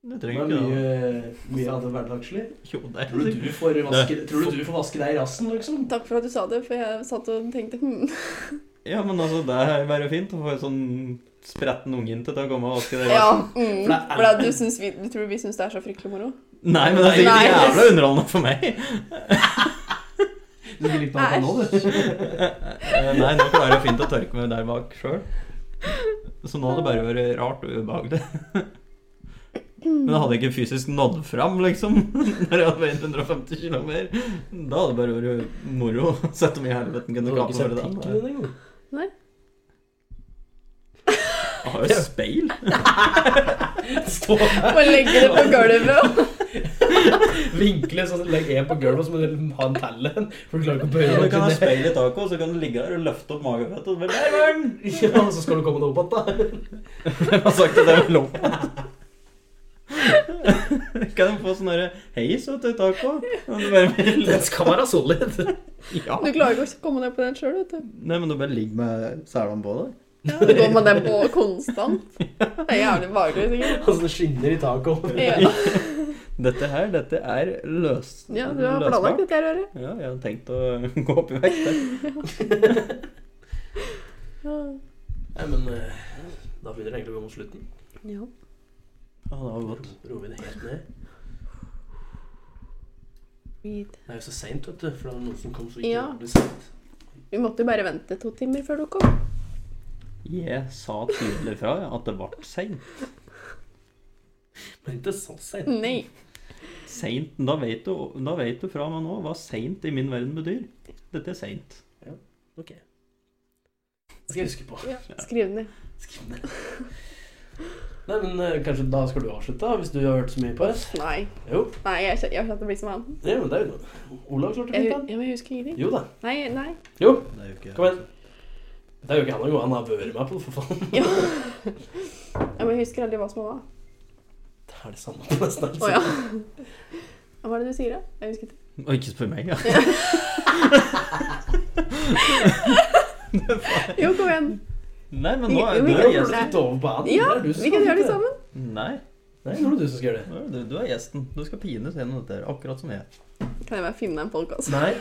Speaker 1: Du
Speaker 2: Det
Speaker 1: trenger
Speaker 2: er
Speaker 1: ikke det.
Speaker 2: mye, mye av det hverdagslige.
Speaker 1: da. Jo, det
Speaker 2: Tror du
Speaker 1: er
Speaker 2: du får vaske, tror du du får vaske deg i rassen, liksom?
Speaker 3: Takk for at du sa det, for jeg satt og tenkte hm.
Speaker 1: Ja, men altså, det er bare fint å få en sånn spretten ungjente til å komme og vaske det.
Speaker 3: Ja. Mm.
Speaker 2: For det er-
Speaker 3: For at du, syns vi, du tror vi syns det er så fryktelig moro?
Speaker 1: Nei, men det er sikkert
Speaker 3: Nei.
Speaker 1: jævla underholdende for meg.
Speaker 2: Du skulle likt å ha det nå, du.
Speaker 1: Eh, Nei, nå klarer jeg fint å tørke meg der bak sjøl. Så nå hadde det bare vært rart og ubehagelig. Men jeg hadde ikke fysisk nådd fram, liksom, når jeg hadde veid 150 km. Da hadde det bare vært moro. Sett om i helveten
Speaker 2: Du
Speaker 1: kunne
Speaker 2: har ikke
Speaker 1: klappe
Speaker 2: sett
Speaker 1: over den.
Speaker 2: pikken din engang.
Speaker 1: Jeg har jo speil.
Speaker 2: Stå
Speaker 3: Og legge det på gulvet.
Speaker 2: vinkle sånn, legg en på gulvet, og så må du ha en tallen. For du klarer ikke å
Speaker 1: Ja,
Speaker 2: bøye
Speaker 1: du
Speaker 2: deg
Speaker 1: kan ha
Speaker 2: ned.
Speaker 1: speil i taket, og så kan du ligge der og løfte opp magen. Vet du. og så bare, Der var den!
Speaker 2: Ja, og så skal du komme deg opp igjen, da.
Speaker 1: Jeg har sagt at det er lov. Kan de få sånn derre heis vet du, i taket? Og du bare-
Speaker 2: Den skal være solid.
Speaker 1: Ja.
Speaker 3: Du klarer ikke å komme deg på den sjøl, vet du.
Speaker 1: Nei, men du bare ligger med selene på deg.
Speaker 3: Så går man den på konstant. Det er jævlig behagelig, sikkert.
Speaker 2: Altså, det skinner i taket over.
Speaker 3: Ja.
Speaker 1: Dette her, dette er løs...
Speaker 3: ja, du har planlagt dette her, Øre.
Speaker 1: Ja, jeg har tenkt å gå opp i vekt. jeg.
Speaker 2: Nei, men eh, da begynner det egentlig å gå mot slutten.
Speaker 3: Ja.
Speaker 1: Ja, det var godt.
Speaker 2: Ro- Roer vi det helt ned.
Speaker 3: Weed.
Speaker 2: Det er jo så seint, vet du. For det var noen som kom så
Speaker 3: Ja.
Speaker 2: jævlig seint.
Speaker 3: Vi måtte jo bare vente to timer før du kom.
Speaker 1: Jeg sa tydelig fra ja, at det ble seint.
Speaker 2: Men ikke så seint.
Speaker 3: Nei.
Speaker 1: Seint, Da vet du, da vet du fra meg nå hva seint i min verden betyr. Dette er seint.
Speaker 2: Ok. Det skal jeg huske på.
Speaker 3: Ja. Skriv det ned.
Speaker 2: Skriv ned. Nei, men eh, kanskje da skal du avslutte, da, hvis du har hørt så mye på oss?
Speaker 3: Nei.
Speaker 2: Jo.
Speaker 3: Nei, jeg kjenner jeg kjenner at det blir som han.
Speaker 2: Ja, men det er jo noe. Olav klarte
Speaker 3: Jeg,
Speaker 2: det
Speaker 3: hu-
Speaker 2: fint,
Speaker 3: ja, men jeg husker
Speaker 2: han.
Speaker 3: ingenting.
Speaker 2: Jo da.
Speaker 3: Nei, nei.
Speaker 2: Jo.
Speaker 1: Det er jo ikke
Speaker 2: Kom igjen. Det er jo ikke han engang. Han har vært med på det, for faen.
Speaker 3: Ja. ja, men jeg husker aldri hva som var.
Speaker 2: Det er det samme nesten.
Speaker 3: Å ja. Hva er det du sier, da? Jeg husker ikke.
Speaker 1: Og ikke spør meg, ja.
Speaker 3: Jo, kom igjen.
Speaker 1: Nei, men nå er
Speaker 3: Jo,
Speaker 1: du
Speaker 3: vi
Speaker 2: Jeg
Speaker 1: er
Speaker 3: kan-
Speaker 1: gjesten.
Speaker 2: flytter over på han.
Speaker 3: Ja,
Speaker 2: Det er du som
Speaker 3: vi kan
Speaker 2: skal
Speaker 3: gjøre det
Speaker 2: flytte.
Speaker 3: sammen.
Speaker 1: Nei,
Speaker 2: Nei, nå er det du som skal gjøre det.
Speaker 1: nå er du, du er gjesten. Du skal pines gjennom dette, her, akkurat som jeg.
Speaker 3: Kan jeg bare finne en podkast?
Speaker 2: Nei.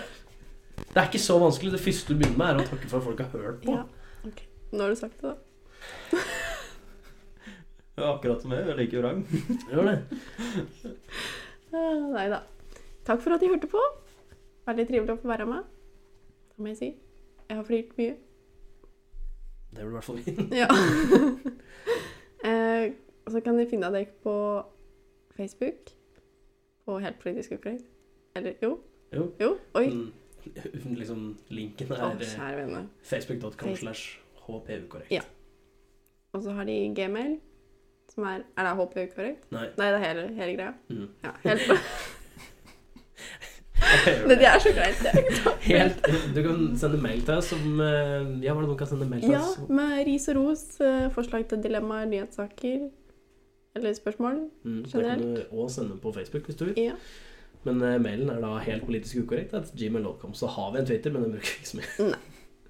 Speaker 2: Det er ikke så vanskelig. Det første du begynner med, er å takke for at folk har hørt på.
Speaker 3: Ja. ok. Nå har du sagt det, da.
Speaker 1: Du er akkurat som jeg, jeg er like vrang.
Speaker 2: Gjør det.
Speaker 3: Ah, Nei da. Takk for at de hørte på. Veldig trivelig å få være med. Det må jeg si. Jeg har flirt mye.
Speaker 2: Det blir i hvert fall fint.
Speaker 3: Ja. eh, og så kan de finne deg på Facebook. På Helt politisk ukrainsk. Eller jo.
Speaker 2: Jo.
Speaker 3: Oi.
Speaker 2: Men, Mm. Liksom, linken
Speaker 3: Å,
Speaker 2: er eh,
Speaker 3: kjære vene.
Speaker 2: facebook.com slash hpvkorrekt.
Speaker 3: Ja. Og så har de Gmail. Som er Er det HP korrekt?
Speaker 2: Nei.
Speaker 3: Nei, det er hele, hele greia.
Speaker 2: Mm.
Speaker 3: Ja, helt Det det er så greit, det.
Speaker 2: Helt, du kan sende mail til oss om eh, Ja, hva er det du kan sende mail til
Speaker 3: Ja,
Speaker 2: oss?
Speaker 3: med ris og ros, eh, forslag til dilemmaer, nyhetssaker eller spørsmål.
Speaker 2: Mm, det kan du
Speaker 3: generelt.
Speaker 2: også sende på Facebook hvis du vil.
Speaker 3: Ja.
Speaker 2: Men eh, mailen er da helt politisk ukorrekt. at gmail.com. Så har vi en Twitter, men den bruker vi ikke så mye.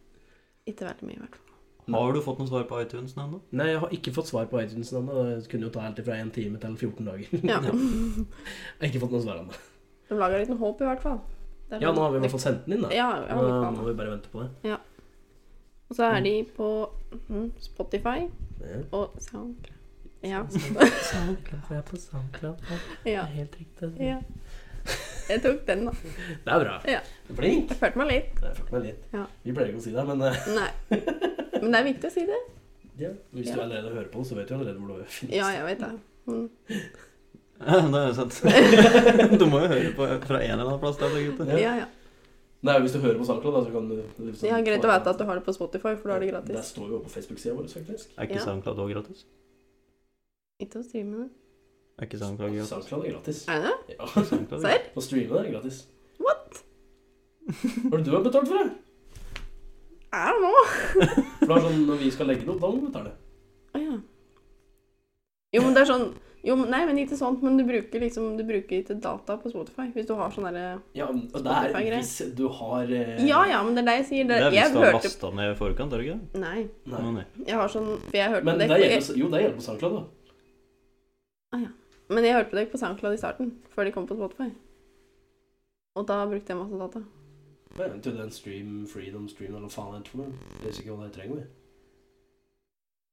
Speaker 3: Ikke veldig mye, i hvert fall.
Speaker 1: Har du fått noe svar på iTunes ennå?
Speaker 2: Nei, jeg har ikke fått svar på iTunes ennå. Det kunne jo ta helt ifra en time til 14 dager.
Speaker 3: Ja.
Speaker 2: Jeg har ikke fått noe svar ennå.
Speaker 3: De lager litt håp, i hvert fall. Det er
Speaker 2: Ja,
Speaker 3: sånn-
Speaker 2: nå har vi i hvert fall sendt den inn, da.
Speaker 3: Ja, ja,
Speaker 2: Nå
Speaker 3: litt
Speaker 2: må
Speaker 3: annet.
Speaker 2: vi bare vente på det.
Speaker 3: Og så er de på mm, Spotify
Speaker 2: Ja.
Speaker 3: og SoundCloud. Ja.
Speaker 2: Sånn.
Speaker 4: Soundcloud, jeg er på Soundcloud. ja. Det
Speaker 3: ja.
Speaker 4: er helt riktig.
Speaker 3: ja. Jeg tok den, da.
Speaker 2: Det er bra.
Speaker 3: Ja.
Speaker 2: Flink.
Speaker 3: Jeg følte meg litt.
Speaker 2: Det følte meg litt.
Speaker 3: Ja.
Speaker 2: Vi pleier ikke å si det, men eh,
Speaker 3: Nei. Men det er viktig å si det.
Speaker 2: ja. hvis du
Speaker 3: Ja.
Speaker 2: allerede hører på det, så vet du allerede hvor det finnes.
Speaker 3: Ja, jeg vet det. Mm.
Speaker 1: Ja, det er jo sant. Du må jo høre på fra en eller annen plass. Der, gutter.
Speaker 3: Ja, ja.
Speaker 2: Nei, hvis du hører på SoundCloud, da, så kan du liksom,
Speaker 3: Det er greit å vite at du har det på Spotify, for da er det
Speaker 2: Der
Speaker 3: gratis.
Speaker 2: står vi jo på Facebook-sida vår, faktisk.
Speaker 1: Er ikke
Speaker 3: Ja.
Speaker 1: SoundCloud også gratis?
Speaker 3: Ikke å streame det.
Speaker 1: Er ikke SoundCloud gratis?
Speaker 2: SoundCloud er gratis.
Speaker 3: Er det det?
Speaker 2: Ja.
Speaker 1: SoundCloud er
Speaker 3: Serr?
Speaker 2: Å streame det er gratis.
Speaker 3: What?
Speaker 2: Hva er det du har betalt for, da?
Speaker 3: Er det nå?
Speaker 2: For det er sånn, Når vi skal legge det opp, da må vi betale.
Speaker 3: Å ja. Jo, men det er sånn jo, men- Nei, men ikke sånt, men du bruker liksom Du bruker ikke data på Spotify hvis du har sånn derre
Speaker 2: Ja, men det er
Speaker 3: Spotify-greier.
Speaker 2: hvis du har eh,
Speaker 3: Ja ja, men det er det jeg sier.
Speaker 1: Det
Speaker 3: Det,
Speaker 1: er hvis
Speaker 3: jeg
Speaker 1: du har
Speaker 3: hørte
Speaker 1: lasta ned i forkant, er det ikke det?
Speaker 3: Nei.
Speaker 2: Nei.
Speaker 1: Nei.
Speaker 3: Jeg har sånn For jeg hørte
Speaker 2: Men
Speaker 3: på
Speaker 2: det
Speaker 3: dere på,
Speaker 2: gjelder, jo, det gjelder på SoundCloud, da.
Speaker 3: jeg- men jeg hørte på dere på SoundCloud i starten, før de kom på Spotify. Og da brukte jeg masse data.
Speaker 2: Men jeg tror det er en stream, freedom stream, eller hva faen er det for noe? Jeg vet ikke hva det trenger vi.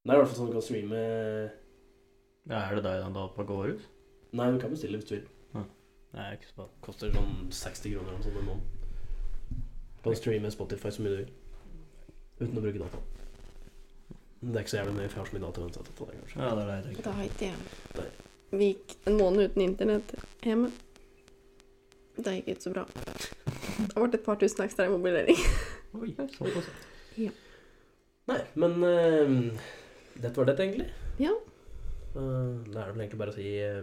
Speaker 2: Det er i hvert fall sånn du kan streame
Speaker 1: Ja, er det deg den data går ut?
Speaker 2: Nei, du kan bestille hvis du vil.
Speaker 1: Nei, jeg er ikke så bra.
Speaker 2: Koster sånn 60 kroner eller noe sånt en måned. Du kan streame Spotify så mye du vil. Uten å bruke data. Men det er ikke så jævlig mye, for jeg har så mye data uansett. at det er kanskje.
Speaker 1: Ja, det er det jeg tenker.
Speaker 3: Da har ikke jeg
Speaker 2: Nei.
Speaker 3: Vi gikk en måned uten internett hjemme. Det gikk ikke så bra. Det ble et par tusen ekstra i mobilering.
Speaker 1: Oi, såpass.
Speaker 2: Nei, men eh, dette var dette, egentlig.
Speaker 3: Ja.
Speaker 2: Eh, da er det vel egentlig bare å si eh,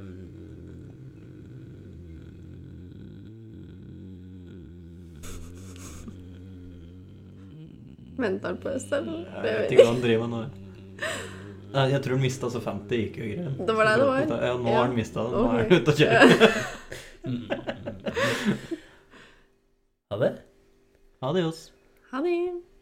Speaker 3: Venter han på oss, eller?
Speaker 1: Jeg
Speaker 3: Det
Speaker 1: vet
Speaker 3: vet
Speaker 1: ikke hva han driver med nå. Nei, Jeg tror han altså mista så 50 IQ-greier.
Speaker 3: Det var det det var?
Speaker 1: Ja, nå
Speaker 3: Ja.
Speaker 1: har han mista det. Nå er
Speaker 3: Ok.
Speaker 1: han ute og kjører.
Speaker 2: mm. Ha det.
Speaker 1: Adios.
Speaker 3: Ha det.